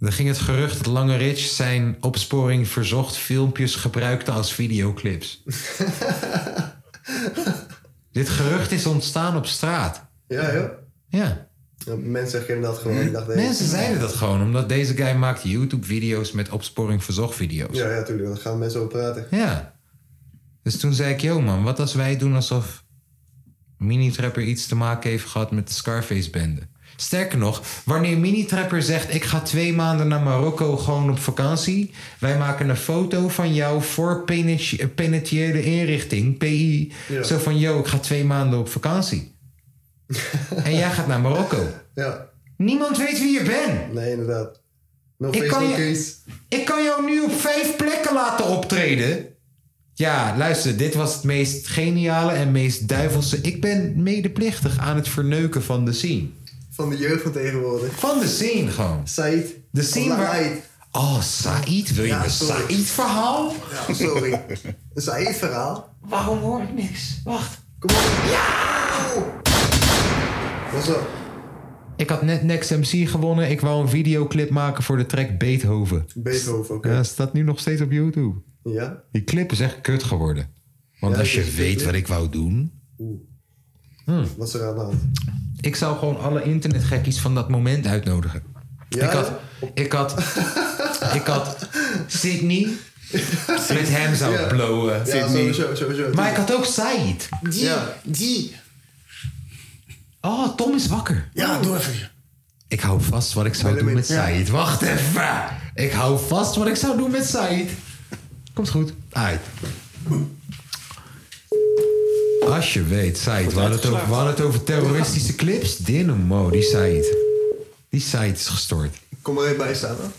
D: Er ging het gerucht dat Lange Rich zijn opsporing verzocht filmpjes gebruikte als videoclips. Dit gerucht is ontstaan op straat.
I: Ja, joh.
D: Ja.
I: Mensen herkennen dat gewoon. Ik dacht, nee.
D: Mensen zeiden dat gewoon, omdat deze guy maakt YouTube-video's met opsporing verzocht video's.
I: Ja, ja, tuurlijk. Daar gaan mensen over praten.
D: Ja. Dus toen zei ik, yo man, wat als wij doen alsof Mini-Trapper iets te maken heeft gehad met de Scarface-bende? Sterker nog, wanneer Mini-Trapper zegt, ik ga twee maanden naar Marokko gewoon op vakantie. Wij maken een foto van jou voor penit- eh, penitentiële inrichting, PI.
I: Ja.
D: Zo van, yo, ik ga twee maanden op vakantie. en jij gaat naar Marokko.
I: Ja.
D: Niemand weet wie je bent.
I: Nee, inderdaad. No
D: Ik
I: face,
D: kan
I: no
D: je-
I: case.
D: Ik kan jou nu op vijf plekken laten optreden. Ja, luister, dit was het meest geniale en meest duivelse. Ik ben medeplichtig aan het verneuken van de scene.
I: Van de jeugd van tegenwoordig.
D: Van de scene gewoon.
I: Said.
D: De scene waar... Oh, Said? Wil je
I: Ja,
D: een
I: sorry.
D: Said-verhaal?
I: Ja, sorry. Een Said-verhaal?
D: Waarom hoor ik niks? Wacht.
I: Kom op. Ja! Wat zo?
D: Ik had net Next MC gewonnen. Ik wou een videoclip maken voor de track Beethoven.
I: Beethoven, oké.
D: Ja, staat nu nog steeds op YouTube.
I: Ja?
D: Die clip is echt kut geworden. Want
I: Ja,
D: als je
I: dit is-
D: weet Hmm. wat ik wou doen...
I: Wat is er aan de hand?
D: Ik zou gewoon alle internetgekkies van dat moment uitnodigen.
I: Ja?
D: ik had... Ik had... ik had Sydney... Met hem zou ik
I: Ja.
D: blowen.
I: Ja, sowieso, sowieso.
D: Maar ik had ook Said. Die, die. Oh, Tom is wakker.
I: Ja, doe even.
D: Ik hou vast wat ik zou doen met Said. Wacht even. Ik hou vast wat ik zou doen met Said. Komt goed. Uit. Als je weet, Said, we hadden, het over, we hadden het over terroristische clips. Dynamo, die Said. Die Said is gestoord.
I: Kom maar even bij staan, hoor.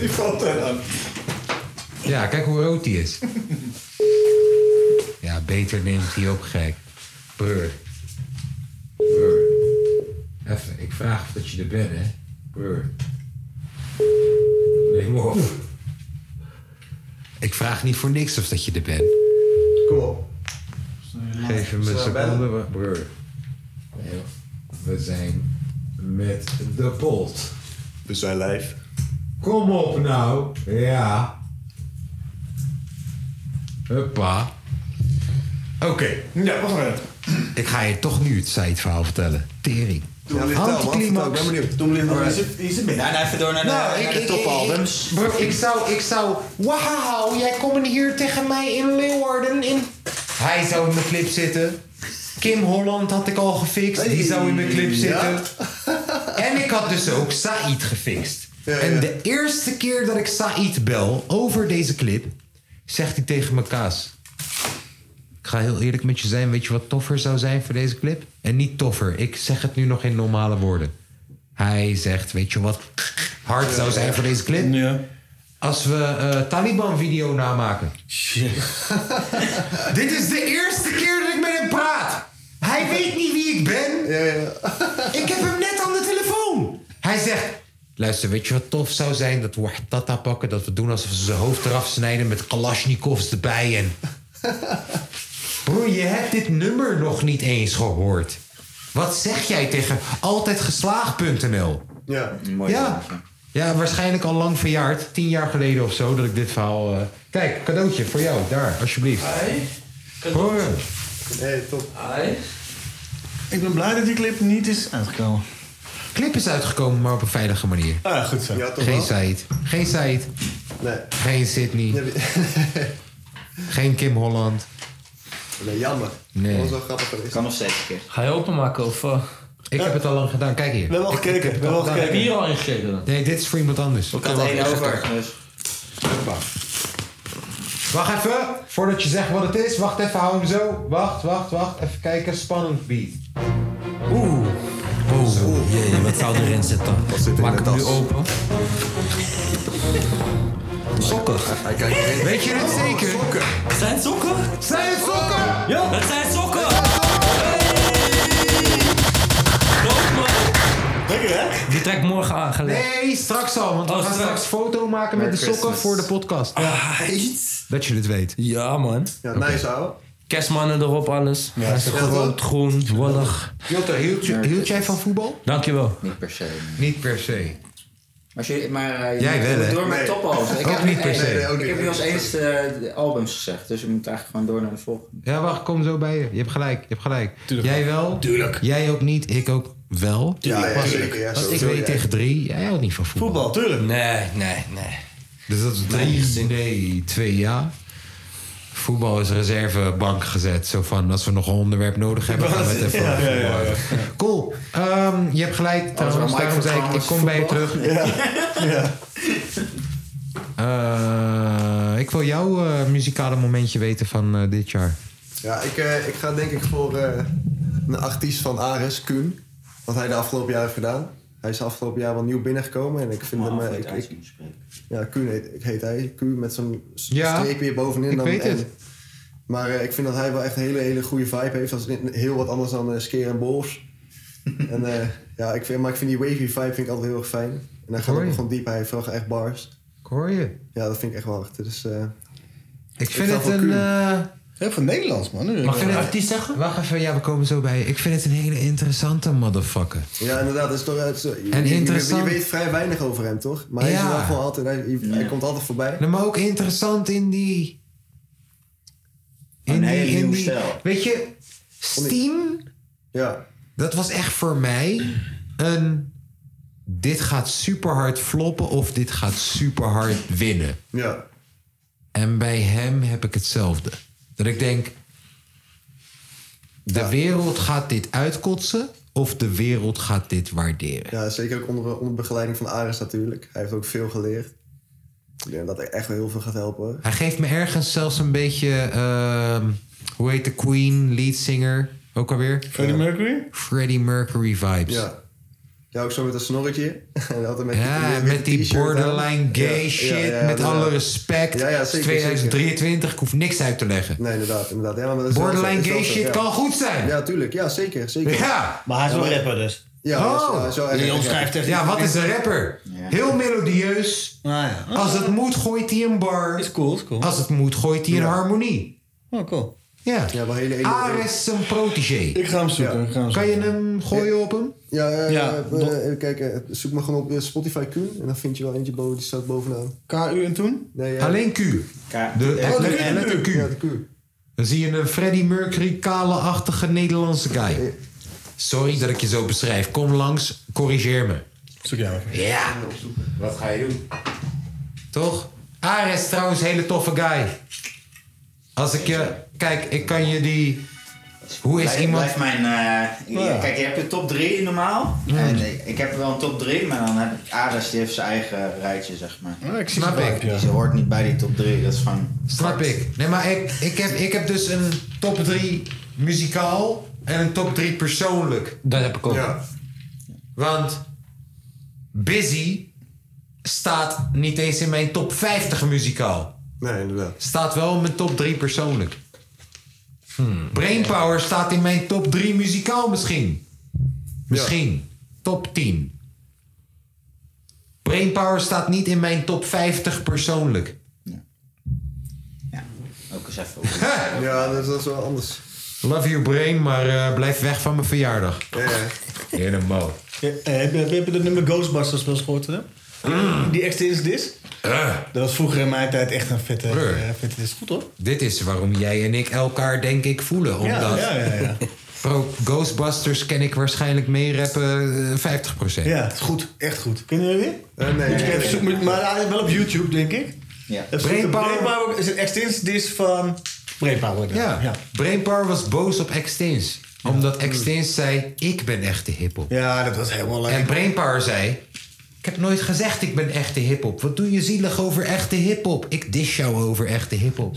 I: Die valt er aan.
D: Ja, kijk hoe rood die is. Ja, beter neemt hij op, gek. Breur. Breur. Even, ik vraag of dat je er bent, hè. Breur. Neem op. Ik vraag niet voor niks of dat je er bent.
I: Kom op.
D: Geef hem een
I: Snel bellen.
D: seconde, broer. We zijn met de pot.
M: We zijn live.
D: Kom op nou. Ja. Huppa. Oké.
M: Ja, wat gaan
D: Ik ga je toch nu het site-verhaal vertellen. Tering.
M: Doe hem licht aan, man. Vertel, ik ben benieuwd. Doe hem licht aan.
H: Is het- is het midden? Nou, even door naar de- naar de topalbums.
D: Ik, bro, ik zou, ik zou... Wauw, jij komt hier tegen mij in Leeuwarden in... Hij zou in mijn clip zitten. Kim Holland had ik al gefixt. Die zou in mijn clip zitten. En ik had dus ook Said gefixt. En de eerste keer dat ik Said bel over deze clip... zegt hij tegen me Kaas... Ik ga heel eerlijk met je zijn. Weet je wat toffer zou zijn voor deze clip? En niet toffer. Ik zeg het nu nog in normale woorden. Hij zegt, weet je wat hard zou zijn voor deze clip? Als we eh, Taliban-video namaken. Dit is de eerste keer dat ik met hem praat. Hij weet niet wie ik ben. ik heb hem net aan de telefoon. Hij zegt, luister, weet je wat tof zou zijn? Dat we Wahtata pakken, dat we doen alsof ze zijn hoofd eraf snijden met kalasjnikovs erbij en... Broer, je hebt dit nummer nog niet eens gehoord. Wat zeg jij tegen altijdgeslaagd.nl?
I: Ja.
D: Ja. ja, waarschijnlijk al lang verjaard. Tien jaar geleden of zo dat ik dit verhaal... eh, Kijk, cadeautje voor jou. Daar, alsjeblieft. Hoor.
I: Hey, top.
H: Ah,
F: Ik ben blij dat die clip niet is uitgekomen.
D: Clip is uitgekomen, maar op een veilige manier.
F: Ah, goed zo. Ja, toch
D: Geen
F: wel?
D: Said. Geen Said.
I: Nee.
D: Geen Sydney. Geen Kim Holland.
I: Nee, jammer.
D: Nee.
I: Dat was wel grappig geweest.
H: Kan nog steeds een keer.
G: Ga je openmaken of... eh?
D: Ik heb het al lang gedaan. Kijk hier.
G: We hebben al
D: Ik- ik
G: gekeken,
D: heb het
G: we hebben al
D: gedaan.
G: gekeken. Heb je hier al ingekeken dan?
D: Nee, dit is voor iemand anders.
H: Ik had één over. Dus.
D: Wacht even, voordat je zegt wat het is. Wacht even, hou hem zo. Wacht, wacht, wacht. Even kijken, spannend beat. Oeh.
G: Oeh, Oh, jee, wat zou erin zitten? Maak hem nu open. Sokken.
D: Weet je het zeker? Sokken.
G: Zijn het sokken?
D: Zijn het sokken?
G: Ja. Het zijn sokken.
M: Denk
F: Zeker, hè?
G: Die trekt morgen aan, gelijk.
D: Nee, straks al. Want we
G: Oh,
D: gaan
G: straks.
D: straks foto maken met
G: Merry
D: de sokken voor
G: Christmas.
D: de podcast.
G: Dat je dit weet. Ja, man. Ja,
I: nice, ouwe.
G: Kerstmannen erop, alles.
D: Ja,
G: Ja,
D: is toch
G: rood,
D: goed?
G: groen, wollig.
D: Jotte, hield, je- hield jij van voetbal?
G: Dankjewel.
H: Niet per se.
D: Niet per se.
H: Maar, je, maar eh,
D: Jij
H: je moet
D: wel, hè?
H: door
D: Nee.
H: met tophoofd. Ik
D: Ook
H: heb
D: niet per
H: eh,
D: se. Nee, ook
H: Ik
D: niet.
H: heb nu als eens eh, de albums gezegd, dus je moet eigenlijk gewoon door naar de volgende.
D: Ja, wacht, kom zo bij je. Je hebt gelijk, je hebt gelijk. jij wel? Tuurlijk. Jij ook niet, ik ook wel.
G: Tuurlijk.
D: Want-
G: Tuurlijk, ja,
D: Want ik
G: sowieso,
D: weet
G: ja.
D: tegen drie, jij houdt niet van voetbal.
F: Voetbal, tuurlijk.
G: Nee, nee, nee.
D: Dus dat is drie, nee, twee ja. Voetbal is reservebank gezet. Zo van, als we nog een onderwerp nodig hebben, gaan we het even
A: Ja,
D: over
A: ja, ja,
D: voetbal hebben. Cool. Ehm, je hebt gelijk
A: Als
D: trouwens.
A: we Mike
D: Daarom zei ik,
A: vertrouwen
D: ik kom bij je
A: is
D: terug.
A: voetbal.
D: Eh, ik wil jouw eh, muzikale momentje weten van eh, dit jaar.
I: Ja, ik, eh, ik ga denk ik voor eh, een artiest van Ares, Kuhn. Wat hij de afgelopen jaar heeft gedaan. Hij is de afgelopen jaar wel nieuw binnengekomen en ik vind hem... eh, ik, ik- ja, Kuhn heet, ik heet hij. Kuhn met zo'n s-
D: Ja,
I: streepje bovenin.
D: ik
I: dan,
D: weet
I: en-
D: het.
I: Maar eh, ik vind dat hij wel echt een hele, hele goede vibe heeft. Dat is ni- heel wat anders dan eh Skeer en Bols. en, eh, ja, ik vind, maar ik vind die wavy vibe vind ik altijd heel erg fijn. En hij gaat
D: hoor
I: ook
D: je.
I: gewoon diep. Hij heeft wel echt bars.
D: Ik hoor je.
I: Ja, dat vind ik echt wel echt. Dus, eh,
D: Ik vind
I: ga
D: het
I: voor
D: een...
I: Kuhn.
D: eh,
M: Heel veel Nederlands, man.
D: Mag ik een
M: artiest?
D: artiest zeggen? Hmm. Wacht even, ja, we komen zo bij. je. Ik vind het een hele interessante motherfucker.
I: Ja, inderdaad. Dat is toch, het is- je,
D: En
I: je- je-
D: interessant.
I: je weet vrij weinig over hem, toch? Maar hij, is
D: Ja.
I: er wel gewoon altijd, hij, hij- hij komt altijd voorbij.
D: Nee, maar ook interessant in die. In
I: Een hele
D: die, in
I: nieuwe
D: die
I: stijl.
D: Weet je, Steam.
I: Ja.
D: Dat was echt voor mij een. Dit gaat super hard floppen of dit gaat super hard winnen.
I: Ja.
D: En bij hem heb ik hetzelfde. Dat ik denk. De wereld gaat dit uitkotsen of de wereld gaat dit waarderen.
I: Ja, zeker ook onder, onder begeleiding van Aris natuurlijk. Hij heeft ook veel geleerd. Ik denk dat hij echt wel heel veel gaat helpen. hoor.
D: Hij geeft me ergens zelfs een beetje. ehm, hoe heet de Queen leadsinger? Ook alweer?
F: Freddie Mercury?
D: Freddie Mercury vibes.
I: Ja. Ja, ook zo met dat snorretje. en altijd met
D: Ja,
I: die,
D: Ah, met die
I: t-shirt aan.
D: borderline gay
I: Ja, ja,
D: shit.
I: ja,
D: met
I: inderdaad.
D: alle respect.
I: Ja, ja,
D: Het is
I: zeker,
D: 2023, ik hoef niks uit te leggen.
I: Nee, inderdaad. inderdaad. Ja, maar dat is wel
D: Borderline
I: zo, is
D: gay
I: wel zo,
D: shit
I: ja.
D: kan goed zijn.
I: Ja, tuurlijk. Ja, zeker. zeker.
D: Ja.
M: Maar hij is wel rapper dus.
I: Ja, hij is-
D: Oh.
I: hij is wel echt-
M: Die omschrijft echt-
D: Ja, wat is een rapper? Heel melodieus. Als het moet, gooit hij een bar. Is
M: cool, is cool.
D: Als het moet, gooit hij een harmonie.
M: Oh, cool.
D: Ja.
I: Ja, wel hele, hele-
D: Ares een protégé. Ik
M: ga hem zoeken.
D: E. Kan je hem gooien op hem?
I: Ja, eh,
D: Ja,
I: eh,
D: dat-
I: eh, kijk, eh, zoek maar gewoon op eh, Spotify Q en dan vind je wel eentje boven, die staat bovenaan.
F: KU en toen?
I: Nee, ja.
D: Alleen Q. De,
I: Ja,
M: Oh,
D: echt
I: de
D: let-
I: Q.
D: letter Q.
I: Ja, de Q.
D: Dan zie je een Freddie Mercury kale-achtige Nederlandse guy. Sorry dat ik je zo beschrijf. Kom langs, corrigeer me.
M: Zoek jij
D: Ja.
M: Wat ga je doen?
D: Toch? Ares trouwens, hele toffe guy. Als ik je... Kijk, ik kan je die... Hoe is
H: Blijf-
D: iemand...
H: blijf mijn, eh, je-
D: Ja.
H: Kijk, je hebt je top 3 normaal.
D: Mm.
H: En ik, ik heb wel een top 3, maar dan heb ik Ares, die heeft zijn eigen rijtje, zeg maar.
D: Ja, ik zie Snap het wel, ik. ja.
H: Ze hoort niet bij die top 3, dat is gewoon...
D: Snap ik. Nee, maar ik, ik, heb, ik heb dus een top 3 muzikaal en een top 3 persoonlijk.
G: Dat heb ik ook.
D: Want Busy staat niet eens in mijn top 50 muzikaal.
I: Nee, inderdaad.
D: Staat wel in mijn top 3 persoonlijk. Hmm. Brainpower staat in mijn top 3 muzikaal misschien. Misschien. Top 10. Brainpower staat niet in mijn top 50 persoonlijk.
H: Ook eens even...
I: ja, dat is, dat is wel anders.
D: Love your brain, maar eh, blijf weg van mijn verjaardag.
I: Ja.
D: Helemaal.
M: eh, heb, je, heb je de nummer Ghostbusters wel eens gehoord? Hè?
D: Mm.
M: Die extra is dit? Dat was vroeger in mijn tijd echt een vette...
D: Eh. Brr.
M: eh, vette is goed hoor.
D: Dit is waarom jij en ik elkaar denk ik voelen.
M: Ja,
D: Omdat
M: ja, ja, ja.
D: Bro, Ghostbusters ken ik waarschijnlijk meerappen eh, 50%.
M: Ja, het is goed. Echt goed. Kennen jullie het?
D: Eh, nee,
M: Dus
D: nee,
M: even
D: nee.
M: zoeken, maar- maar hij is wel op YouTube, denk ik.
H: Ja.
M: Brainpower. Brainpower is een extinct dis van... Brainpower.
D: Ja. Brainpower was boos op Extins. Omdat Extins zei, ik ben echte hiphop.
M: Ja, dat was helemaal leuk.
D: En Brainpower zei, ik heb nooit gezegd ik ben echte hiphop. Wat doe je zielig over echte hiphop? Ik dis jou over echte hiphop.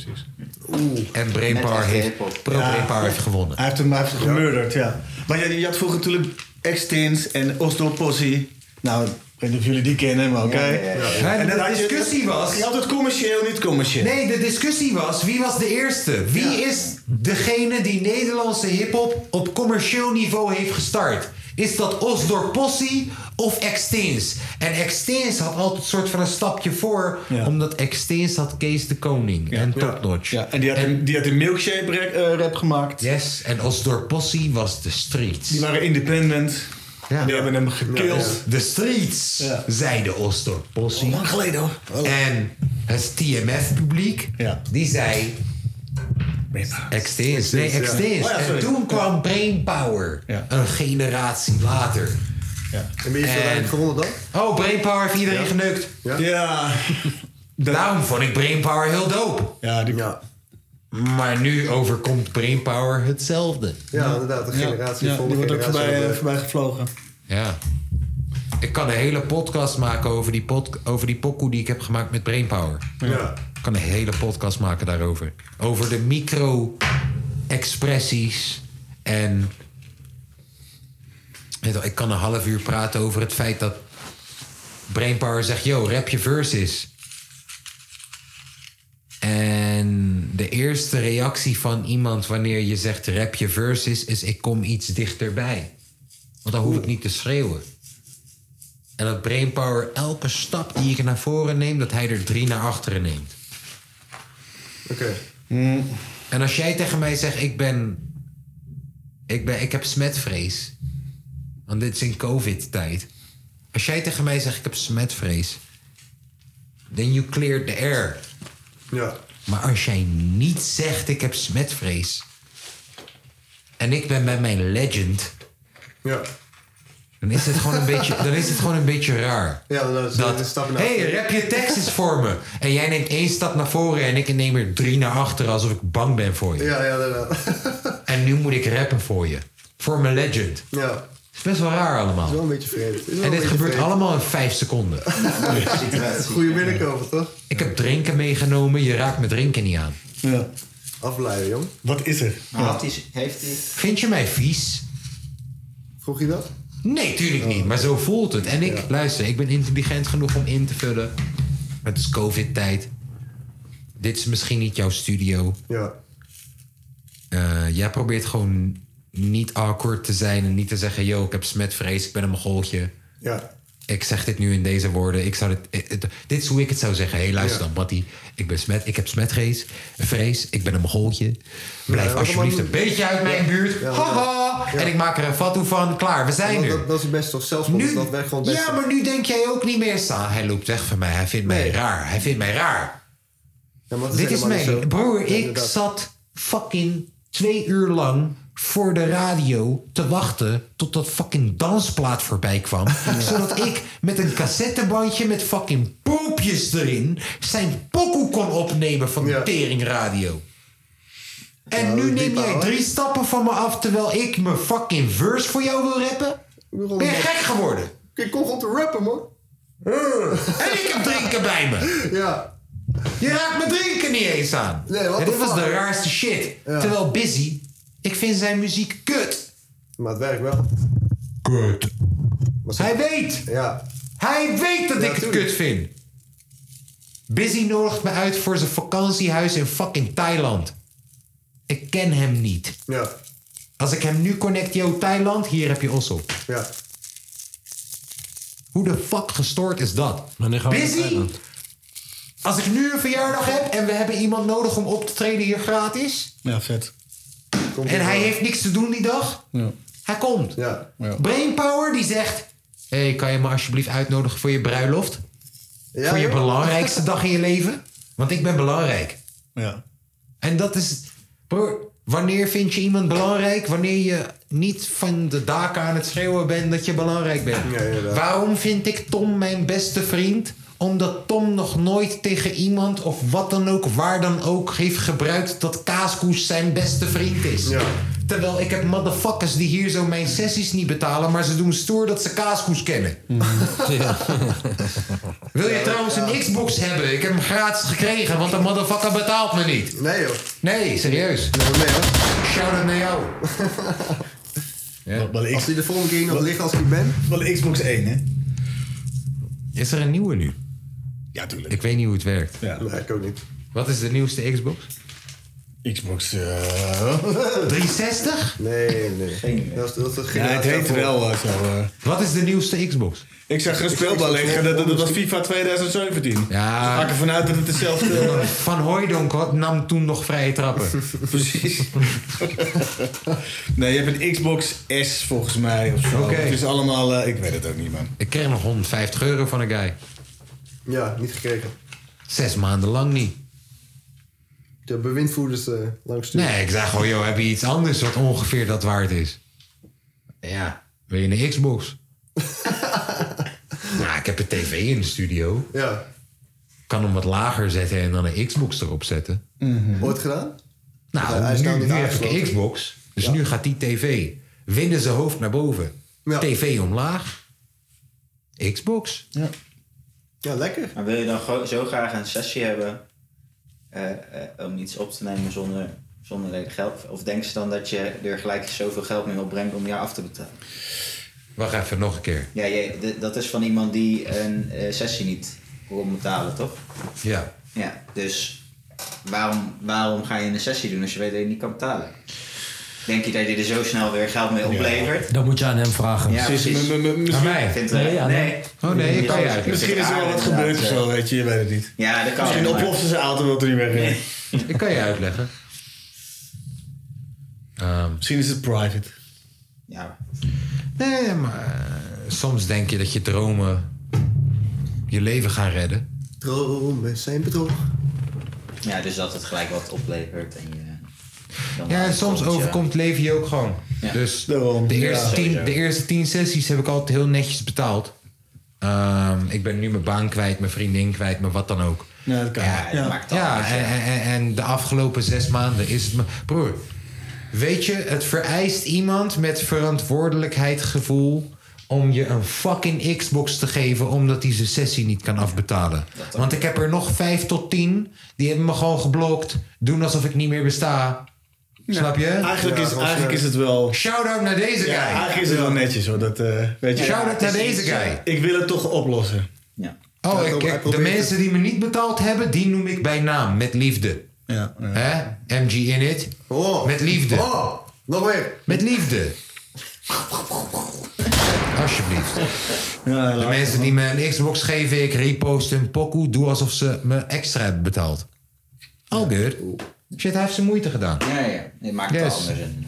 D: Oeh. En Brainpower
M: Met echte
D: heeft,
M: hiphop.
D: Pro
M: Ja.
D: Brainpower heeft gewonnen.
M: Hij heeft hem, hij heeft hem gemurderd, ja. Maar je, je had vroeger natuurlijk Extins en Oslo Posse. Nou, ik weet niet of jullie die kennen, maar oké.
D: ja, ja. Ja, de
M: had je-
D: discussie was-
M: Je had het commercieel, niet commercieel.
D: Nee, de discussie was wie was de eerste? Wie is degene die Nederlandse hip-hop op commercieel niveau heeft gestart? Is dat Os door Possie of Extins? En Extins had altijd een soort van een stapje voor. Omdat Extins had Kees de Koning en Topnotch.
F: En die had, een, die had een milkshake rap, eh, rap gemaakt.
D: Yes, en Os door Possie was de streets.
F: Die waren independent.
D: Ja.
F: Die hebben hem gekild.
D: De streets,
F: Ja.
D: zeiden Os door
I: Oh,
D: Possie.
F: Lang geleden hoor.
D: En het TMF-publiek, die zei... Extins. Nee,
A: Ja.
D: Extins.
A: Oh ja,
D: en
A: sorry.
D: toen kwam Brain Power, een generatie later.
I: En wie heeft er uiteindelijk gewonnen dan?
D: Oh, Brainpower heeft iedereen geneukt.
I: Ja.
D: Daarom vond ik Brainpower heel dope.
F: Ja, die...
D: Maar nu overkomt Brainpower hetzelfde.
I: Ja, inderdaad. Een generatie
F: Ja,
I: vol.
F: die wordt ook voorbij, eh, voorbij gevlogen.
D: Ja. Ik kan een hele podcast maken over die, pod, over die pokoe die ik heb gemaakt met Brainpower.
I: Ja.
D: Ik kan een hele podcast maken daarover. Over de micro-expressies en... Weet je wel, Ik kan een half uur praten over het feit dat Brainpower zegt... Yo, rap je verses. En de eerste reactie van iemand wanneer je zegt rap je verses... is ik kom iets dichterbij. Want dan hoef ik niet te schreeuwen. En dat brainpower elke stap die ik naar voren neem, dat hij er drie naar achteren neemt.
I: Oké.
D: En als jij tegen mij zegt, ik ben. Ik, ben, ik heb smetvrees. Want dit is in COVID-tijd. Als jij tegen mij zegt, ik heb smetvrees. Then you cleared the air.
I: Ja.
D: Maar als jij niet zegt, ik heb smetvrees. En ik ben bij mijn legend.
I: Ja.
D: Dan is het gewoon een beetje, dan is het gewoon een beetje raar.
I: Ja, dat is een stap naar
D: Hé, hey, rap je Texas voor me. En jij neemt één stap naar voren en ik neem er drie naar achteren alsof ik bang ben voor je.
I: Ja, ja, inderdaad.
D: En nu moet ik rappen voor je. Voor mijn legend.
I: Ja.
D: Het is best wel raar allemaal.
I: Is wel een beetje vreemd.
D: En dit gebeurt allemaal in vijf seconden.
I: Goede binnenkomen, toch?
D: Ik heb drinken meegenomen, je raakt mijn drinken niet aan.
I: Ja. Afleiden, jong.
F: Wat is er?
H: Maar had hij, heeft hij...
D: Vind je mij vies?
I: Vroeg je dat? Oh.
D: Nee, tuurlijk niet. Maar zo voelt het. En ik, luister, ik ben intelligent genoeg om in te vullen. Het is covid-tijd. Dit is misschien niet jouw studio.
I: Ja.
D: Eh, jij probeert gewoon niet awkward te zijn en niet te zeggen... yo, ik heb smetvrees, ik ben een mogoltje.
I: Ja.
D: Ik zeg dit nu in deze woorden. Ik zou dit, eh, eh, dit is hoe ik het zou zeggen. Hé, hey, luister
I: Ja.
D: dan, Mattie. Ik, ben smet, ik heb smetvrees. Vrees, ik ben een mogoltje. Blijf
I: Ja,
D: alsjeblieft
I: maar-
D: een beetje uit mijn
I: Ja.
D: buurt.
I: Ja,
D: Haha!
I: ja.
D: En ik maak er een fatu van. Klaar, we zijn
I: dat,
D: er.
I: Dat, dat is het beste toch zelfs
D: Nu-
I: dat werkt gewoon het beste.
D: Ja, maar nu denk jij ook niet meer staan. Hij loopt weg van mij. Hij vindt mij raar. Hij vindt mij raar.
I: maar dat is
D: Dit is
I: helemaal
D: mij.
I: niet zo.
D: Broer,
I: Ja,
D: ik
I: inderdaad.
D: zat fucking twee uur lang voor de radio te wachten tot dat fucking dansplaat voorbij kwam. Zodat ik met een cassettebandje met fucking poepjes erin zijn pokoe kon opnemen van de teringradio. En
I: Nou,
D: nu neem jij drie stappen van me af terwijl ik mijn fucking verse voor jou wil rappen? Ben je gek geworden? Eh.
I: Ik kon gewoon te rappen, man.
D: En ik heb drinken bij me.
I: Ja.
D: Je raakt mijn drinken niet eens aan.
I: Nee, what
D: Ja,
I: the
D: dit was
I: fuck?
D: de raarste shit.
I: Ja.
D: Terwijl Busy, ik vind zijn muziek kut.
I: Maar het werkt wel.
D: Kut.
I: Hij
D: weet.
I: Ja.
D: Hij weet dat ik het kut vind. Busy nodigt me uit voor zijn vakantiehuis in fucking Thailand. Ik ken hem niet.
I: Ja.
D: Als ik hem nu connect, yo Thailand, hier heb je Ossel.
I: Ja.
D: Hoe de fuck gestoord is dat?
G: gaan we naar
D: Busy?
G: Thailand.
D: Als ik nu een verjaardag heb en we hebben iemand nodig om op te treden hier gratis...
F: Ja, vet.
D: En hij heeft niks te doen die dag.
F: Ja.
D: Hij komt.
I: Ja.
D: Brainpower die zegt... Hé, hey, kan je me alsjeblieft uitnodigen voor je bruiloft? voor je
I: joh.
D: belangrijkste dag in je leven? Want ik ben belangrijk.
F: Ja.
D: En dat is... Broer, wanneer vind je iemand belangrijk? Wanneer je niet van de daken aan het schreeuwen bent dat je belangrijk bent. Waarom vind ik Tom mijn beste vriend? Omdat Tom nog nooit tegen iemand of wat dan ook, waar dan ook, heeft gebruikt dat Kaaskoes zijn beste vriend is. Terwijl ik heb motherfuckers die hier zo mijn sessies niet betalen, maar ze doen stoer dat ze Kaaskoes kennen. Wil je trouwens een Xbox hebben? Ik heb hem gratis gekregen, want de motherfucker betaalt me niet.
I: Nee joh.
D: Nee, serieus. Shout out naar jou.
I: Als die de volgende keer hier nog ligt als ik ben.
F: Wel de Xbox 1, hè?
D: Is er een nieuwe nu?
F: Ja, tuurlijk.
D: Ik weet niet hoe het werkt.
F: Ja.
I: Nee, ik ook niet.
D: Wat is de nieuwste Xbox?
F: Xbox... eh.
D: 360?
I: Nee, nee. Dat is, dat is
F: Ja, het heet wel eh, zo. eh.
D: Wat is de nieuwste Xbox?
F: Ik zag er speelbal liggen, dat, dat was FIFA 2017. Ja. Ze maken vanuit dat het dezelfde...
D: Van Hooijdonk had- nam toen nog vrije trappen.
F: Precies. nee, je hebt een Xbox S volgens mij of zo.
D: Oké.
F: Het is allemaal... eh, ik weet het ook niet, man.
D: Ik kreeg nog 150 euro van een guy.
F: eh,
I: Ja, niet gekregen.
D: Zes maanden lang niet.
I: De bewindvoerders eh langs sturen.
D: Nee, ik zei gewoon, joh, heb je iets anders wat ongeveer dat waard is? Ja, wil je een Xbox? nou, ik heb een tv in de studio.
I: Ja.
D: Kan hem wat lager zetten en dan een Xbox erop zetten.
F: Mhm.
I: Ooit gedaan?
D: Nou,
I: Ja, hij is nou
D: nu,
I: niet
D: nu heb ik
I: aangesloten.
D: een Xbox. Dus nu gaat die tv. Winden zijn hoofd naar boven. TV omlaag. Xbox.
I: Ja. Ja, lekker.
H: Maar wil je dan gewoon zo graag een sessie hebben eh, eh, om iets op te nemen zonder, zonder dat je geld? Of denk je dan dat je er gelijk zoveel geld mee opbrengt om jou af te betalen?
D: Wacht even, nog een keer.
H: Ja, jij- d- dat is van iemand die een eh, sessie niet kon betalen, toch?
D: Ja.
H: Ja, dus waarom, waarom ga je een sessie doen als je weet dat je niet kan betalen? Denk je dat je er zo snel weer geld mee oplevert?
G: Dat moet je aan hem vragen.
H: Ja, precies.
G: Aan mij?
H: Vindt er-
G: Nee,
H: nee,
G: ja, nee.
D: Oh,
H: Ja,
G: uit.
F: Misschien is er wel wat gebeurd of zo, weet je. Je weet het niet.
H: Ja, dat kan.
F: Misschien
H: maar-
F: oploften ze auto wel er niet weg. is.
D: Ik kan je uitleggen.
F: Misschien is het private.
H: Ja.
D: Nee, maar eh, soms denk je dat je dromen je leven gaan redden.
I: Dromen zijn bedrog.
H: Ja, dus dat het gelijk wat oplevert. En je, dan-
D: Ja, en soms
H: dan-
D: overkomt leven je ook gewoon.
H: Ja.
D: Dus
F: de
D: eerste,
H: Ja.
D: tien,
H: Sowieso.
D: de eerste tien sessies heb ik altijd heel netjes betaald. Ehm, ik ben nu mijn baan kwijt, mijn vriendin kwijt, maar wat dan ook.
F: Ja, dat kan.
D: Ja,
F: Ja.
D: ja, en, en- en, en de afgelopen zes maanden is het me... Broer, weet je, het vereist iemand met verantwoordelijkheidsgevoel... om je een fucking Xbox te geven omdat hij zijn sessie niet kan afbetalen. Want ik heb er nog vijf tot tien, die hebben me gewoon geblokt... doen alsof ik niet meer besta. Snap je?
F: Eigenlijk, is, eigenlijk is het wel...
D: Shout-out naar deze
F: Ja,
D: guy.
F: Eigenlijk is het wel netjes hoor. Dat, eh, weet je,
D: Shout-out naar deze guy.
F: Ik wil het toch oplossen.
D: Oh,
F: Ja,
D: ik,
F: hij
D: ik- de
F: probeert
D: mensen die me niet betaald hebben, die noem ik bij naam, met liefde.
F: Ja,
D: Hè? MG in it. met liefde.
I: Oh, nog weer.
D: Met liefde. Alsjeblieft. de mensen die me een Xbox geven, ik repost een pokoe, doe alsof ze me extra hebben betaald. All good. Shit, hij heeft zijn moeite gedaan.
H: Ja, ja. Het maakt het
D: Yes.
H: wel anders. in.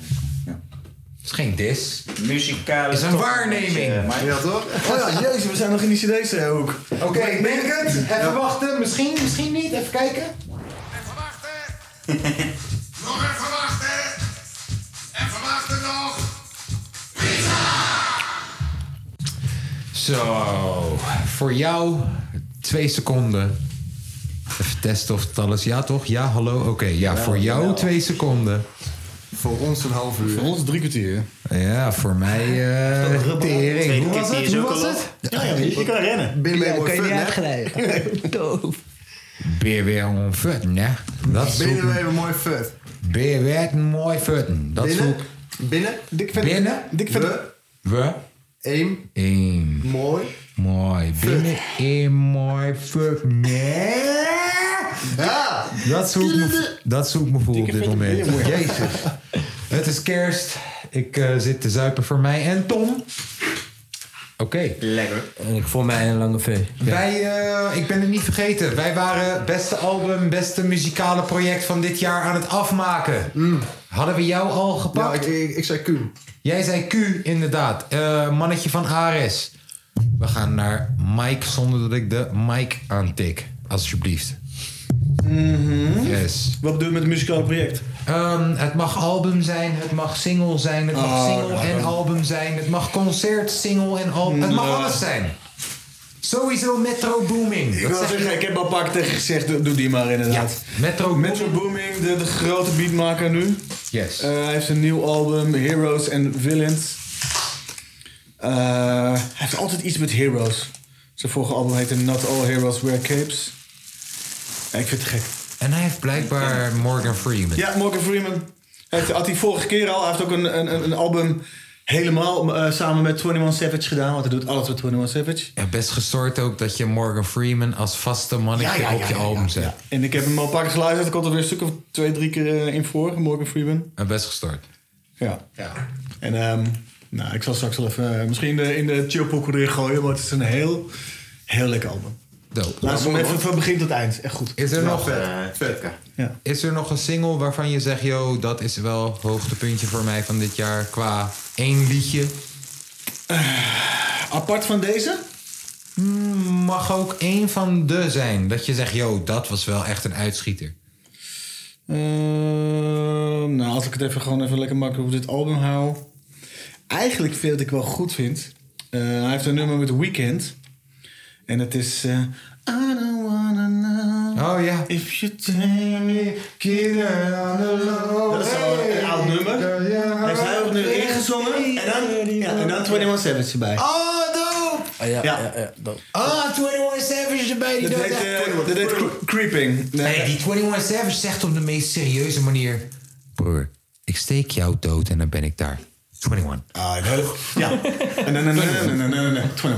D: Het is geen dis.
H: Muzikale
D: is een
H: top-
D: waarneming.
H: Ja, maar- Ja, toch?
F: Oh ja, jezus, we zijn nog in die CD-hoek.
D: Oké, ik denk het. Even wachten. Misschien, misschien niet. Even kijken.
O: Nog even wachten. Even wachten nog.
D: Zo, voor jou twee seconden. Even testen of het alles... Ja, toch? Ja, hallo? Oké, ja,
I: Jawel,
D: voor jou
I: jawel.
D: twee seconden.
I: Voor ons een half uur.
F: Voor ons drie kwartier.
D: Ja, voor mij... eh tering. Hoe was het? Hoe was het?
F: Ja, ja, je kan rennen.
I: Binnen
D: Ja, kan je niet
F: uitglijden. Doof.
D: Ben weer een fut, hè? Dat is
I: Binnen
D: hoe-
I: we even mooi fut.
D: Ben je weer een mooi futten. Dat is
I: Binnen?
D: hoe...
I: Binnen? Dik
D: vet- Binnen? dik vet-
I: We.
D: We?
I: Eén.
D: Eén.
I: Mooi.
D: Mooi. Binnen een mooi fut, nee?
I: Ja.
D: Dat is hoe ik me, dat is hoe ik me voel op dit moment.
I: bier, mooi.
D: Jezus. Het is kerst. Ik eh, zit te zuipen voor mij en Tom. Oké.
H: Lekker.
G: En ik voel mij een lange V.
D: Wij, eh, ik ben het niet vergeten. Wij waren beste album, beste muzikale project van dit jaar aan het afmaken. Hadden we jou al gepakt?
I: ik, zei Q.
D: Jij zei Q, inderdaad. Eh, mannetje van Ares. We gaan naar Mike zonder dat ik de mic aantik. Alsjeblieft.
I: Hm?
D: Yes.
F: Mhm. Wat bedoel je met het muzikale project?
D: Ehm, het mag album zijn, het mag single zijn, het mag
F: Oh,
D: single
F: nou,
D: en
F: dan- Nou.
D: album zijn, het mag concert, single en album. Het mag
F: Ja.
D: alles zijn. Sowieso Metro Booming.
F: Ik
D: Dat
F: wil
D: zeg
F: zeggen, ik heb al pak tegen gezegd, doe, doe die maar inderdaad.
D: Metro,
F: Booming, de, de grote beatmaker nu.
D: Yes.
F: Eh, hij heeft een nieuw album, Heroes and Villains. Eh, hij heeft altijd iets met heroes. Zijn vorige album heette Not All Heroes Wear Capes. Ja, ik vind het gek.
D: En hij heeft blijkbaar Morgan Freeman.
F: Ja, Morgan Freeman. Hij heeft- had hij vorige keer al. Hij heeft ook een, een, een- een album. helemaal eh, samen met 21 Savage gedaan, want hij doet alles met 21 Savage.
D: Ja, best gestoord ook dat je Morgan Freeman als vaste mannetje
F: Ja, ja, ja,
D: op je
F: ja,
D: album zet.
F: En ik heb hem al een paar keer geluisterd, er komt er weer een stuk of twee, drie keer eh, in voor, Morgan Freeman.
D: Ja, Best gestoord.
F: Ja. En ehm, nou, ik zal straks wel even eh, misschien in de, in de chillpokoe erin gooien, maar het is een heel, heel lekker album.
D: Dope.
F: Luister hem even van begin tot eind, echt goed.
D: Is er,
F: Ja,
D: nog, eh,
F: vet.
D: is er nog een single waarvan je zegt... yo, dat is wel hoogtepuntje voor mij van dit jaar qua één liedje?
F: Eh, apart van deze?
D: Hmm, Mag ook één van de zijn. Dat je zegt, yo, dat was wel echt een uitschieter.
F: Ehm, nou, als ik het even gewoon even lekker makkelijk op dit album hou. Eigenlijk vind ik wel goed vind. Eh, hij heeft een nummer met Weekend. En het is. eh, I don't wanna know.
D: Oh ja.
F: If you take me, killer on the low. Dat is al een oud nummer. Heeft hij opnieuw ingezongen. En dan, ja, en dan 21 Savage erbij.
A: Oh, dope!
F: ja, ja.
D: Oh,
A: Ah, 21 Savage erbij. Die
F: Dat
A: doet
F: heet,
A: dat.
F: eh, dat heet cre- Creeping.
D: Nee, die 21 Savage zegt op de meest serieuze manier... Broer, ik steek jou dood en dan ben ik daar. 21.
F: Ah, een hele Ja. Nee, nee, nee, nee, nee, nee, nee. 21.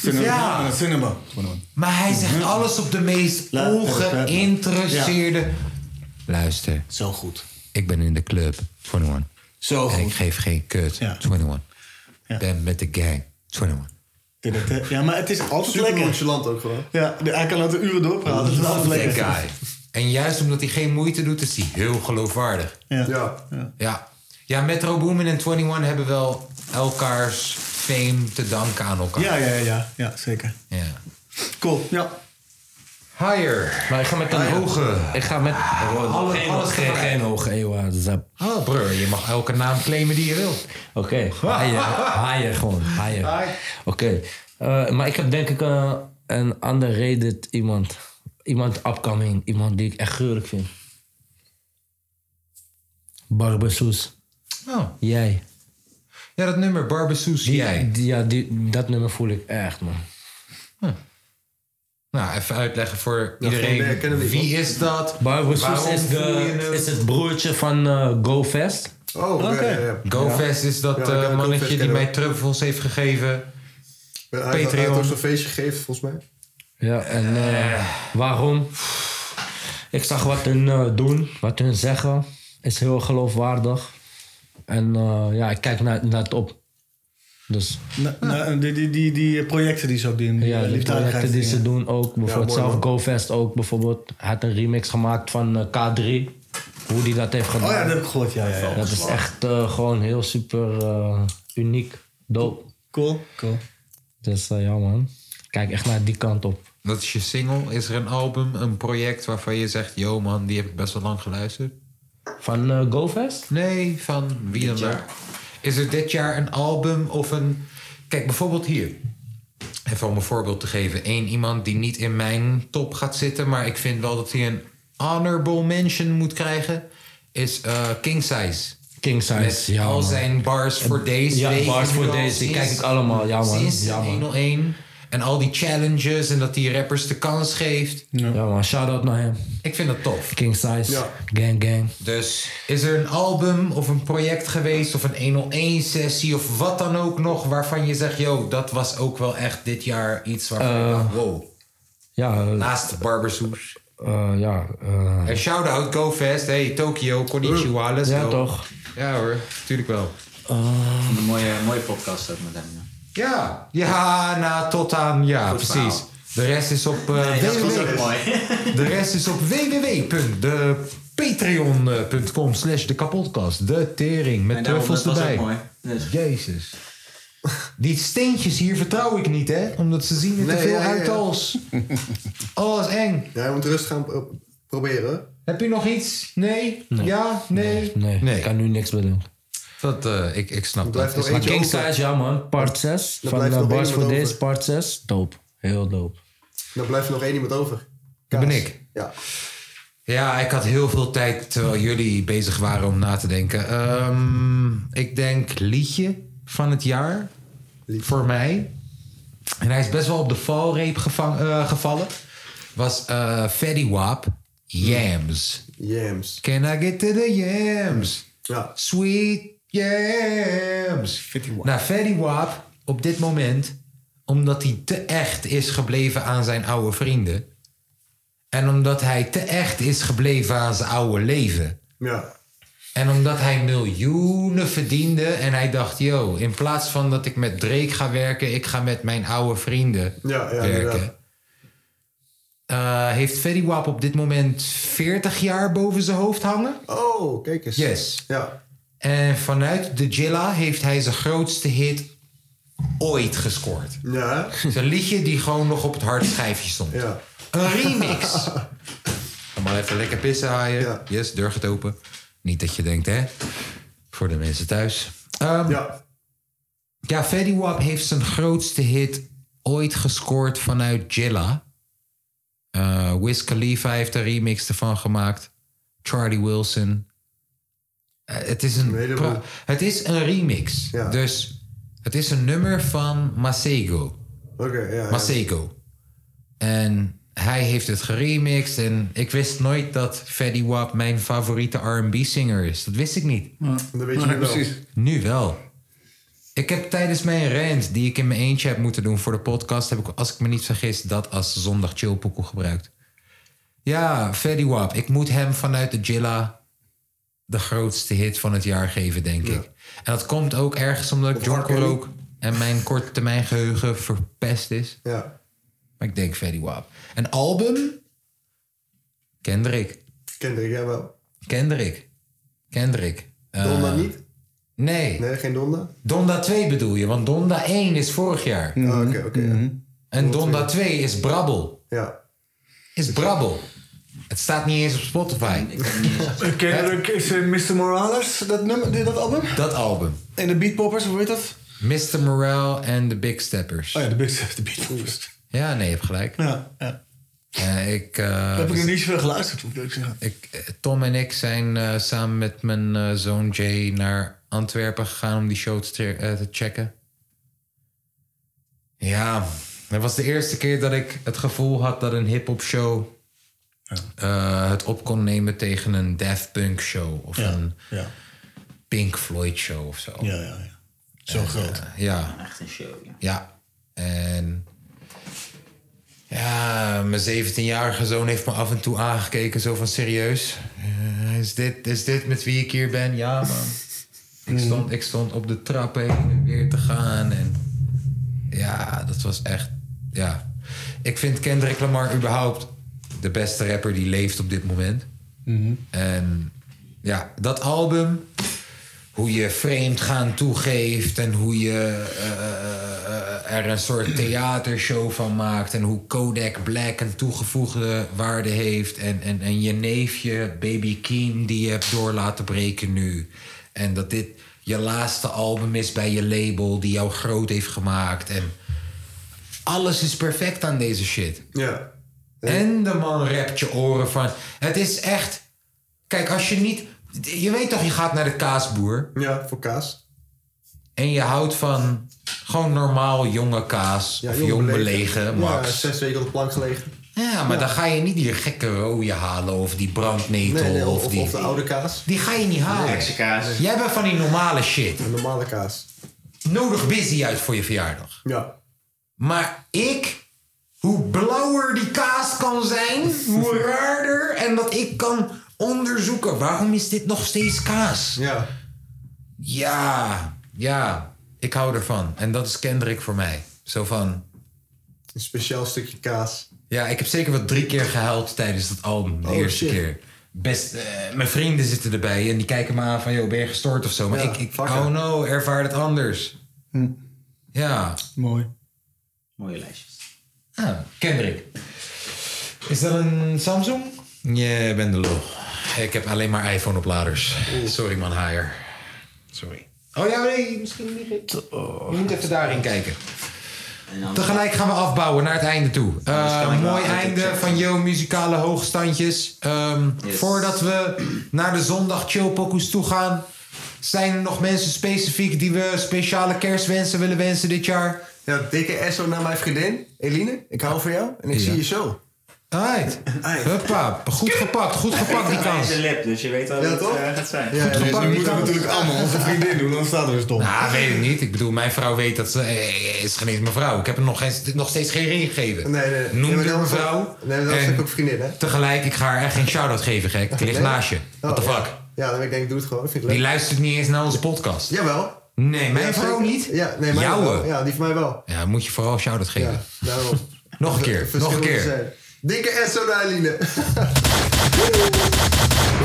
F: Cinema.
D: Ja.
F: Cinema. 21.
D: Maar hij zegt alles op de meest
F: La- eh,
D: ongeïnteresseerde... Luister.
F: Zo goed.
D: Ik ben in de club, 21.
F: Zo
D: En ik geef geen kut, 21. Ben met de gang, 21.
F: Ja, maar het is altijd
D: Super
F: lekker.
I: nonchalant ook gewoon.
F: Ja, de- hij kan laten uren doorpraten. Het is altijd
D: Lovely
F: lekker.
D: guy. En juist omdat hij geen moeite doet, is hij heel geloofwaardig.
F: Ja.
D: Ja, ja. Metro Boomin en 21 hebben wel elkaars fame te danken aan elkaar.
F: Ja, ja, ja, ja, ja, zeker.
D: Ja.
F: Cool. Ja.
D: Higher.
G: Maar ik ga met een hoge. Ik ga met.
D: Ah,
G: Oh,
D: Alle-
G: geen,
D: alles
G: geen,
D: tegelijk.
G: geen hoge E, eeuwen.
D: Oh, broer, je mag elke naam claimen die je wil.
G: Oké, haaien. Haaien gewoon. Haaien. Oké. Eh, maar ik heb denk ik eh, een underrated iemand. Iemand upcoming. Iemand die ik echt gruwelijk vind. Barbesoes.
D: Oh.
G: Jij.
D: Ja, dat nummer, Barbesoes, jij.
G: ja, die, dat nummer voel ik echt, man.
D: Nou, even uitleggen voor
G: Ja, geen idee, kennen
D: iedereen.
G: we niet,
D: Wie
G: hoor.
D: is dat?
G: Barbesoes
D: Waarom
G: is,
D: voel je
G: de,
D: hem?
G: is het broertje van eh GoFest.
I: Oh, oké. ja, ja, ja.
D: GoFest is
I: Ja,
D: dat
I: ik heb
D: eh,
I: GoFest
D: mannetje die
I: kennen
D: mij truffels heeft gegeven.
I: Hij had- hij had
D: Patreon.
I: ook zo'n feestje gegeven, volgens mij.
G: Ja, en eh, waarom? Ik zag wat hun eh, doen, wat hun zeggen. Is heel geloofwaardig. En eh, ja, ik kijk naar, naar het op. Dus
F: Na- na- die, die, die, die projecten die ze ook doen.
G: ja, de projecten die ze doen ook. Bijvoorbeeld
F: mooi,
G: zelf
F: man.
G: GoFest ook. Bijvoorbeeld Hij had een remix gemaakt van eh, K3. Hoe die dat heeft gedaan.
F: Oh ja, dat heb ik gehoord. Ja, ja, ja.
G: Dat is echt eh, gewoon heel super eh, uniek. Dope.
F: Cool, cool.
G: Dus eh, ja man, kijk echt naar die kant op.
D: Dat is je single. Is er een album, een project waarvan je zegt... yo man, die heb ik best wel lang geluisterd?
G: Van eh, GoFest?
D: Nee, van wie dan ook. Is er dit jaar een album of een... Kijk, bijvoorbeeld hier. Even om een voorbeeld te geven. Eén iemand die niet in mijn top gaat zitten... maar ik vind wel dat hij een honorable mention moet krijgen... is eh, King Size.
G: King Size,
D: Met
G: ja,
D: al
G: man.
D: zijn bars for days.
G: Ja,
D: weet ik
G: Bars
D: nu
G: for
D: al,
G: Days, die
D: sinds-
G: kijk ik allemaal, ja, man.
D: Sinds
G: Ja, man.
D: 101. En al die challenges en dat die rappers de kans geeft.
G: Ja, man, shout out naar hem.
D: Ik vind dat tof.
G: King Size,
D: Ja.
G: Gang Gang.
D: Dus is er een album of een project geweest of een 101-sessie of wat dan ook nog waarvan je zegt, yo, dat was ook wel echt dit jaar iets waarvan je
G: Eh,
D: dacht, wow.
G: Ja, eh,
D: Naast Barbersoes.
G: eh, ja, eh,
D: En shout-out, GoFest, hey, Tokyo, konnichiwa, let's
G: Ja,
D: go.
G: toch.
D: Ja hoor, tuurlijk wel.
H: Een mooie, mooie podcast ook met hem. ja.
D: Ja, ja, na tot aan, ja,
H: Goed
D: precies.
H: verhaal.
D: De rest is op eh
H: Nee, dat was
D: www.
H: ook mooi.
D: De rest is op www.patreon.com slash de kapotkast. De tering met
H: En daarom,
D: truffels
H: dat was ook
D: erbij.
H: mooi. Dus.
D: Jezus. Die steentjes hier vertrouw ik niet, hè? Omdat ze zien er
I: Nee,
D: te veel
I: ja, ja,
D: uit
I: ja.
D: als... Oh, dat is eng.
I: Ja, je moet rust gaan pro- proberen.
D: Heb je nog iets? Nee?
I: Nee.
D: Ja? Nee?
G: nee, ik kan nu niks bedenken.
D: Dat, eh, ik, ik snap
I: blijft nog
G: Maar
I: eentje
G: King
I: over.
G: Size, ja man, part 6.
I: Er
G: Van
I: blijft
G: eh,
I: nog
G: Bars
I: één
G: for
I: wat
G: Days,
I: over.
G: part 6. Dope, heel dope.
I: Dan blijft er nog één iemand over.
D: Dat ben ik.
I: Ja.
D: Ja, ik had heel veel tijd terwijl jullie bezig waren om na te denken. Ehm, ik denk liedje van het jaar voor mij. En hij is best wel op de valreep gevang- eh, gevallen. Was eh Fetty Wap, Yams.
I: Yams.
D: Can I get to the yams?
I: Ja.
D: Sweet Jams. Naar Fetty Wap op dit moment, omdat hij te echt is gebleven aan zijn oude vrienden. En omdat hij te echt is gebleven aan zijn oude leven.
I: Ja.
D: En omdat hij miljoenen verdiende en hij dacht, yo, in plaats van dat ik met Drake ga werken, ik ga met mijn oude vrienden
I: Ja, ja,
D: werken.
I: inderdaad.
D: Eh, heeft Fetty Wap op dit moment 40 jaar boven zijn hoofd hangen?
I: Oh, kijk eens.
D: Yes.
I: Ja.
D: En vanuit de Jilla heeft hij zijn grootste hit ooit gescoord.
I: Ja.
D: Zijn liedje die gewoon nog op het hardschijfje stond.
I: Ja.
D: Een remix. Kom maar even lekker pissen haaien. Yes, deur gaat open. Niet dat je denkt, hè? Voor de mensen thuis. Ehm,
I: ja.
D: Ja, Fetty Wap heeft zijn grootste hit ooit gescoord vanuit Jilla. Eh Wiz Khalifa heeft een remix ervan gemaakt. Charlie Wilson. Eh, het, is een pra- het is een remix. Dus het is een nummer van Masego.
I: Oké, ja, ja.
D: Masego. En hij heeft het geremixed. En ik wist nooit dat Fetty Wap mijn favoriete R&B-singer is. Dat wist ik niet.
I: Dat weet je nu wel.
D: Nu wel. Ik heb tijdens mijn rant, die ik in mijn eentje heb moeten doen voor de podcast... heb ik, als ik me niet vergis, dat als zondag chillpokoe gebruikt. Ja, Fetty Wap. Ik moet hem vanuit de Jilla de grootste hit van het jaar geven, denk ik. En dat komt ook ergens omdat ik John rook... en mijn korte termijn geheugen verpest is.
I: Ja.
D: Maar ik denk Fetty Wap. Een album? Kendrick.
I: Kendrick, jij wel.
D: Kendrick. Kendrick.
I: Donda
D: Eh,
I: niet?
D: Nee.
I: Nee, geen Donda?
D: Donda 2 bedoel je, want Donda 1 is vorig jaar.
I: Oké, Oh, oké. ja.
M: Mhm.
D: En Donda 2 is brabbel.
I: Ja.
D: Is brabbel. Het staat niet eens op Spotify.
M: Kendrick is eh, Mr. Morales, dat, nummer, dat album.
D: Dat album.
M: En de Beatpoppers, hoe heet dat?
D: Mr. Morale en de Big Steppers.
M: Oh ja, de Big Steppers, de Beatpoppers.
D: Ja, nee, je hebt gelijk.
M: Ja, ja.
D: Eh, ik, eh,
M: Daar heb ik nog niet zoveel geluisterd, moet ik eerlijk zeggen.
D: ik, eh, Tom en ik zijn eh, samen met mijn eh, zoon Jay naar Antwerpen gegaan om die show te, tre- eh, te checken. Ja, dat was de eerste keer dat ik het gevoel had dat een hip-hop show eh, het op kon nemen tegen een Daft Punk show of een
M: Ja.
D: Pink Floyd show of zo.
M: Ja, ja, ja. Zo
D: En,
M: groot.
D: eh, ja.
H: Echt een show, ja.
D: Ja. En ja, mijn 17-jarige zoon heeft me af en toe aangekeken, zo van serieus. Eh, is, dit, is dit met wie ik hier ben? Ja, man. Ik stond, ik stond op de trappen heen en weer te gaan. En ja, dat was echt. Ja. Ik vind Kendrick Lamar überhaupt de beste rapper die leeft op dit moment.
I: Mm-hmm.
P: Mhm.
D: En ja, dat album. Hoe je vreemd gaan toegeeft en hoe je eh, er een soort theatershow van maakt. En hoe Kodak Black een toegevoegde waarde heeft. En, en, en je neefje, Baby Keem, die je hebt door laten breken nu. En dat dit je laatste album is bij je label die jou groot heeft gemaakt. En alles is perfect aan deze shit.
I: Ja.
D: En de man rept je oren van. Het is echt. Kijk, als je niet. Je weet toch, je gaat naar de kaasboer.
I: Ja, voor kaas.
D: En je houdt van gewoon normaal jonge kaas.
I: Ja,
D: of jong belegen,
I: Ja,
D: max.
I: zes weken op de plank gelegen.
D: Ja, maar dan ga je niet die gekke rode halen. Of die brandnetel.
I: Nee, nee,
D: of,
I: of, of,
D: die,
I: de oude kaas.
D: Die ga je niet halen. Jij bent van die normale shit.
I: normale kaas.
D: Nodig busy uit voor je verjaardag.
I: Ja.
D: Maar ik, hoe blauwer die kaas kan zijn, hoe raarder. En dat ik kan onderzoeken. Waarom is dit nog steeds kaas?
I: Ja.
D: Ja, ja. Ik hou ervan. En dat is Kendrick voor mij. Zo van...
I: Een speciaal stukje kaas.
D: Ja, ik heb zeker wel drie keer gehuild tijdens dat album. De
I: Oh,
D: eerste
I: shit.
D: keer. Best, eh, mijn vrienden zitten erbij en die kijken me aan van... Yo, ben je gestoord of zo? Maar ik, ik oh no, ervaar het anders.
M: Hm.
D: Ja.
M: Mooi.
H: Mooie lijstjes.
D: Ah, Kendrick. Is dat een Samsung? Je bent de lul. Ik heb alleen maar iPhone-opladers. Sorry man, Haier. Sorry. Oh ja, nee, misschien lieg ik. Je moet even daarin kijken. Tegelijk gaan we afbouwen naar het einde toe. Eh,
A: kan ik wel
D: mooi
A: uit het
D: einde
A: checken.
D: van Yo Muzikale Hoogstandjes. Ehm,
A: Yes.
D: Voordat we naar de zondag chillpokoes toe gaan... zijn er nog mensen specifiek die we speciale kerstwensen willen wensen dit jaar?
I: Ja, dikke SO naar mijn vriendin, Eline. Ik hou van jou en ik
D: Ja.
I: zie je zo.
D: Alright. Huppa. Goed gepakt, goed gepakt die kans.
H: de lip, dus je weet al
D: Ja,
H: wat
D: toch?
H: het eh, gaat zijn.
D: Goed gepakt, die kans.
F: vriendin doen, dan staat er dus toch.
D: Nou, weet ik niet. Ik bedoel, mijn vrouw weet dat ze... eh, eh, is geen eens mijn vrouw. Ik heb er nog, geen, nog steeds geen ring gegeven.
I: Nee, nee.
D: Noem
I: nee, maar
D: haar
I: dan-
D: mijn vrouw.
I: Nee, maar dat is
D: en-
I: ook vriendin, hè?
D: Tegelijk, ik ga haar echt geen shout-out geven, gek. Het ligt
I: Nee?
D: naast je. What the
I: Oh, ja.
D: fuck?
I: Ja, dan denk ik, doe het gewoon. Vind ik leuk.
D: Die luistert niet eens naar onze podcast.
I: Jawel.
D: Nee, mijn
I: Ja,
D: vrouw
I: zeker.
D: niet.
I: Ja, nee, mijn
D: Jouwe.
I: wel. Ja, die van mij wel.
D: Ja, moet je vooral shout-out geven.
Q: Nou,
I: Daarom.
D: Nog een keer, nog een
I: Verschillende
D: keer.
I: zijn. Dikke Esso naar Eline.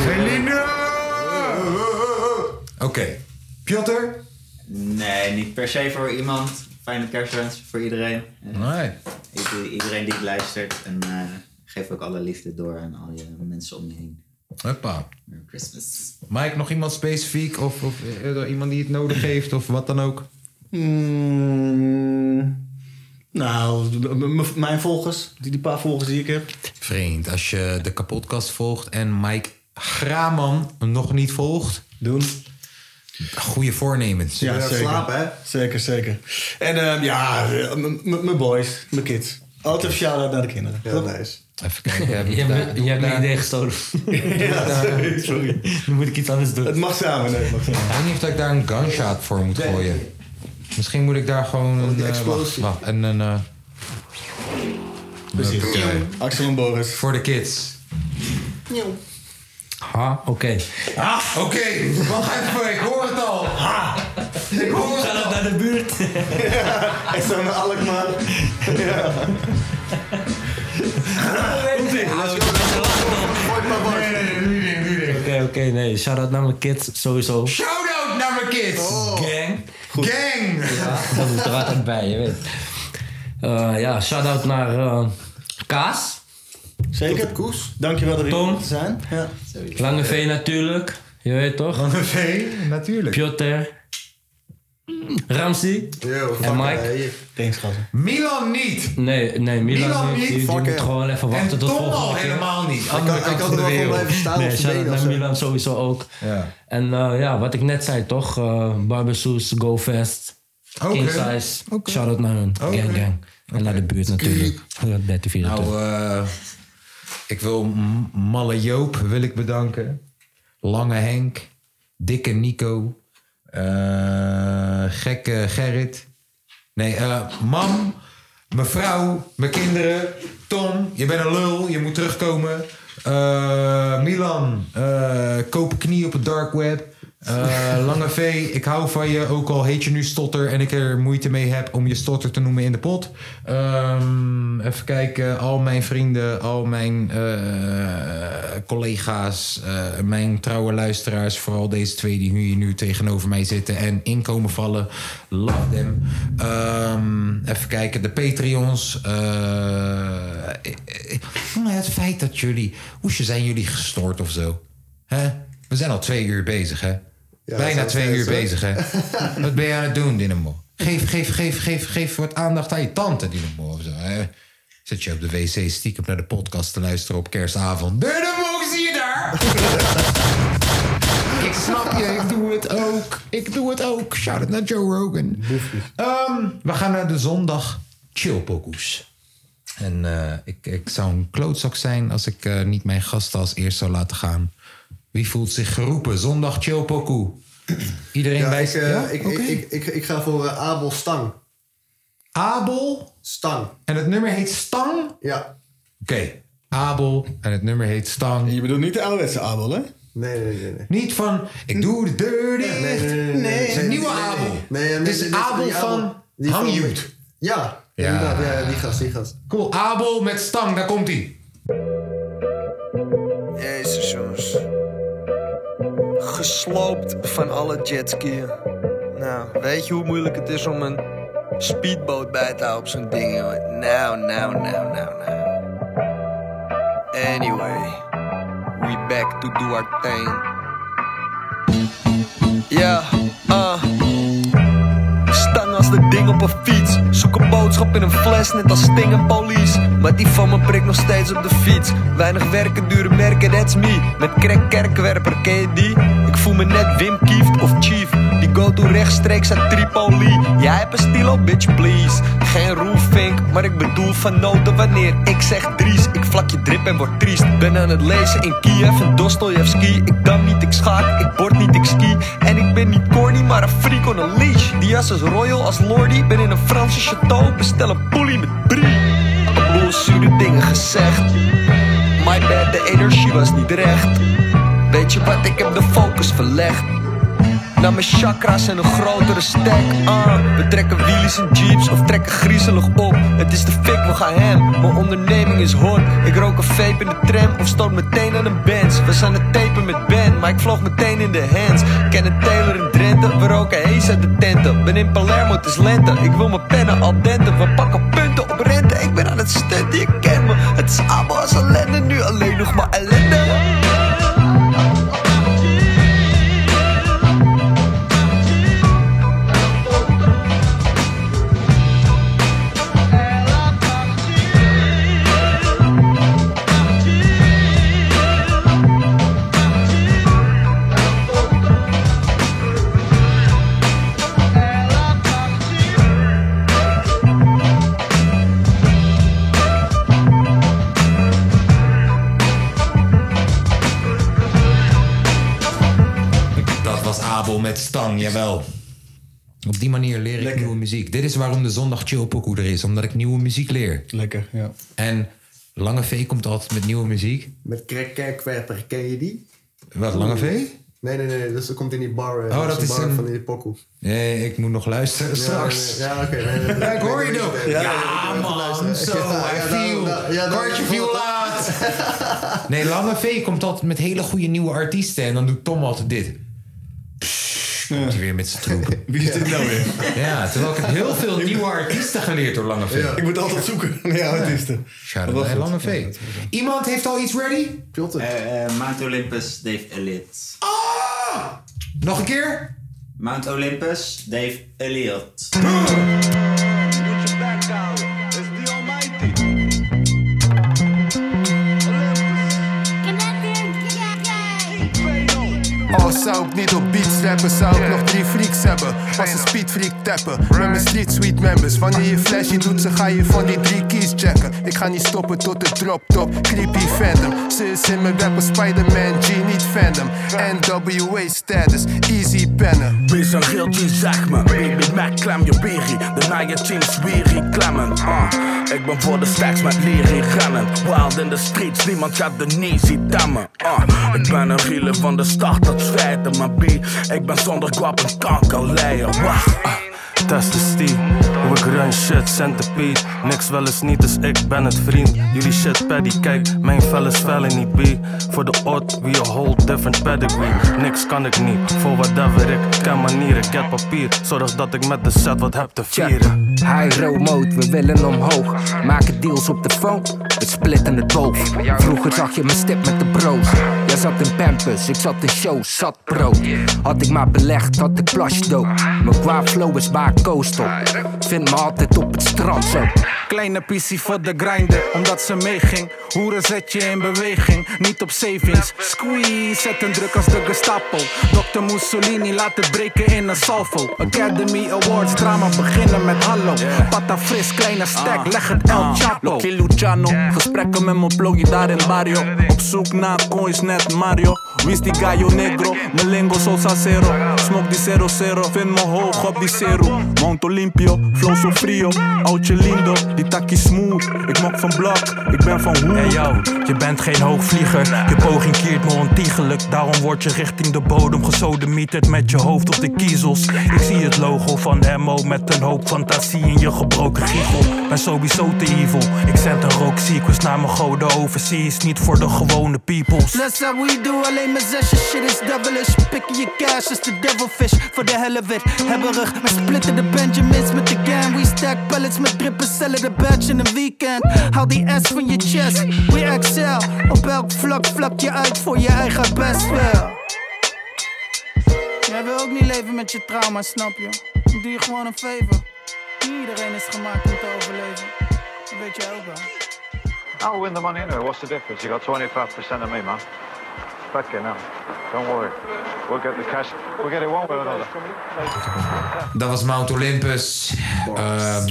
D: Eline! Oké. Piotr?
H: Nee, niet per se voor iemand. Fijne kerstwens voor iedereen. Eh,
D: Nee.
H: ieder- Iedereen die het luistert. En eh, geef ook alle liefde door aan al je mensen om je heen.
D: Huppa.
H: Merry Christmas.
D: Mike, nog iemand specifiek? Of, of eh, iemand die het nodig heeft? Of wat dan ook?
F: Mm, nou, m- m- mijn volgers, die, die paar volgers die ik heb.
D: Vreemd, als je de kapotkast volgt en Mike Graman nog niet volgt.
F: Doen.
D: Goede voornemens.
F: Ja, zeker. Zeker, zeker. En ehm, ja, m- m- mijn boys, mijn kids. Altijd een shout-out naar de kinderen. Ja,
I: nice.
D: Even
G: Je hebt, je hebt mijn idee gestolen.
F: Ja, sorry, sorry.
G: Dan moet ik iets anders doen.
F: Het mag samen, nee, het mag samen.
D: Ik weet niet of dat ik daar een gunshot voor moet gooien. Misschien moet ik daar gewoon een... eh,
F: explosie.
D: wacht, wacht, en een... eh,
F: Precies.
D: Oké.
F: Axel en Boris.
D: Voor de kids.
G: Ha, oké.
D: Ah, oké. Wacht even, ik hoor het al. Ha! Ik hoor het al.
G: naar de buurt.
F: Ja, en zo naar Alkmaar. Ja.
G: Oké, oké, nee. Shout-out naar mijn kids, sowieso.
D: Shout-out naar mijn kids.
F: Oh.
G: Gang.
D: Gang.
G: Dat moet er altijd bij, je weet. Eh, ja, shout-out naar eh, Kaas.
F: Zeker. Koes. Dankjewel dat jullie er zijn. Ja.
G: Lange V natuurlijk. Je weet toch?
D: Lange V, natuurlijk.
G: Piotr. Ramsey. en
D: eh,
G: Mike.
F: Thanks, gasten.
D: Milan niet.
G: Nee, nee, Milan,
D: Milan
G: niet.
D: niet,
G: Die, die
D: fuck
G: moet
D: hem.
G: gewoon even wachten
D: En
G: tot
D: Tom
G: volgende
D: al
G: keer.
D: helemaal niet. Hij Andere kan- kant hij kan van de er wel gewoon wereld. blijven staan op
G: Nee,
D: zijn
G: shout-out
D: benen
G: naar
D: of zo.
G: Milan sowieso ook.
D: Ja.
G: En eh, ja, wat ik net zei toch. eh Barbershoes, GoFest.
D: Oké.
G: King Size. Shout-out naar hun. Gang, gang. En naar de buurt natuurlijk. 13, 24.
D: Nou, eh, ik wil M- Malle Joop wil ik bedanken. Lange Henk. Dikke Nico. eh, gekke Gerrit. Nee, eh, mam. Mevrouw. Mijn kinderen. Tom. Je bent een lul. Je moet terugkomen. Eh, Milan. eh, koop knie op het dark web. Eh, Lange V, ik hou van je, ook al heet je nu Stotter en ik er moeite mee heb om je Stotter te noemen in de pot. Ehm, even kijken, al mijn vrienden, al mijn eh, collega's, eh, mijn trouwe luisteraars, vooral deze twee die nu, nu tegenover mij zitten en inkomen vallen, love them. Ehm, even kijken, de Patreons. eh, eh, eh, het feit dat jullie, hoesje zijn jullie gestoord of zo? Hè? We zijn al twee uur bezig, hè? Bijna
I: zijn
D: twee
I: we
D: uur bezig,
I: steeds,
D: hè? wat ben je aan het doen, Dynamo? Geef, geef, geef, geef, geef wat aandacht aan je tante, Dynamo. Of zo, hè? Zit je op de wc stiekem naar de podcast te luisteren op kerstavond? Dynamo, zie je daar? ik snap je, ik doe het ook. Ik doe het ook. Shout-out naar Joe Rogan. Ehm, we gaan naar de zondag chillpokoes. En eh, ik, ik zou een klootzak zijn als ik eh, niet mijn gasten als eerst zou laten gaan. Wie voelt zich geroepen? Zondag chillpokoe. Iedereen
I: Ja,
D: bij
I: ik, eh,
D: Ja?
I: ik,
D: Oké.
I: ik, ik, ik, ik ga voor eh, Abel Stang.
D: Abel?
I: Stang.
D: En het nummer heet Stang?
I: Ja.
D: Oké, Abel en het nummer heet Stang.
F: Je bedoelt niet de ouderwetse Abel, hè?
I: Nee, nee, nee. nee.
D: Niet van, ik doe de deur dicht.
I: Nee, nee, nee, nee, nee.
D: Het is een
I: Nee,
D: nieuwe
I: nee, nee.
D: Abel.
I: Nee, nee,
D: Dit is
I: nee, nee,
D: Abel
I: die
D: van
I: die van-
D: Hangjoed.
I: Ja,
D: Ja.
I: inderdaad. Ja, ja, die gast, die gast.
D: Cool, Abel met Stang, daar komt hij.
R: Jezus jongens. Gesloopt van alle jetskiën. Nou, weet je hoe moeilijk het is om een speedboot bij te houden op zo'n ding, jongen? Nou, nou, nou, nou, nou. Anyway, we back to do our thing. Ja, ah. Stang als dat ding op een fiets. Zoek een boodschap in een fles, net als Sting en Police. Maar die van me prikt nog steeds op de fiets. Weinig werken, dure merken, that's me. Met crack kerkwerper, ken je die? Ik voel me net Wim Kieft of Chief. Die go to rechtstreeks uit Tripoli. Jij hebt een stilo, bitch, please. Geen roofink, maar ik bedoel van noten wanneer ik zeg Dries. Ik vlak je drip en word triest. Ben aan het lezen in Kiev en Dostojevski. Ik dam niet, ik schaak, ik bord niet, ik ski. En ik ben niet corny, maar een freak on a leash. Die jas is royal als lordy. Ben in een Franse chateau, bestel een poelie met brie. Een boel zure dingen gezegd. My bad, de energie was niet recht. Weet je wat, ik heb de focus verlegd. Naar mijn chakras en een grotere stack. Ah, we trekken wheelies en jeeps of trekken griezelig op. Het is de fik, we gaan hem. Mijn onderneming is hot. Ik rook een vape in de tram of stoot meteen aan een Benz. We zijn het tapen met Ben, maar ik vloog meteen in de hands. Ken een Taylor in Drenthe, we roken hees uit de tenten. Ben in Palermo, het is lente. Ik wil mijn pennen al dente. We pakken punten op rente. Ik ben aan het stunten, je kent me. Het is allemaal als ellende, nu alleen nog maar ellende.
D: Dat was Abel met Stang, jawel. Op die manier leer ik nieuwe muziek. Dit is waarom de zondag chillpokoe er is. Omdat ik nieuwe muziek leer.
S: Lekker, ja.
D: En Lange V komt altijd met nieuwe muziek.
Q: Met Craig Kerkwerper, ken je die?
D: Wat, Lange V?
Q: Nee, nee, nee, dus dat komt in die bar. eh,
D: Oh,
Q: dat
D: dat
Q: is een
D: is
Q: bar
D: een-
Q: van die pokoe.
D: Nee, ik moet nog luisteren
Q: Ja,
D: straks.
Q: nee, ja, oké, nee, nee, nee.
D: ik hoor je nog.
Q: Ja,
D: Ja,
Q: ja, ik wil even
D: man, zo,
Q: luisteren. Ja,
D: I
Q: ja,
D: feel.
Q: nou, nou, ja, nou,
D: Kortje viel laat. Nee, Lange V komt altijd met hele goede nieuwe artiesten. En dan doet Tom altijd dit. Pssst, Komt hij weer met zijn troep.
S: Wie is dit nou weer?
D: Ja, terwijl ik heb heel veel nieuwe artiesten geleerd door Lange V.
S: Ja, ik moet altijd zoeken naar jouw artiesten.
D: Shout-out
S: Dat was
D: naar
S: het.
D: Lange V. Iemand heeft al iets ready?
Q: Pilten.
H: Eh, Mount Olympus, Dave Elliott.
D: Ah! Nog een keer?
H: Mount Olympus, Dave Elliott.
I: Al zou ik niet op beats rappen, zou ik nog drie freaks hebben. Als een speedfreak tappen, met mijn street sweet members. Wanneer je flashje doet, ze ga je van die drie keys checken. Ik ga niet stoppen tot de drop top, creepy fandom. Ze is in mijn rapper Spider-Man, G niet fandom. NWA status, easy pennen.
T: Wees een geeltje, zeg me. Baby, Mac, klem je berry. Daarna je chins weer hier klemmen. Ah, ik ben voor de stacks met leer rennend. Wild in de streets, niemand gaat de nee zien temmen. Ah, ik ben een riele van de start, dat is feiten. Maar B, ik ben zonder kwap een kankerleier. Wacht, ah,
U: Test de stie, hoe ik run shit, centipede Niks wel eens niet, dus ik ben het vriend Jullie shit paddy, kijk, mijn vel is niet B Voor de odd, we a whole different pedigree Niks kan ik niet, voor whatever ik ken manieren Get papier, zorg dat ik met de set wat heb te vieren
V: High road mode, we willen omhoog. Maken deals op de phone, we splitten het boog. Vroeger zag je mijn stip met de brood. Jij zat in pampers, ik zat in shows, zat brood. Had ik maar belegd, had ik plush dope. Mijn qua flow is waar coastal. Vind me altijd op het strand zo.
N: Kleine pissie voor de grinder, omdat ze meeging. Hoeren zet je in beweging, niet op savings. Squeeze, zet een druk als de Gestapo. Dr. Mussolini laat het breken in een salvo. Academy Awards, drama beginnen met hallo. Pata fris, kleine stack, leg het El Chapo.
E: Loki Luciano, gesprekken met mijn bloggy daar in barrio. Op zoek naar coins net Mario. Wie is die gallo negro? Melengo salsa cero. Smoke die 00, vind me hoog op die cero. Mount Olympio, flow so frio. Oudje lindo, die takkie smooth. Ik mok van blok, ik ben van hoed.
U: Hey yo, je bent geen hoogvlieger. Je poging keert me ontiegelijk. Daarom word je richting de bodem gesodemieterd met je hoofd op de kiezels. Ik zie het logo van MO met een hoop fantasie in je gebroken giegel. Ben sowieso te evil. Ik zend een rook sequence naar mijn goden overseas. Niet voor de gewone peoples.
W: That's how we do, alleen mijn zesje shit is devilish. Pikken je cash is de devilfish, voor de hell of it. Hebberig, maar splitten de Benjamins met de gang. We stack pallets met drippen, cellen de badge in een weekend. Haal die ass van je chest, we excel. Op elk vlak vlak je uit voor je eigen best wel. Jij wil ook niet leven met je trauma, snap je? Ik doe je gewoon een favor. Iedereen is gemaakt om te overleven. Dat weet je ook wel.
C: Nou, eh,
X: I'll win the money anyway. What's the difference? You got 25% of me, man.
C: Fuck you, no. Don't worry. We'll get the cash. We'll get it one way or another.
D: Dat was Mount Olympus. Ehm,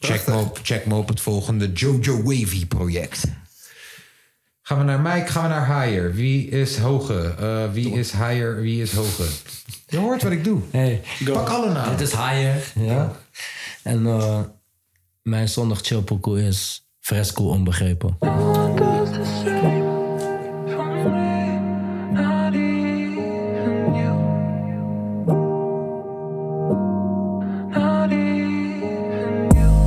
D: check, me op, check me op het volgende Jojo Wavy project. Gaan we naar Mike, gaan we naar Higher. Wie is hoger? Eh, wie is higher, wie is hoger? Je hoort wat ik doe. Pak alle namen.
G: Dit is higher.
D: eh,
G: Ja. En eh, mijn zondag chillpokoe is fresco onbegrepen.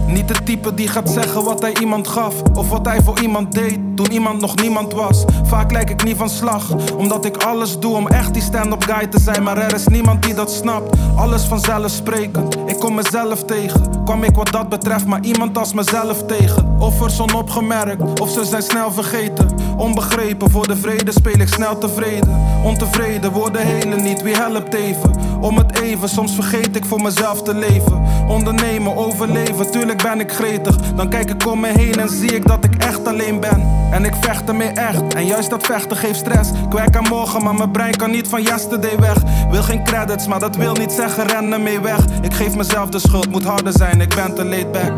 N: Niet de type die gaat zeggen wat hij iemand gaf Of wat hij voor iemand deed toen iemand nog niemand was Vaak lijk ik niet van slag Omdat ik alles doe om echt die stand-up guy te zijn Maar er is niemand die dat snapt Alles vanzelfsprekend Ik kom mezelf tegen Kwam ik wat dat betreft maar iemand als mezelf tegen Offers onopgemerkt Of ze zijn snel vergeten Onbegrepen voor de vrede speel ik snel tevreden Ontevreden worden helen niet Wie helpt even Om het even soms vergeet ik voor mezelf te leven Ondernemen, overleven, tuurlijk ben ik gretig. Dan kijk ik om me heen en zie ik dat ik echt alleen ben. En ik vecht ermee echt, en juist dat vechten geeft stress. Kwijk aan morgen, maar mijn brein kan niet van yesterday weg. Wil geen credits, maar dat wil niet zeggen ren ermee weg. Ik geef mezelf de schuld, moet harder zijn, ik ben te laid back.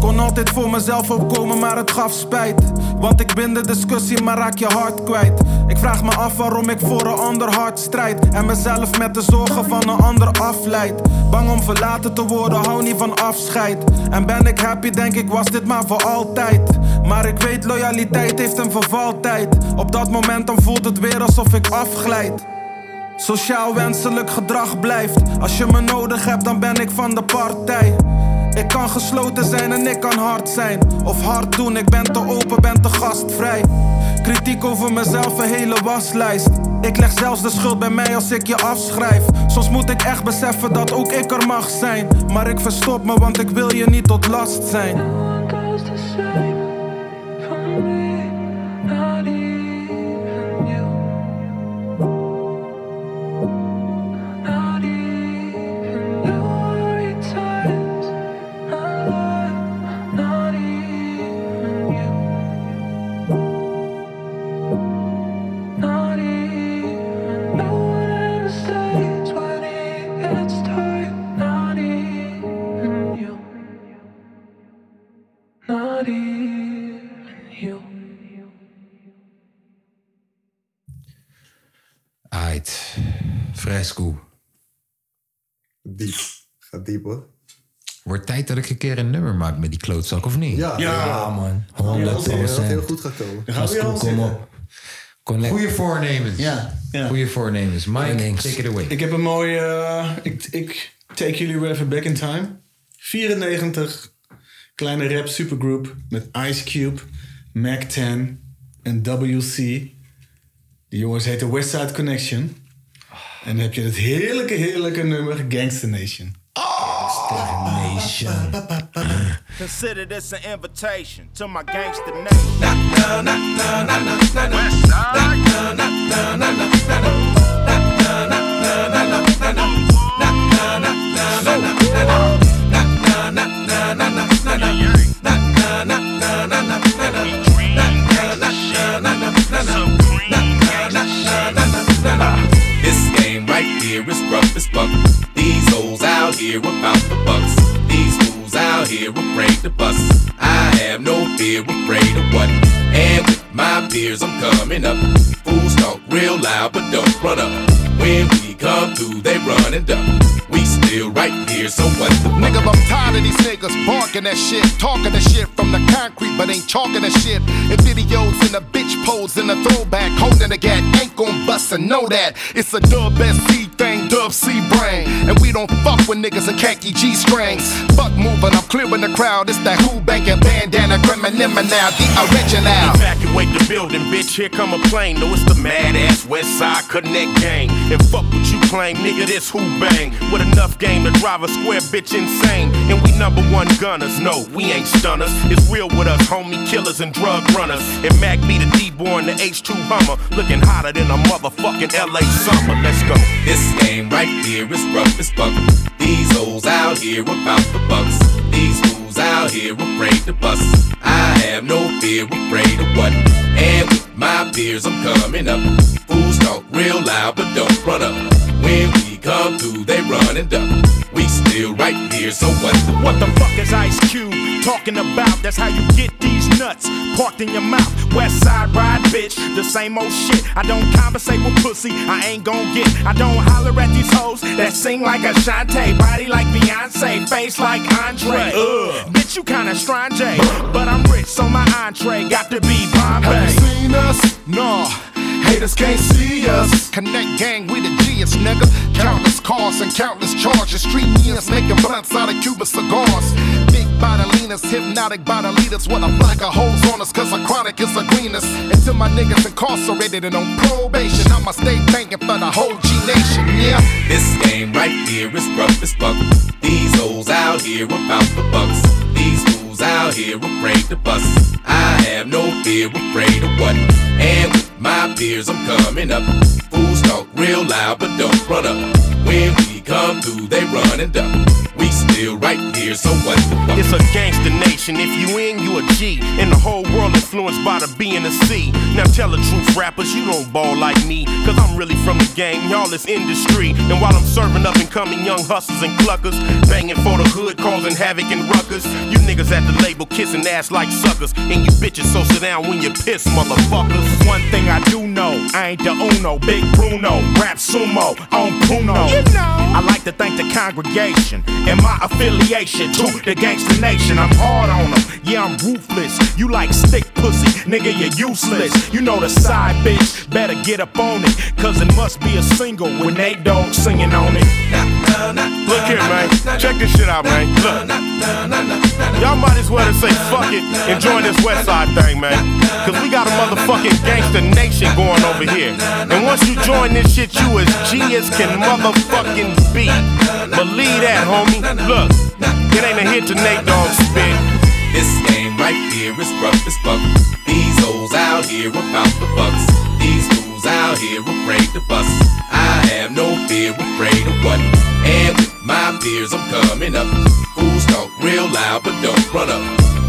N: Kon altijd voor mezelf opkomen, maar het gaf spijt. Want ik win de discussie, maar raak je hart kwijt. Ik vraag me af waarom ik voor een ander hart strijd. En mezelf met de zorgen van een ander afleid. Bang om verlaten te worden, hou niet van afscheid. En ben ik happy, denk ik, was dit maar voor altijd. Maar ik weet, loyaliteit heeft een vervaltijd. Op dat moment dan voelt het weer alsof ik afglijd. Sociaal wenselijk gedrag blijft. Als je me nodig hebt, dan ben ik van de partij. Ik kan gesloten zijn en ik kan hard zijn. Of hard doen, ik ben te open, ben te gastvrij. Kritiek over mezelf, een hele waslijst. Ik leg zelfs de schuld bij mij als ik je afschrijf. Soms moet ik echt beseffen dat ook ik er mag zijn. Maar ik verstop me, want ik wil je niet tot last zijn.
D: Ait. Fresco.
I: Diep. Gaat diep hoor.
D: Wordt tijd dat ik een keer een nummer maak met die klootzak, of niet?
I: Ja. Ja. Ja, man.
D: Honderd
I: Ja, dat is heel- dat is heel
D: procent.
I: goed gaat komen.
D: Fresco,
I: Dat gaan we al
D: kom
I: zeggen.
D: op. Connect. Goeie voornemens. Ja. Goeie voornemens. Mike, take it away.
F: Ik heb een mooie. eh, ik, ik take jullie weer even back in time. 94. Kleine rap supergroup met Ice Cube, Mac 10 en WC. Die jongens heten Westside Connection. En dan heb je het heerlijke, heerlijke nummer Gangster Nation. Gangster Nation.
T: Consider this an invitation to my gangster nation. Westside.
Y: This game right here is rough as fuck. These hoes out here about the bucks. These fools out here afraid to bust. I have no fear, afraid of what. And with my peers, I'm coming up. Fools talk real loud, but don't run up. When we come through, they run and duck. We still right here, so what the
P: Nigga, I'm tired of these niggas barking that shit, talking that shit from the concrete, but ain't talking that shit. In videos in the bitch pose in the throwback, holding the gat, ain't gon' bust and know that. It's a dub SC thing, dub C brain, and we don't fuck with niggas in khaki G strings. Buck moving, I'm clearing the crowd. It's that who banking bandana, criminal now, the original.
Y: Evacuate the building, bitch. Here come a plane. No, it's the mad ass West Side Connect gang. And fuck what you claim, nigga. This who bang with enough game to drive a square bitch insane. And we number one gunners. No, we ain't stunners. It's real with us, homie killers and drug runners. And Mac be the D boy in the H2 Hummer, looking hotter than a motherfucking LA summer. Let's go. This game right here is rough as fuck. These hoes out here about the bucks. These fools out here afraid to bust. I have no fear, afraid of what. And with my peers, I'm coming up. Fools talk real loud, but don't run up. When we come through, they run and duck. We still right here, so what the
T: What the fuck is Ice Cube talking about? That's how you get these nuts parked in your mouth. West side ride, bitch. The same old shit. I don't conversate with pussy. I ain't gon' get. I don't holler at these hoes that sing like Ashante, body like Beyonce, face like Andre.
P: Uh.
T: Ugh. Bitch, you kinda strange, eh? but I'm rich, so my entree got to be Bombay.
P: Have you seen us? No. Haters can't see us. Connect gang, we the G's, nigga. Countless cars and countless charges. Street means making blunts out of Cuban cigars. Big body leaners, hypnotic body leaders. What a black of hoes on us, cause a chronic is a greenest. Until my niggas incarcerated and on probation, I'ma stay thanking for the whole G Nation, yeah.
Y: This game right here is rough as fuck. These hoes out here about the bucks. These fools out here afraid to bust. I have no fear, afraid of what. And with my peers, I'm coming up. Fools talk real loud, but don't run up. When we come through, they run and duck. We still right here, so what the fuck?
T: It's a gangster nation. If you in, you a G. And the whole world influenced by the B and the C. Now tell the truth, rappers, you don't ball like me. Cause I'm really from the gang, y'all is industry. And while I'm serving up and coming young hustlers and cluckers, banging for the hood, causing havoc and ruckus. You niggas at the label kissing ass like suckers. And you bitches, so sit down when you piss, motherfuckers. One thing I do know, I ain't the Uno, Big Bruno, rap sumo, on Puno. You know. I like to thank the congregation and my affiliation to the gangster nation. I'm hard on them, yeah, I'm ruthless. You like stick pussy, nigga, you're useless. You know the side bitch, better get up on it, cause it must be a single with Nate Dogg singing on it.
Y: Look here, man. Check this shit out, man. Look.
T: Y'all might as well just say fuck it and join this West Side thing, man. Cause we got a motherfucking gangster nation going over here. And once you join this shit, you as G as can motherfucking be. Believe that, homie. Look, it ain't a hit to Nate Dogg spit.
Y: This game right here is rough as fuck. These hoes out here about the bucks. These fools out here afraid to bust. I have no fear, afraid of what. And with my peers, I'm coming up. Fools talk real loud, but don't run up.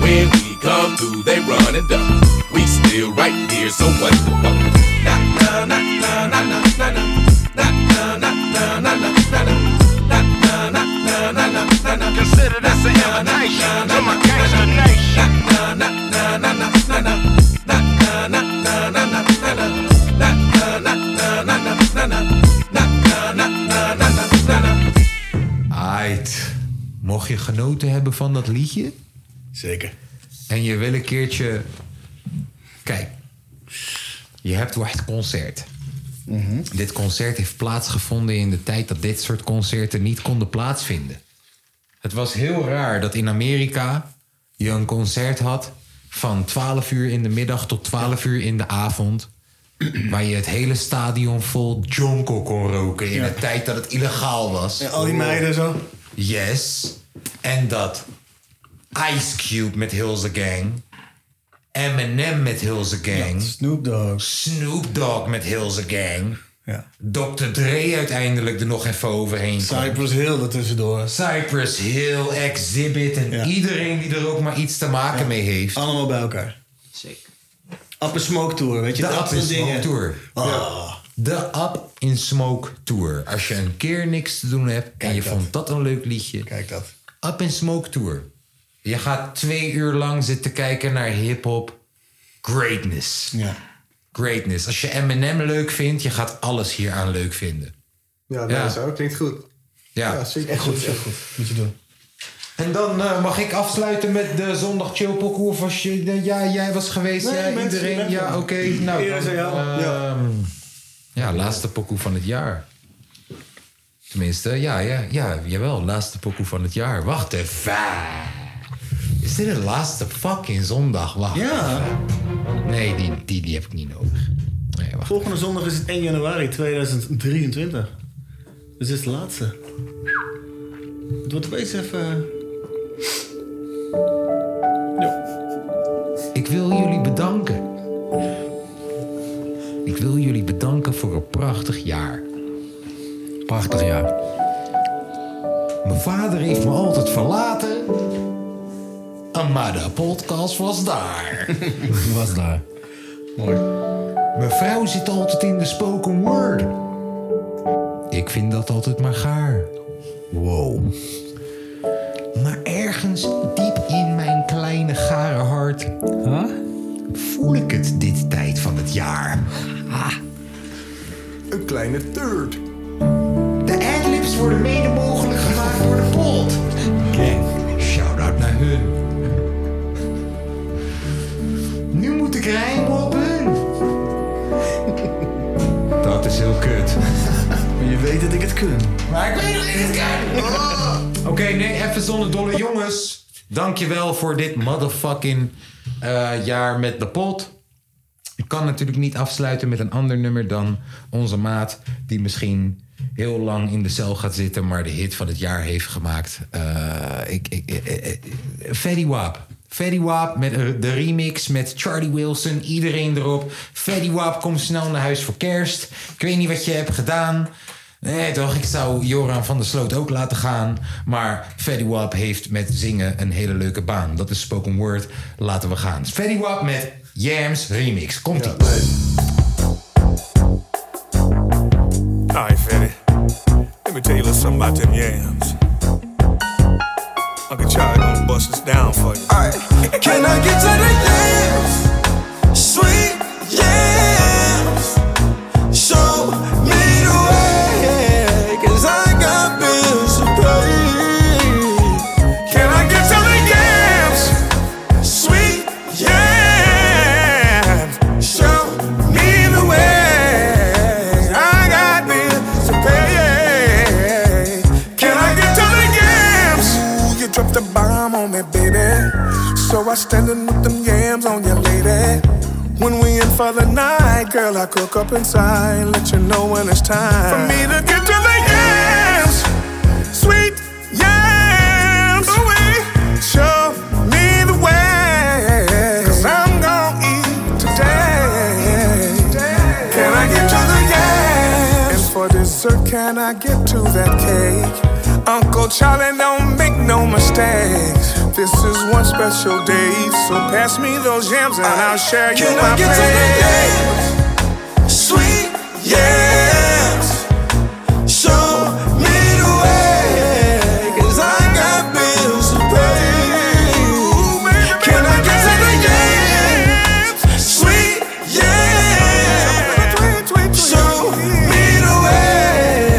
Y: When we come through, they run and duck. We still right here, so what the fuck? Na, na, na, na, na, na, na. Na, na, na, na, na, na, na.
T: Consider this an invitation to my gangster nation.
D: Aight. Mocht je genoten hebben van dat liedje? Zeker. En je wil een keertje... Kijk. Je hebt wel het concert. Dit concert heeft plaatsgevonden in de tijd dat dit soort concerten niet konden plaatsvinden. Het was heel raar dat in Amerika je een concert had van 12 uur in de middag tot 12 uur in de avond. Waar je het hele stadion vol jonko kon roken. In
F: Ja.
D: de tijd dat het illegaal was.
F: al die meiden zo.
D: Yes. En dat Ice Cube met Hilse Gang. Eminem met Hilse Gang. Snoop Dogg. Snoop Dogg met Hilse Gang. Dr. Dre uiteindelijk er nog even overheen kwam.
F: Cypress Hill er tussendoor.
D: Cypress Hill, Exhibit en iedereen die er ook maar iets te maken mee heeft. Allemaal bij elkaar. Zeker.
F: Up in Smoke Tour, weet je.
D: De
F: dat
D: Up in
F: soort
D: Smoke
F: dingen.
D: Tour.
F: Ah.
D: De Up in Smoke Tour. Als je een keer niks te doen hebt en je vond dat een leuk liedje. Kijk dat. Up in Smoke Tour. Je gaat twee uur lang zitten kijken naar hip-hop greatness. Ja. Greatness. Als je Eminem leuk vindt, je gaat alles hieraan leuk vinden.
I: Ja,
D: Ja.
I: dat zo. Klinkt goed.
D: Ja,
I: zeker.
D: Echt goed,
I: Goed,
D: echt
I: goed.
D: Moet je doen. En dan eh, mag ik afsluiten met de zondag chill pokoe. Of als je, eh, ja, jij was geweest,
F: Nee,
D: ja,
F: mensen,
D: iedereen.
F: mensen.
D: Ja, oké. Nou,
F: Iedereen
D: dan,
F: zei ja.
D: ehm, ja, laatste pokoe van het jaar. Tenminste, ja, ja, ja, jawel. Laatste pokoe van het jaar. Wacht even. Is dit de laatste fucking zondag? Wacht ja. Nee, die, die, die heb ik niet nodig.
F: Volgende zondag is het 1 januari 2023. Dus dit is de laatste. Het wordt opeens even...
D: Ik wil jullie bedanken. Ik wil jullie bedanken voor een prachtig jaar. Prachtig jaar. Mijn vader heeft me altijd verlaten. Maar de podcast was daar. was daar. Mooi. Mijn vrouw zit altijd in de spoken word. Ik vind dat altijd maar gaar. Wow. Maar ergens diep in mijn kleine gare hart... voel ik het dit tijd van het jaar. Een kleine turd. De adlibs worden mede mogelijk gemaakt door de pot. Gang. Shout-out naar hun. Nu moet ik rijmen op hun. Dat is heel kut.
F: Je weet dat ik het kun.
D: Maar ik weet nog niet Oh. het Oké, nee, even zonder dolle jongens. Dankjewel voor dit motherfucking eh, jaar met de pot. Ik kan natuurlijk niet afsluiten met een ander nummer dan onze maat... die misschien heel lang in de cel gaat zitten... maar de hit van het jaar heeft gemaakt. Eh ik, ik, eh, eh, Fetty Wap. Fetty Wap met eh, de remix met Charlie Wilson. Iedereen erop. Fetty Wap, kom snel naar huis voor kerst. Ik weet niet wat je hebt gedaan... Nee, toch? Ik zou Joran van der Sloot ook laten gaan. Maar Fetty Wap heeft met zingen een hele leuke baan. Dat is spoken word. Laten we gaan. Fetty Wap met Jams Remix. Komt-ie.
B: All right, Fetty. Let me tell you a little something about them yams. Uncle Charlie gonna bust us down for you. All right.
E: Can I get to the yams? Sweet yams. Show me the way, 'cause I got bills to pay. Can I get to the yams? Sweet yams. Show me the way, I got bills to pay. Can I get to the yams?
B: Ooh, you dropped a bomb on me, baby. So I standing with them yams on you, lady. When we in for the night, girl, I cook up inside. Let you know when it's time
E: for me to get to the yams. Sweet yams. Away. Show me the way. Cause I'm gonna eat today. Can I get to the yams?
B: And for dessert, can I get to that cake? Uncle Charlie, don't make no mistakes. This is one special day, so pass me those yams and I'll share you
E: Can I
B: my
E: get to the
B: plate.
E: yams? Sweet yams. Show me the way. 'cause I got bills to pay. Can I get to the yams? Sweet yams. Show me the way.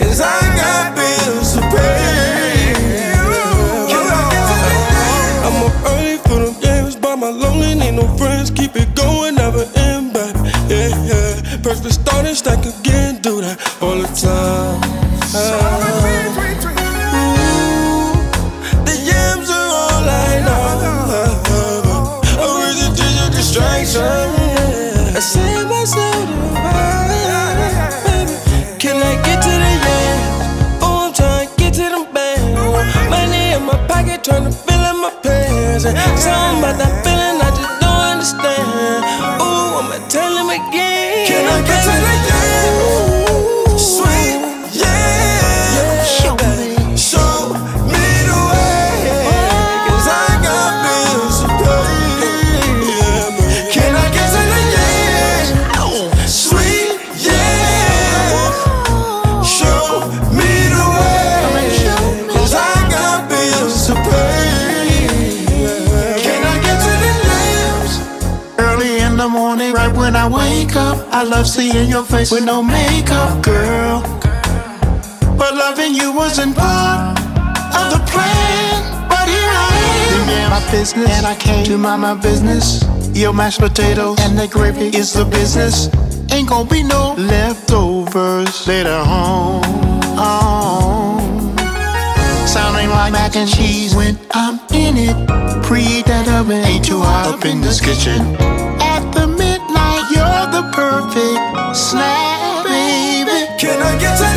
E: 'cause I got bills to pay. Can I get to the
J: I'm up early for them games, by my lonely, need no friends. Keep it going, never end, baby. Yeah, yeah. Perfect starting, stack again, do that all the time. Ooh, the yams are all I know. A reason to your distraction. I set myself to hide, baby. Can I get to the yams? Oh, I'm trying to get to them bands. Money in my pocket, trying to fill in my pants. And something about that feeling I just don't understand. Oh, I'ma tell him again.
E: Can I get to the
J: yams?
E: Sweet yams. Show me, show me the way. 'Cause I got bills to pay. Can I get to the yams? Sweet yams. Show me the way. 'Cause I got bills to pay. Can I get to the yams?
J: Early in the morning, right when I wake up, I love seeing your face with no makeup, girl. But loving you wasn't part of the plan. But here I am, my business, and I came to mind my business. Your mashed potatoes and the gravy is the business. Ain't gonna be no leftovers later on. Oh. mac and cheese when I'm in it. Pray that oven ain't too hot up in this kitchen. At the midnight, you're the perfect snack, baby. Can I get to